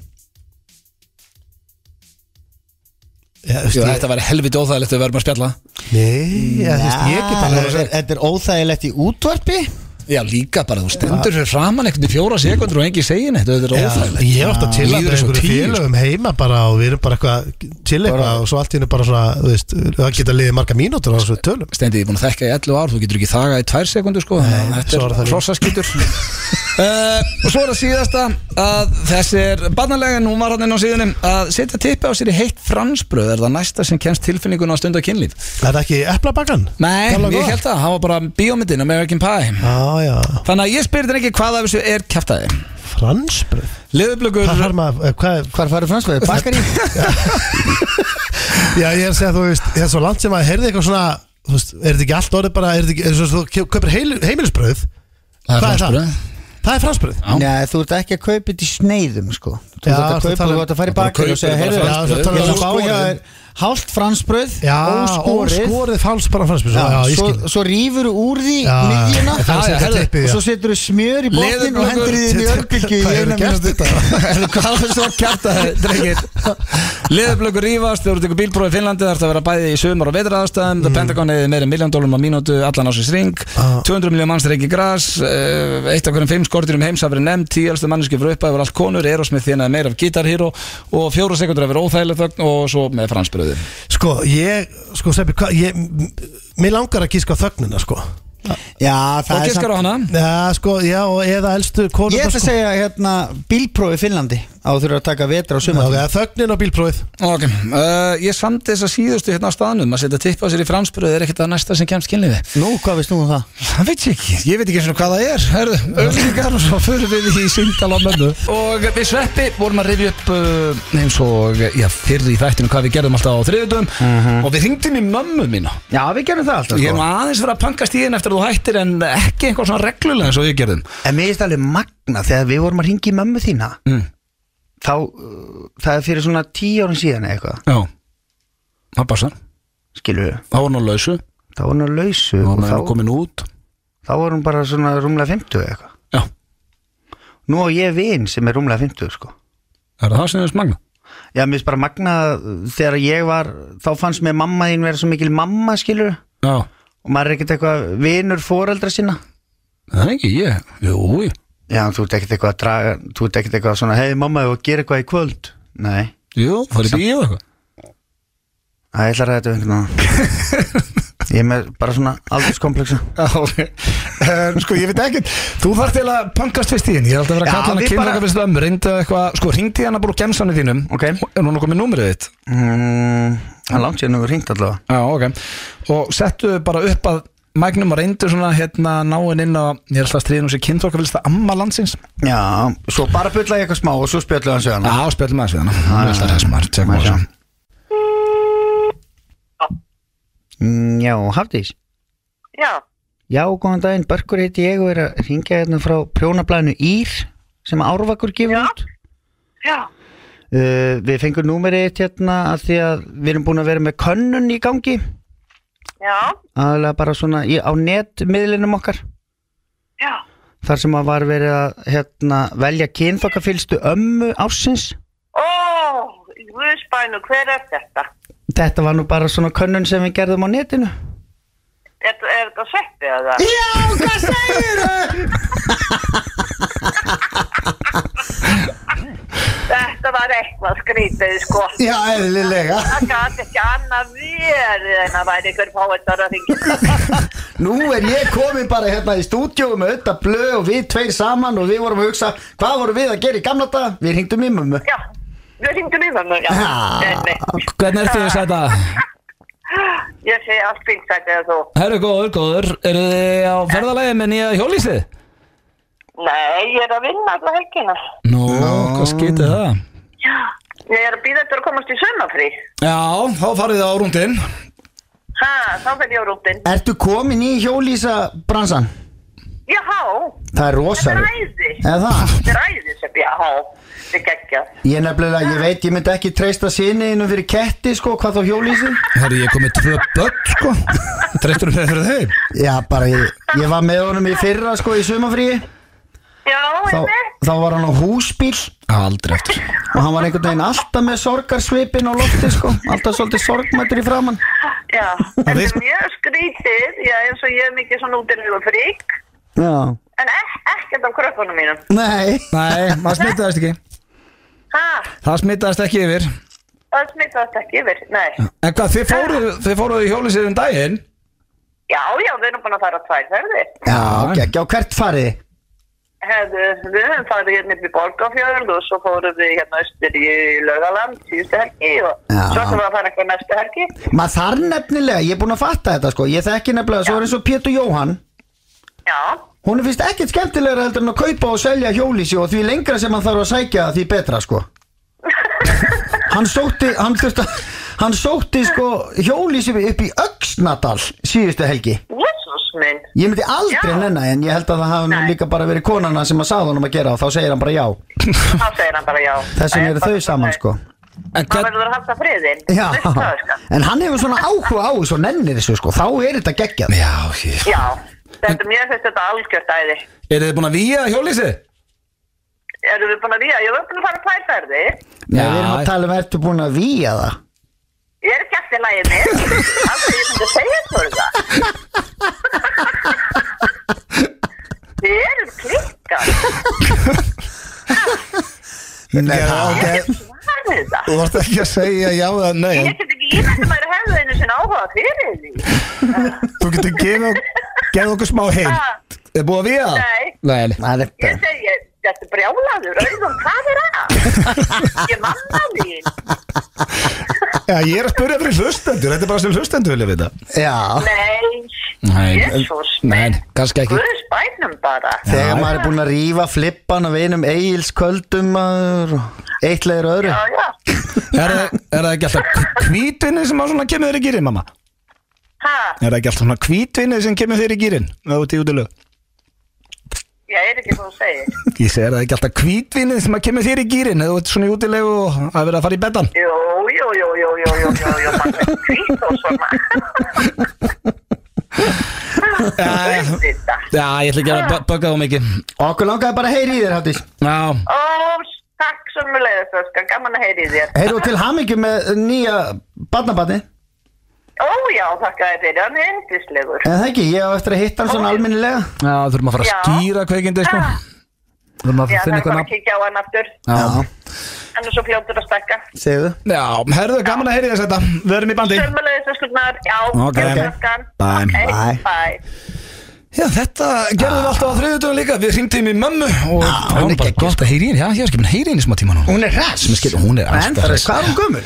Speaker 2: Já, þú veist,
Speaker 1: Jú,
Speaker 2: ég-
Speaker 1: Þetta væri helviti óþægilegt við verðum að spjalla
Speaker 2: Nei, já, þú veist, ég get alveg
Speaker 3: Já, Þetta er óþægilegt í útvarpi
Speaker 1: Já, líka bara, þú stendur fyrir framan ekkert í fjóra sekundur og engi segin þetta Þetta er
Speaker 2: Já,
Speaker 1: óþægilegt
Speaker 2: Ég átt að til að
Speaker 1: Líður eins og
Speaker 2: einhverju
Speaker 1: tíu, sko.
Speaker 2: félögum heima bara og við erum bara eitthvað til eitthvað og svo allt í hennu bara svona, þú veist, það geta liðið marga mínútur á þessu tölum
Speaker 1: Stendi, ég er búin að þekka í 11 ár, þú getur ekki þagað í 2 sekundur sko, þannig að
Speaker 2: svo er
Speaker 1: þetta
Speaker 2: það
Speaker 1: er
Speaker 2: líka.
Speaker 1: hrossaskýtur uh, og svo er það síðasta að þessi er barnalega númaranninn á síðunum að setja tippi á sér í heitt fransbröð er það næsta sem kennst tilfinningun á stund af kynlíf
Speaker 2: Er það ekki eplabakkan?
Speaker 1: Nei,
Speaker 2: Gamla
Speaker 1: ég
Speaker 2: góða?
Speaker 1: held það, hann var bara bíómyndin American Pie
Speaker 2: Já, já,
Speaker 1: Þannig að ég spyrir þér ekki hvað af þessu er kjaftaði
Speaker 2: fransbröð
Speaker 1: Leðublökur
Speaker 2: Hvað har maður, eh, hvað er
Speaker 3: Hvar farið fransveið? Bakari?
Speaker 2: Já, ég er að segja, þú veist, það er svo langt sem að heyrði eitthvað svona, þú veist, er þetta ekki allt orðið bara, er þetta ekki, er þetta svo, þú kaupir heil- heimilisbrauð,
Speaker 1: Það
Speaker 2: hvað er það?
Speaker 1: fransbrauð.
Speaker 2: Það er fransbröð
Speaker 1: Já.
Speaker 3: Nei, þú ert ekki að kaupa þetta í sneiðum sko Þú
Speaker 2: Já,
Speaker 3: ert að
Speaker 2: ertu að
Speaker 3: kaupa,
Speaker 2: tala um-
Speaker 3: þú ert að fara í bakari
Speaker 1: Þú
Speaker 3: og
Speaker 1: ert
Speaker 3: segja
Speaker 1: að kaupa
Speaker 3: Heyrðu,
Speaker 1: bara
Speaker 3: já,
Speaker 2: fransbrauð.
Speaker 3: þú ert að fá
Speaker 2: Óskorið.
Speaker 3: hjá þér Hálft fransbröð
Speaker 2: Já,
Speaker 3: Óskorið
Speaker 2: óskorið fals bara fransbröð Já, já, ég
Speaker 3: svo,
Speaker 2: skil
Speaker 3: svo rýfur úr því
Speaker 2: Já,
Speaker 3: miðjuna
Speaker 2: það er að setja
Speaker 1: herðu,
Speaker 2: tippið,
Speaker 3: og
Speaker 2: já.
Speaker 3: svo setur þú smjör í botnin og
Speaker 1: Leðurblökur.
Speaker 3: hendur því inn í örbylgi
Speaker 2: Hvað hefur gert þetta?
Speaker 1: Hvað var svo kjartaði, drengir Leðublöku rífast, þú eru tekur bílprófi í Finnlandi Það ert að vera bæði í sömur og vetraraðstæðum mm. Pentagon eða meira en miljón dólum á mínútu Allan ásins ring,
Speaker 2: Ah.
Speaker 1: 200 miljón manns reyngi gras uh, Eitt af hverjum fimm skortir um heims hafa verið nefnd Tíu elstu manneski fyrir uppæði var allt konur Erosmith þínaði meira af Guitar Hero Og fjóra sekundur að vera óþægileg þögn Og svo með fransbröði
Speaker 2: Sko, ég, sko, Seppi, hvað, ég m- Mér langar að gíska á þögnina, sko
Speaker 3: Já, það
Speaker 1: Og
Speaker 3: er
Speaker 1: giskar á
Speaker 3: samt
Speaker 1: hana
Speaker 2: Já, sko, já, og eða elstu konur
Speaker 3: Ég ætla
Speaker 2: sko.
Speaker 3: að segja hérna bílprófi í Finnlandi á þú eru að taka vetra og
Speaker 2: Já,
Speaker 3: suma
Speaker 2: ok, Þögnin og bílprófið
Speaker 1: Ok, uh, ég samti þess að síðustu hérna á staðnum að setja tippa sér í fransbröð er ekkert að næsta sem kemst kynlífi
Speaker 3: Nú, hvað veist nú um það?
Speaker 1: Það veit ég ekki, ég veit ekki eins og hvað það er Hörðu, auðvitað og svo förum við í síndal á mömmu Og við sveppi vorum að rifja upp uh, eins og, já, fyrr í þættinu hvað við gerðum alltaf á þriðutum Og við hringdum í mömmu mína
Speaker 3: Já, við gerum það alltaf sko.
Speaker 1: Ég er nú aðeins verið að pankast í henn eftir að þú hættir en ekki einhver svona reglulega eins og við gerðum
Speaker 3: En mér finnst alveg magna þegar við vorum að ringi mömmu þína
Speaker 1: mm.
Speaker 3: þá, uh, það er fyrir svona tíu árum síðan eða eitthvað,
Speaker 1: Já, það passa,
Speaker 3: skilur við
Speaker 1: þá var hún á lausu
Speaker 3: þá var hún að lausu
Speaker 1: og
Speaker 3: og
Speaker 1: hún
Speaker 3: þá,
Speaker 1: er komin út
Speaker 3: þá var hún bara svona rúmlega 50 eða eitthvað
Speaker 1: Já,
Speaker 3: Nú á ég vin sem er rúmlega 50 sko
Speaker 1: er það sem þess magna?
Speaker 3: Já, mér finnst bara magna þegar ég var, þá fannst mér mamma þín vera svo mikil mamma, skilur
Speaker 1: Já,
Speaker 3: og maður er ekkert eitthvað vinur foreldra sinna
Speaker 1: það er ekki ég, jú, jú
Speaker 3: Já, þú ert ekkert eitthvað að draga Þú ert ekkert eitthvað svona, hei mamma, þú gerir eitthvað í kvöld Nei,
Speaker 1: Jú, farið í bíó eitthvað
Speaker 3: það ætlar að þetta við einhvern veginn Ég er með bara svona aldurskompleksa
Speaker 1: Já, ok. um, sko, ég veit ekkert Þú þarf til að pankast fyrst í henni Ég er alltaf að vera að
Speaker 3: Já,
Speaker 1: kalla hana
Speaker 3: við
Speaker 1: kynna
Speaker 3: bara-
Speaker 1: okkar fyrst ömmu Reyndu eitthvað, sko, hringdi hana bara úr gemsanni þínum
Speaker 3: Ok.
Speaker 1: Er hún okkur með númerið þitt?
Speaker 3: Mm, Það er langt sér nú hringt allavega
Speaker 1: Já, ok Og settu bara upp að Magnum og reyndu svona hérna náinn inn á Ég er alltaf að stríðin og sé kynntokafylsta amma landsins Já,
Speaker 3: Já, svo bara bulla ég eitthvað smá og svo spjallu hans við hana
Speaker 1: spjallum aðeins við hana Hún er alltaf resmar, tjekkum á
Speaker 3: Maður
Speaker 1: þessu
Speaker 3: Mm, Já, Hafdís
Speaker 6: Já,
Speaker 3: Já, góðan daginn, Börkur heiti ég og er að ringja hérna frá prjónablæðinu Ír sem Árvakur gefur út
Speaker 6: já,
Speaker 3: uh, Við fengum númerið eitt hérna af því að við erum búin að vera með könnun í gangi
Speaker 6: já,
Speaker 3: aðalega bara svona í, á netmiðlinum okkar
Speaker 6: já,
Speaker 3: þar sem að var verið að hérna, velja kynþokkafylstu ömmu ársins
Speaker 6: ó, í Guðsbænu, hver er þetta?
Speaker 3: Þetta var nú bara svona könnun sem við gerðum á netinu
Speaker 6: Er, er þetta sveppið eða? Já, hvað segir þau? þetta var eitthvað skrítið, sko.
Speaker 3: Já, eðlilega
Speaker 6: Það gæti ekki annað verið en að væri ykkur fáettar að ringja.
Speaker 3: Nú er ég komin bara hérna í stúdíu með auðvitað blöð og við tveir saman og við vorum að hugsa hvað vorum við að gera í gamla dag við hringdum í mömmu
Speaker 6: Já, við ringdum í þannig, já. Nei, nei.
Speaker 1: Hvernig ertu þess að þetta?
Speaker 6: Ég sé allt fínt þetta eða þú.
Speaker 1: Herru góður, góður Eru þið á ferðalagi með nýja hjólísið?
Speaker 6: Nei, ég er að vinna alla helgina.
Speaker 1: Nú, hvað skytið það?
Speaker 6: Já. Ég er að býða eftir að komast í sömafrí.
Speaker 1: Já, þá farið þið á rúndin
Speaker 6: Ha, þá fer ég á rútin.
Speaker 3: Ertu komin í hjólísa bransan?
Speaker 6: Jáhá,
Speaker 3: Það er
Speaker 6: þetta er
Speaker 3: rosalega
Speaker 6: æði.
Speaker 3: Eða það?
Speaker 6: Þetta er æði sem ég á. Þetta er geggjað.
Speaker 3: Ég nefnilega, ég veit, ég myndi ekki treysta sinniðinu fyrir ketti sko, hvað þá hjólísi
Speaker 1: Herru, ég kom með tvö börn, sko Dreiftur um þeir fyrir þeim
Speaker 3: Já, bara ég, ég var með honum í fyrra sko í sumafríi
Speaker 6: Já,
Speaker 3: þá,
Speaker 6: einmitt.
Speaker 3: þá var hann á húsbíl
Speaker 1: Aldrei eftir
Speaker 3: og hann var einhvern veginn alltaf með sorgarsvipin á lofti sko, alltaf svolítið sorgmættur í framann
Speaker 6: Já, þetta er mjög skrítið, já, eins og ég er mikið svona útilega frík,
Speaker 3: Já,
Speaker 6: en ek ekkert af krökkunum mínum.
Speaker 3: nei
Speaker 1: Nei, maður smitaðist ekki
Speaker 6: Ha,
Speaker 1: Það smitaðist ekki yfir
Speaker 6: það smittast ekki yfir, nei.
Speaker 3: Eh.
Speaker 1: En hvað, þið fóruð, þið fóruð í hjólísið um daginn?
Speaker 6: Já, já, við erum búin að fara tvær ferðir.
Speaker 3: Já, geggja, og hvert farið? þið?
Speaker 6: Hefðu, við höfum farið hérna upp í Borgafjörð og svo fórum við hérna austur í Laugaland síðustu helgi og
Speaker 3: Já.
Speaker 6: svo ætlum við að fara eitthvað næstu helgi.
Speaker 3: Maður þarf nefnilega, ég er búinn að fatta þetta sko Ég þekki nefnilega, svo er eins og Pétur Jóhann
Speaker 6: Já,
Speaker 3: Hún er fyrst ekkert skemmtilegra heldur en að kaupa og selja hjólísi Og því lengra sem hann þarf að sækja því betra sko Hann sótti, hann þurfti að Hann sótti sko hjólísi upp í Öxnadal síðustu helgi
Speaker 6: jésús minn.
Speaker 3: Ég myndi aldrei
Speaker 6: Já.
Speaker 3: nenna en ég held að það hafi nú
Speaker 6: Nei.
Speaker 3: líka bara verið konana sem að sagði honum að gera og þá segir hann bara já
Speaker 6: Þá segir hann bara já.
Speaker 3: Þess vegna eru
Speaker 6: Það er bara
Speaker 3: þau saman
Speaker 6: svoleiðis.
Speaker 3: sko
Speaker 1: En
Speaker 6: Það
Speaker 1: hvern,
Speaker 6: verður að halda friðin.
Speaker 3: Já,
Speaker 6: Veistu það, sko?
Speaker 3: en hann hefur svona áhuga á þessu og nennir þessu sko, þá er þetta geggjað
Speaker 1: Já, hér
Speaker 6: Já, þetta er mjög fyrst þetta algjört æði.
Speaker 1: Eru þið búin að víja hjólísið?
Speaker 6: Erum við búin að víja? Ég er búin að fara tvær ferðir.
Speaker 3: Nei, við erum
Speaker 1: Já.
Speaker 3: að tala um ertu búin að víja það
Speaker 6: Ég er ekki eftir lægið mér. Af hverju ég myndi að segja þú það? Þið erum klikkað.
Speaker 3: Nei, það-
Speaker 6: Ég er ekki svarað þetta.
Speaker 1: Þú varst ekki að segja já eða nei
Speaker 6: Ég get ekki ímyndið maður hefðu einu sinni áhuga fyrir því.
Speaker 1: Þú getur gefið, gefið okkur smá hint Er búið að víja?
Speaker 6: Nei.
Speaker 1: Nei, nei
Speaker 3: það er
Speaker 6: Ég
Speaker 3: bara
Speaker 6: segi, þetta er brjálaður, auðvitað, hvað er að? Ég er mamma þín.
Speaker 1: Já, ég er að spyrja fyrir hlustendur Þetta er bara sem hlustendur vilja vita
Speaker 3: Já,
Speaker 6: Nei, jésús,
Speaker 1: nei, kannski ekki
Speaker 6: Guðs bænum bara.
Speaker 3: þegar maður er búin að rífa flippan af einum eigilsköldum maður og eitt leiður öðru
Speaker 6: Já, já.
Speaker 1: Er, það- er það ekki alltaf kvítvinni sem að svona kemur þér í gýrin, mamma?
Speaker 6: Ha,
Speaker 1: Er það ekki alltaf svona kvítvinni sem kemur þér í gýrin? Það út í útilög
Speaker 6: ég er ekki svo að segja.
Speaker 1: Ég segi, er það ekki alltaf kvítvinnið sem að kemur þér í gýrin eða þú ert svona í útilegu og að vera að fara í betan?
Speaker 6: Jú, jú, jú, jú, jú, jú, jú, jú, maður er kvít og svona.
Speaker 1: Já, já.
Speaker 6: Auðvitað.
Speaker 1: Já, ég ætla ekki
Speaker 6: Ah.
Speaker 1: að bögga þú mikið
Speaker 3: Okkur langaði bara að heyri í þér, Hafdís
Speaker 1: Já,
Speaker 6: Ó, takk sem mjög leiðist, Öskan, gaman að heyri þér.
Speaker 3: Heyrðu og til hamingju með nýja barnabarni
Speaker 6: Ó, já, þakka þér fyrir, hann er endislegur.
Speaker 3: En það ekki, ég á eftir að hitta hann svona alminnilega
Speaker 1: já þurfum að fara að
Speaker 6: Já.
Speaker 1: skýra kveikindi sko.
Speaker 6: Ah,
Speaker 7: Við erum að
Speaker 6: Já, það
Speaker 7: finna
Speaker 6: er
Speaker 7: eitthvað
Speaker 6: bara að
Speaker 7: nafn
Speaker 6: kíkja á hann aftur
Speaker 7: Já,
Speaker 6: Hann er svo fljótur að stekka
Speaker 3: segðu
Speaker 1: Já, herðu, gaman að heyri þess þetta Við erum í bandi
Speaker 6: Sömmulegis öskurnar, já,
Speaker 7: Ok.
Speaker 6: gjöfnaskan
Speaker 3: Bye. Bye.
Speaker 6: Bye
Speaker 1: Já, þetta gerðum við alltaf á þriðutöðum líka Við hringdum í mömmu og það var bara gott að heyri henni Já, ég var ekki með heyri henni í smá tíma núna
Speaker 3: Hún er hress
Speaker 1: Sem er skil- hún er alltaf
Speaker 3: En það er
Speaker 1: hress.
Speaker 3: hvað er hún gömul?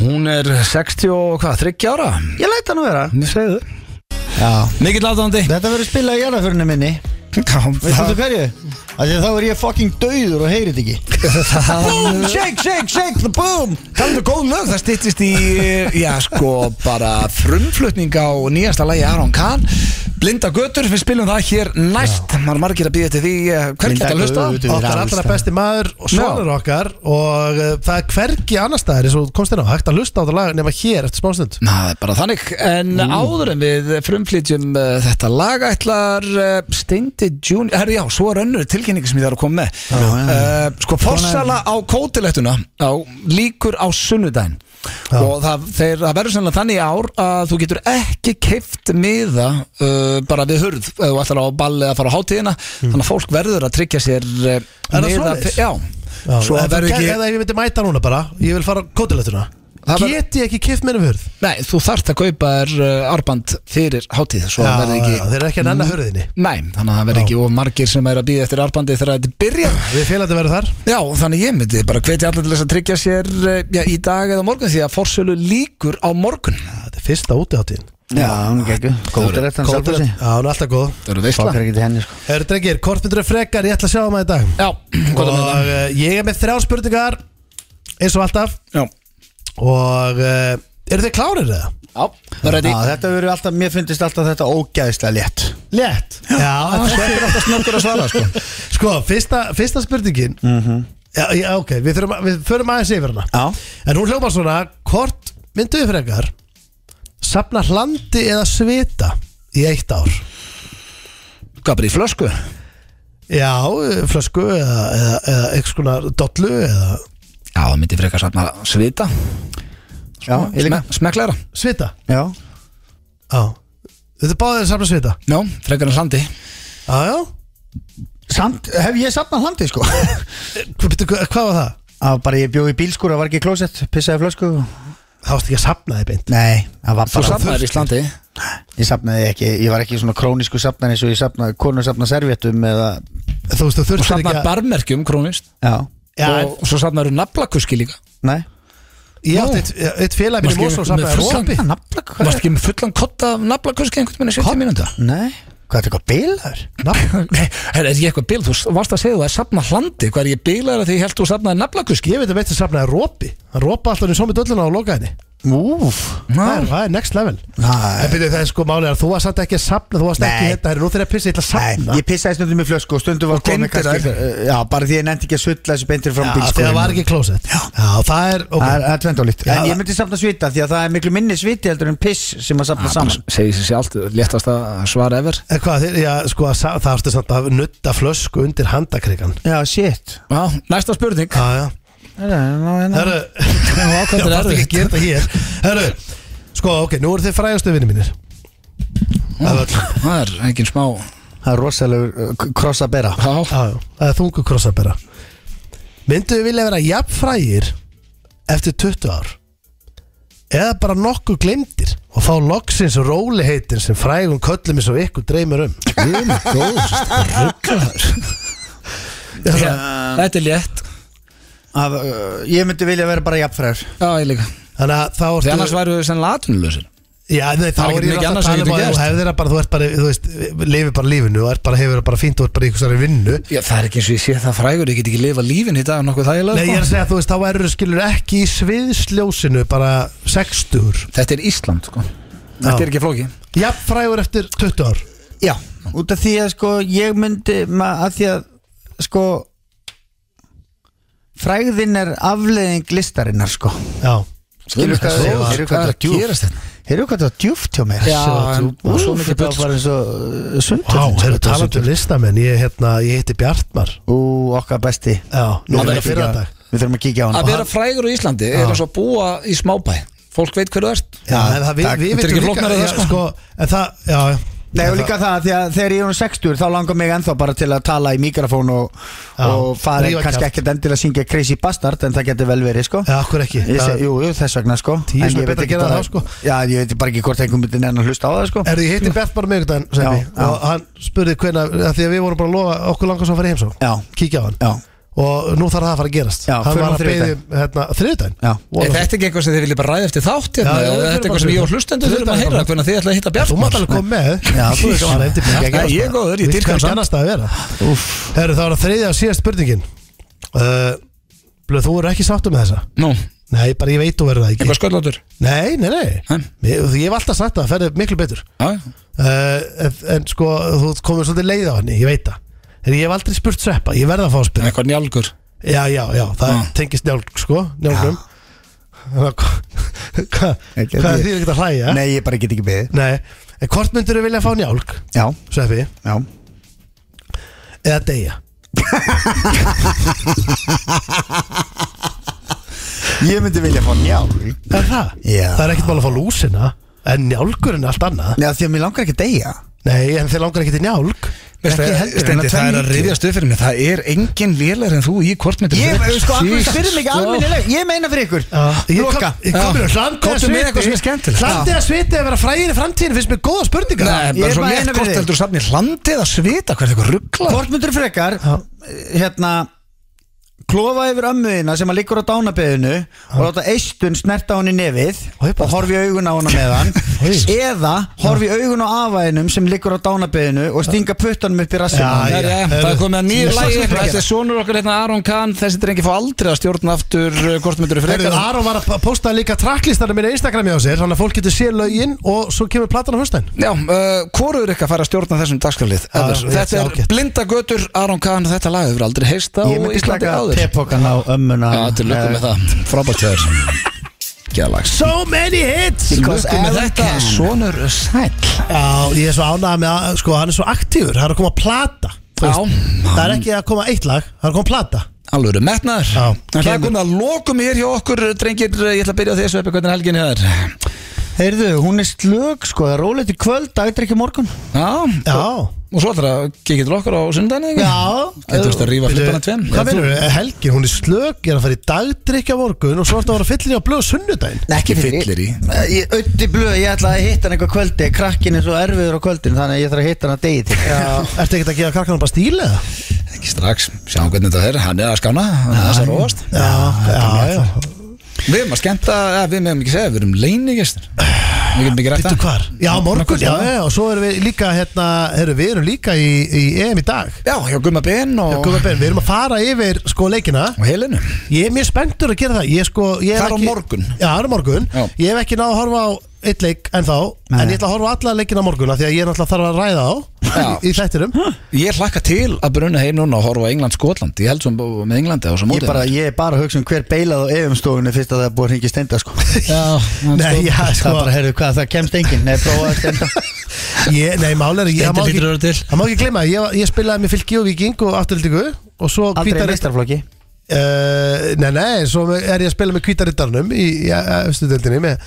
Speaker 1: Hún er 60 og hvað, 30 ára
Speaker 3: Ég læt hann að vera
Speaker 1: Mér segðu
Speaker 3: Já
Speaker 1: Mikill aðdándi
Speaker 3: Þetta verður spilað í jarðaförinu minni Veistu þú hverju? Af því að þá er ég fucking dauður og heyrið ekki Boom, shake, shake, shake the boom
Speaker 1: Talandu góð lög, það styttist í Já, sko, bara frumflutning á nýjasta lagi Aron Kahn Blinda götur, við spilum það hér næst Maður er margir að býða til því eh, Hver
Speaker 3: Blinda
Speaker 1: geta að hlusta á?
Speaker 3: götur.
Speaker 2: okkar
Speaker 3: alls
Speaker 2: allra
Speaker 3: staðar.
Speaker 2: besti maður og sonur okkar og uh, það er hvergi annar staðar eins og þú komst inn á, hægt að hlusta á þetta lag nema hér eftir smástund
Speaker 1: Ná, það er bara þannig En áður en við frumflytjum uh, þetta lag ætlar uh, Steindi Junior Herri já, svo er önnur tilkynning sem ég þarf að koma með uh, Sko, forsala á kótilettuna á, líkur á sunnudaginn og það, þeir, það verður sannlega þannig í ár að þú getur ekki keift miða uh, bara við hurð ef þú ætlar á balli að fara á hátíðina þannig að fólk verður að tryggja sér uh,
Speaker 2: Mm. það
Speaker 1: miða-
Speaker 2: svoleiðis?
Speaker 1: Já,
Speaker 2: Já,
Speaker 1: svo
Speaker 2: ef,
Speaker 1: verður
Speaker 2: ekki...
Speaker 1: ekki
Speaker 2: ef ég myndi mæta núna bara, ég vil fara á kótilettuna
Speaker 1: Það verður-
Speaker 2: get ég ekki kift mér um hurð
Speaker 1: Nei, þú þarft að kaupa þér uh, árband fyrir hátíð svo
Speaker 2: Já,
Speaker 1: það verður ekki
Speaker 2: já, þeir eru ekki að nanna hurðinni
Speaker 1: Nei, þannig að það verður ekki of margir sem er að býða eftir árbandi þegar þetta byrjar
Speaker 2: Við félandi verður þar
Speaker 1: Já, þannig ég myndi bara hvetja allir til þess að tryggja sér eh, já, í dag eða morgun því að forsölu líkur á morgun
Speaker 2: Þetta er fyrsta útiháttíðin
Speaker 3: Já, hún er ekki Góður eftir hann sjálf þessi
Speaker 2: Já, hún er alltaf góð
Speaker 1: Það eru veistla
Speaker 3: Fokkar ekki til henni sko
Speaker 2: Herru drengir, kortmyndur er frekar, ég ætla að sjá um það í dag
Speaker 1: Já, hvað er með
Speaker 2: Og
Speaker 1: það?
Speaker 2: uh, ég er með þrjá spurningar Eins og alltaf
Speaker 1: Já,
Speaker 2: Og uh, eru þið klárir eða?
Speaker 1: já, það er
Speaker 3: Já,
Speaker 1: ready
Speaker 3: þetta verður alltaf, mér finnst alltaf þetta ógæðislega létt
Speaker 2: Létt Já, þetta er alltaf snöggur að svara sko Mhm. Sko, fyrsta, fyrsta spurningin já, já, ok, við, þurfum, að- við förum aðeins yfir hana
Speaker 3: Já
Speaker 2: En hún hljómar svona Hvort myndu við frekar Safna hlandi eða svita Í eitt ár
Speaker 1: Hvað bara í flösku?
Speaker 2: Já, eh, flösku eða, eða, eða einhvers konar dollu eða
Speaker 1: Já, það myndi frekar satt maður að svita Sko,
Speaker 3: Já, ég líka
Speaker 1: Smekklegra
Speaker 2: svita
Speaker 3: Já
Speaker 2: Já Þetta er báðið að safna svita
Speaker 1: Já, frekar en sandi
Speaker 2: Já, já
Speaker 3: Samt, hef ég safnað hlandið sko
Speaker 2: Hva, byrju, hva- Hvað var það?
Speaker 3: Það var bara, ég bjóð í bílskúra, var ekki í klósett, pissaði í flösku
Speaker 2: Það varst ekki að safna þið beint
Speaker 3: Nei, það var
Speaker 1: Þú
Speaker 3: bara
Speaker 1: safnaðir í slandi
Speaker 3: Ég safnaði ekki, ég var ekki svona krónísku safnar eins og ég safnaði, konur safna servjettum eða,
Speaker 2: Þú veist, þú
Speaker 1: Þú
Speaker 2: þurftir ekki
Speaker 1: safnaðir
Speaker 2: að
Speaker 1: barmerkjum krónist
Speaker 3: já,
Speaker 2: Já, en-
Speaker 1: og svo safnaðir naflakuski líka
Speaker 3: nei
Speaker 2: Ég átti eitt- eitt félag minn í
Speaker 1: Varstu
Speaker 2: Mosó
Speaker 1: ekki með
Speaker 2: safnaði
Speaker 1: fullan-
Speaker 2: rópi
Speaker 1: Þú varst ekki með fullan kotta af naflakuski einhvern minni 70 mínúnda
Speaker 3: Nei, hvað er þetta eitthvað bilaður?
Speaker 1: Nei, er, er ég eitthvað bíl? Þú varst að segja þú að safna hlandi Hvað er ég bílar að því ég held þú safnaði naflakuski?
Speaker 2: Ég veit að veit að safnaði rópi Hann rópa alltaf henni svo með dolluna og loka henni
Speaker 3: Úf
Speaker 2: Það er- það er next level
Speaker 3: Nei.
Speaker 2: En byrju, það er sko málið að þú varst samt ekki að safna Þú varst ekki
Speaker 3: Nei.
Speaker 2: hérna, herri, nú þegar ég pissi, ég ætla að
Speaker 3: Nei,
Speaker 2: safna
Speaker 3: ég pissaði stundum í flösku og stundum var komið
Speaker 1: geymdir
Speaker 3: kannski uh, Já, bara því ég nefndi ekki að sulla þessu beintir frá
Speaker 2: Já,
Speaker 3: bílskúra
Speaker 2: þegar það var ekki klósett Já, það er, ok
Speaker 3: Það er- það er tvend álít
Speaker 2: Já,
Speaker 3: En
Speaker 2: það-
Speaker 3: ég myndi safna svita því að það er miklu minni sviti heldur en Ah, piss sem maður safna saman
Speaker 1: Segir sér sjálft, léttast að svara ever
Speaker 2: En Hvað, þeir, já, sko, að sa- það ertu samt að nutta flösku undir handakrikan
Speaker 3: Já, shit
Speaker 1: Já, næsta spurning
Speaker 2: Já, já
Speaker 3: Herru,
Speaker 2: Herru,
Speaker 1: ákvæmt
Speaker 2: já,
Speaker 1: er
Speaker 2: þarftu ekki að
Speaker 1: erfitt.
Speaker 2: gera þetta hér Herru, sko, ok, nú eru þið frægastu vinni mínir Það er öll Já,
Speaker 1: Það er engin smá Um.
Speaker 3: Það er rosalegur uh, kross að bera
Speaker 1: Já,
Speaker 2: já, það er þungu krossabera Myndu við vilja vera jafn frægir eftir 20 ár eða bara nokkuð glemdir og fá loksins og róli heitin sem frægum köllum eins og ykkur dreymir um
Speaker 1: við erum góð Rugglaður Þetta er létt
Speaker 3: Að, uh, Ég myndi vilja vera bara jafnfræður
Speaker 1: Já, ég líka
Speaker 2: Þannig að þá
Speaker 1: Því
Speaker 2: ertu
Speaker 1: annars væru við sennilega atvinnulausir
Speaker 2: Já, nei, þá
Speaker 1: Það er
Speaker 2: er
Speaker 1: ekki
Speaker 2: ég
Speaker 1: mikið
Speaker 2: alltaf
Speaker 1: annað sem
Speaker 2: að tala um
Speaker 1: getur
Speaker 2: að þú
Speaker 1: gerst.
Speaker 2: hefðir að bara, þú ert bara, þú veist, lifir bara lífinu og er bara, hefur það bara fínt og er bara í einhversari vinnu
Speaker 1: Já, það er ekki eins og ég sé það frægur Ég get ekki lifa lífin í dag nokkuð
Speaker 2: Nei, ég
Speaker 1: þægilega
Speaker 2: er að
Speaker 1: sko.
Speaker 2: segja að þú veist, þá erur skilur ekki í sviðsljósinu bara 60
Speaker 1: Þetta er Ísland, sko Þetta er ekki flóki
Speaker 2: Jafnfrægur eftir 20 ár
Speaker 3: Já, út af því að sko ég myndi ma, að því að sko frægðin er afleðing listarinnar sko
Speaker 2: Já
Speaker 3: Skilur hvað
Speaker 1: Svo-
Speaker 3: það er, skilur
Speaker 1: hvað
Speaker 3: hvað það
Speaker 1: er að
Speaker 3: er
Speaker 1: gerast
Speaker 3: djúft
Speaker 1: þetta?
Speaker 3: Heyrðu hvað það er djúft hjá mér
Speaker 1: Já, en-
Speaker 3: og
Speaker 1: og
Speaker 3: svo
Speaker 1: svo mikið
Speaker 3: mikið
Speaker 1: bull,
Speaker 3: það var eins og uh,
Speaker 2: Vá,
Speaker 3: sundhöllin
Speaker 2: hefur talað um listamenn, ég, hérna, ég heiti Bjartmar
Speaker 3: Ú, okkar besti
Speaker 2: Já, nú
Speaker 3: Við
Speaker 2: er það
Speaker 3: þurfum að kíkja
Speaker 2: fyrir
Speaker 3: á-
Speaker 2: að dag
Speaker 3: Við þurfum að kíkja á hann
Speaker 1: Að vera frægur á Íslandi er eins og að búa í smábæ Fólk veit hverju þú ert
Speaker 2: Já, en það við,
Speaker 1: Takk.
Speaker 2: við
Speaker 1: Þetta er ekki
Speaker 2: vitum
Speaker 1: flóknara en það,
Speaker 2: líka já,
Speaker 1: sko.
Speaker 2: sko, En það, já, já
Speaker 3: Nei og líka það, því að þegar ég er um 60 þá langar mig ennþá bara til að tala í mikrofón og,
Speaker 2: Já,
Speaker 3: og fara
Speaker 2: rífa
Speaker 3: kannski
Speaker 2: kjaft.
Speaker 3: ekkert endilega að syngja Crazy Bastard en það getur vel verið sko
Speaker 2: Já, okkur ekki
Speaker 3: Ég
Speaker 2: Það-
Speaker 3: seg, jú, jú, þess vegna sko
Speaker 2: Tíu
Speaker 3: En
Speaker 2: sinnum
Speaker 3: ég veit
Speaker 2: betra að
Speaker 3: ekki
Speaker 2: gera
Speaker 3: bara-
Speaker 2: það, sko.
Speaker 3: Já, ég veit bara ekki hvort einhvern myndi enn að hlusta á það sko
Speaker 2: Erðu, ég hitti Bert bara miðvikudaginn Sveppi,
Speaker 3: Já, já.
Speaker 2: og hann spurði hvenna að því að við vorum bara að lofa okkur langar svo að fara í heimsó
Speaker 3: Já.
Speaker 2: kíkja á hann
Speaker 3: Já,
Speaker 2: og nú þarf það að fara að gerast
Speaker 3: Já,
Speaker 2: hann
Speaker 3: förum á
Speaker 2: var að
Speaker 3: þriðjudaginn.
Speaker 2: beðið um, hérna, þriðudaginn
Speaker 3: Já.
Speaker 1: Er þetta ekki eitthvað sem þið viljið bara ræða eftir þátt hérna?
Speaker 2: Já, já,
Speaker 1: Eða er
Speaker 2: við förum
Speaker 1: þetta
Speaker 2: bara
Speaker 1: eitthvað sem ég og
Speaker 2: fyrir.
Speaker 1: hlustendur þurfum að
Speaker 2: Þetta er
Speaker 1: heyra
Speaker 2: bara-
Speaker 1: hvernig þið ætla að hitta
Speaker 2: Þú
Speaker 1: Bjartmar
Speaker 2: mátt alveg koma með
Speaker 3: Já, þú veist
Speaker 2: það reyndi mig ekki að
Speaker 1: Nei,
Speaker 2: gerast
Speaker 1: ég er
Speaker 2: það.
Speaker 1: góður, ég
Speaker 2: Vilt
Speaker 1: dýrka hann
Speaker 2: kannski
Speaker 1: samt.
Speaker 2: annars staðar vera Herru, það var að þriðja og síðast spurningin uh, Blöð, þú eru ekki sáttu með þessa
Speaker 1: Nú,
Speaker 2: Nei, bara ég veit þú verður það ekki
Speaker 1: eitthvað sköllóttur
Speaker 2: Nei, nei, nei
Speaker 1: Hæ?
Speaker 2: Ég, ég hef alltaf sagt það, það ferði miklu betur
Speaker 1: Já,
Speaker 2: uh, en, en sko, þú komur svolítið leið á henni, ég veit það En ég hef aldrei spurt sveppa, ég verða að fá að spyrja
Speaker 1: eitthvað njálgur
Speaker 2: Já, já, já, það
Speaker 1: Já.
Speaker 2: tengist njálg, sko, njálgum Hvað hva,
Speaker 3: Ekki,
Speaker 2: hva
Speaker 3: ég-
Speaker 2: þýðir ekki að hlæja?
Speaker 3: nei, ég bara get ekki beðið
Speaker 2: Nei. En hvort myndur þú vilja fá njálg,
Speaker 3: Já,
Speaker 2: sveppi,
Speaker 3: já
Speaker 2: eða deyja?
Speaker 3: Ég myndi vilja fá njá
Speaker 2: Er það?
Speaker 3: Já.
Speaker 2: Það er ekkert mál að fá lúsina En njálgurinn er allt annað
Speaker 3: Já, því að mér langar ekki að deyja
Speaker 2: Nei, en þeir langar ekkert í njálg
Speaker 1: Veistu,
Speaker 3: Ekki heldur,
Speaker 1: Steindi,
Speaker 3: en að
Speaker 1: Það er að
Speaker 3: tvenn líki.
Speaker 1: reyðja stöðfyrir mig Það er engin lélar en þú í kortmyndir
Speaker 3: Ég, sko, alveg spyrir mig ekki almennileg Ég meina fyrir ykkur
Speaker 2: Ah, Ég
Speaker 3: Loka.
Speaker 2: kom- ég kom
Speaker 1: Já.
Speaker 2: með hlandið að
Speaker 1: Ah, Komdu með eitthvað sem er
Speaker 2: sviti
Speaker 1: skemmtilegt. Ah.
Speaker 2: Hlandið að sviti að vera frægir í framtíðin finnst mér góða spurningar
Speaker 1: Nei,
Speaker 3: Ég
Speaker 1: bara
Speaker 3: er
Speaker 1: svo
Speaker 3: bara
Speaker 1: létt
Speaker 3: eina
Speaker 1: hvort
Speaker 3: við þig.
Speaker 1: heldur þú safnir hlandið að svita hvert eitthvað ruggla
Speaker 3: Hvort myndur frekar Hérna Klofa yfir ömmuðina sem að liggur á dánabeðinu Og láta eistun snerta hún í nefið
Speaker 2: Oj, bara.
Speaker 3: Og horfi í augun á hana með hann
Speaker 2: Oj.
Speaker 3: Eða horfi í augun á afæðinum Sem liggur á dánabeðinu Og stinga puttanum upp í rassum
Speaker 2: Já,
Speaker 1: Það er, ja,
Speaker 2: Heyrðu.
Speaker 1: það er komið að nýja
Speaker 2: Ég
Speaker 1: lægi
Speaker 2: sakna
Speaker 1: Þetta
Speaker 2: þeirra.
Speaker 1: er sonur okkar hérna Aron Kahn Þessi drengi fá aldrei að stjórna aftur Kortmyndur fyrir
Speaker 2: Herðu, Aron var að posta líka tracklistanum minni á Instagram hjá sér Þannig að fólk getur séð lögin og svo kemur platan á höstæn
Speaker 1: Já, uh, hvoruður ekki að fara að stjórna þessum dagskrálið
Speaker 2: Já,
Speaker 1: Eðlis,
Speaker 2: ég
Speaker 1: Þetta
Speaker 2: sé
Speaker 1: er
Speaker 2: ágætt.
Speaker 1: blinda götur Aron Kahn, þetta lag hefur aldrei heist á
Speaker 3: Ég myndi
Speaker 1: Íslandi
Speaker 3: slaka
Speaker 1: áður
Speaker 3: tepokan á ömmuna
Speaker 1: Já, til lukku með það, frábært hjá þér Gjalags
Speaker 2: So many hits
Speaker 3: Because
Speaker 1: Lukku með
Speaker 3: Alan
Speaker 1: þetta,
Speaker 3: Kahn.
Speaker 1: sonur eh, sæll
Speaker 2: Já, ég er svo ánægð með að sko, hann er svo aktífur Það er að koma plata þú
Speaker 1: Já.
Speaker 2: veist. Það er ekki að koma eitt lag, það er að koma plata
Speaker 1: Alveg eru metnaður
Speaker 2: Já.
Speaker 1: En það er komið að lokum hér hjá okkur eh, Drengir, ég ætla að byrja á þessu uppi hvernig helgin hér
Speaker 3: Eh, Heyrðu, hún er slög sko Það er rólegt í kvöld, dagdrykki morgun
Speaker 1: Já,
Speaker 2: Já,
Speaker 1: og svo ætlar að kikið til okkar á sundaginn
Speaker 2: Já.
Speaker 1: Getur þú að rífa flippana tveim
Speaker 2: Hvað finnur þú? Helgin, hún er slög, er að fara í dagdrykja morgun og svo ertu að vera fyllir í að blöða sunnudaginn
Speaker 3: Ekki Eh,
Speaker 1: fyllir í.
Speaker 3: Ég ötti blöð, ég ætla að hitta hann eitthvað kvöldi Krakkin er svo erfiður á kvöldin Þannig að ég þarf að hitta hann að degi til
Speaker 2: Ertu ekkert að gefa krakkanum bara stíla eða?
Speaker 1: Ekki strax, sjáum hvernig þetta er Hann er að skána, hann er að róast
Speaker 2: Já, já, já
Speaker 1: Við erum að skemmta, eh, við meðum ekki segja Við erum leinigestur Við getum ekki rætt
Speaker 2: Vittu hvar? Já, morgun,
Speaker 1: Morgun,
Speaker 2: já,
Speaker 1: já.
Speaker 2: já, og svo erum við líka hérna, erum við erum líka í, í EM í dag
Speaker 1: Já, hjá Gumma Ben og,
Speaker 2: Gummi Ben, Við erum að fara yfir sko leikina
Speaker 1: og Helenu
Speaker 2: Ég er mjög spenntur að gera það Ég sko, ég er
Speaker 1: Það er á
Speaker 2: ekki-
Speaker 1: morgun.
Speaker 2: Já, það er á morgun
Speaker 1: Já.
Speaker 2: Ég hef ekki náð að horfa á eitt leik ennþá En ég ætla að horfa á alla leikina á morgun af Því að ég er náttúrulega þarf að ræða á
Speaker 1: Já.
Speaker 2: Í, í þættinum
Speaker 1: Ég hlakka til að bruna heim núna og horfa á England-Skotland Ég held sem með Englandi á svo
Speaker 3: Ég,
Speaker 1: mótið
Speaker 3: bara, ég er bara að hugsa um hver beilað á efumstofunni fyrst að það er búið að hringi stenda sko.
Speaker 1: Já,
Speaker 2: Nei, já, sko
Speaker 3: Það bara, heyrðu hvað, það kemst enginn Nei, prófaði að stenda
Speaker 2: ég, Nei, máli er ekki það má
Speaker 1: Stendur lítur að vera
Speaker 2: ekki-
Speaker 1: til.
Speaker 2: Það má ekki glemma Ég, ég spilaði með fylki og viking og afturlítingu Og svo
Speaker 3: Aldrei
Speaker 2: hvítar
Speaker 3: meistarflokki
Speaker 2: uh, Nei, nei, svo er ég að spila með kvítarittarnum Í, í efstu deildinni Með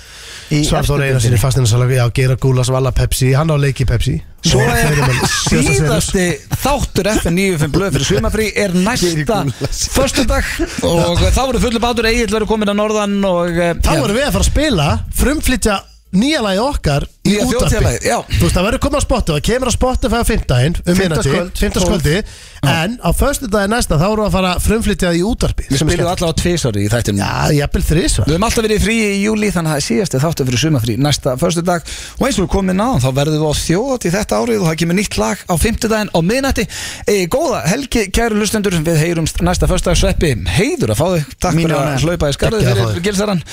Speaker 3: Í efstu
Speaker 2: Svartóra Einarsinni
Speaker 3: deildinni.
Speaker 2: fastinarsalega Já, Geira Gúlas vala Pepsi Hann á leiki Pepsi
Speaker 1: Svo
Speaker 2: Og
Speaker 1: er
Speaker 2: þeir eru-
Speaker 1: síðasti þáttur FN95 blöð fyrir svimafrí er næsta förstudag og þá voru fullu bátur Egil verið komin að norðan og eh,
Speaker 2: Þá
Speaker 1: já.
Speaker 2: vorum við að fara að spila Frumflytja nýja lagi okkar Í
Speaker 1: Nýja
Speaker 2: útarpi
Speaker 1: þjóðfélagið, já.
Speaker 2: Þú veist, það verður komið á spotu Það kemur á spotu fæða fimmtdægin Um minnati,
Speaker 3: Fimmtudagskvöld,
Speaker 2: fimmtdagskvöldi En á föstudagin næsta Þá vorum við að fara að frumflytja í útarpi
Speaker 1: við spilum allavega tvisari í þættinum
Speaker 2: Já, jafnvel þrísvar
Speaker 1: Við höfum alltaf verið í frí í júli þannig að það er síðasti þáttur fyrir sumafrí næsta förstudag og eins og við komin á þá verðum við á þjóðat í þetta árið og það kemur nýtt lag á fimmtudaginn á miðnætti Egi góða helgi kæru lustendur við heyrumst næsta förstudag sveppi heiður að fá þig takk
Speaker 3: Mín
Speaker 1: fyrir
Speaker 3: ánægja.
Speaker 1: að hlaupa í skarðið
Speaker 2: Takk að fá
Speaker 1: fyrir
Speaker 2: þig.
Speaker 1: gilsarann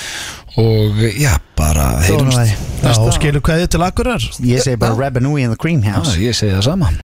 Speaker 1: og já bara
Speaker 3: Þjóðanvæði.
Speaker 1: heyrumst
Speaker 2: Já, og skilum hvað þið til akkurar
Speaker 3: Ég segi bara Rabanui in the Cream House
Speaker 1: Já, ég segi það sama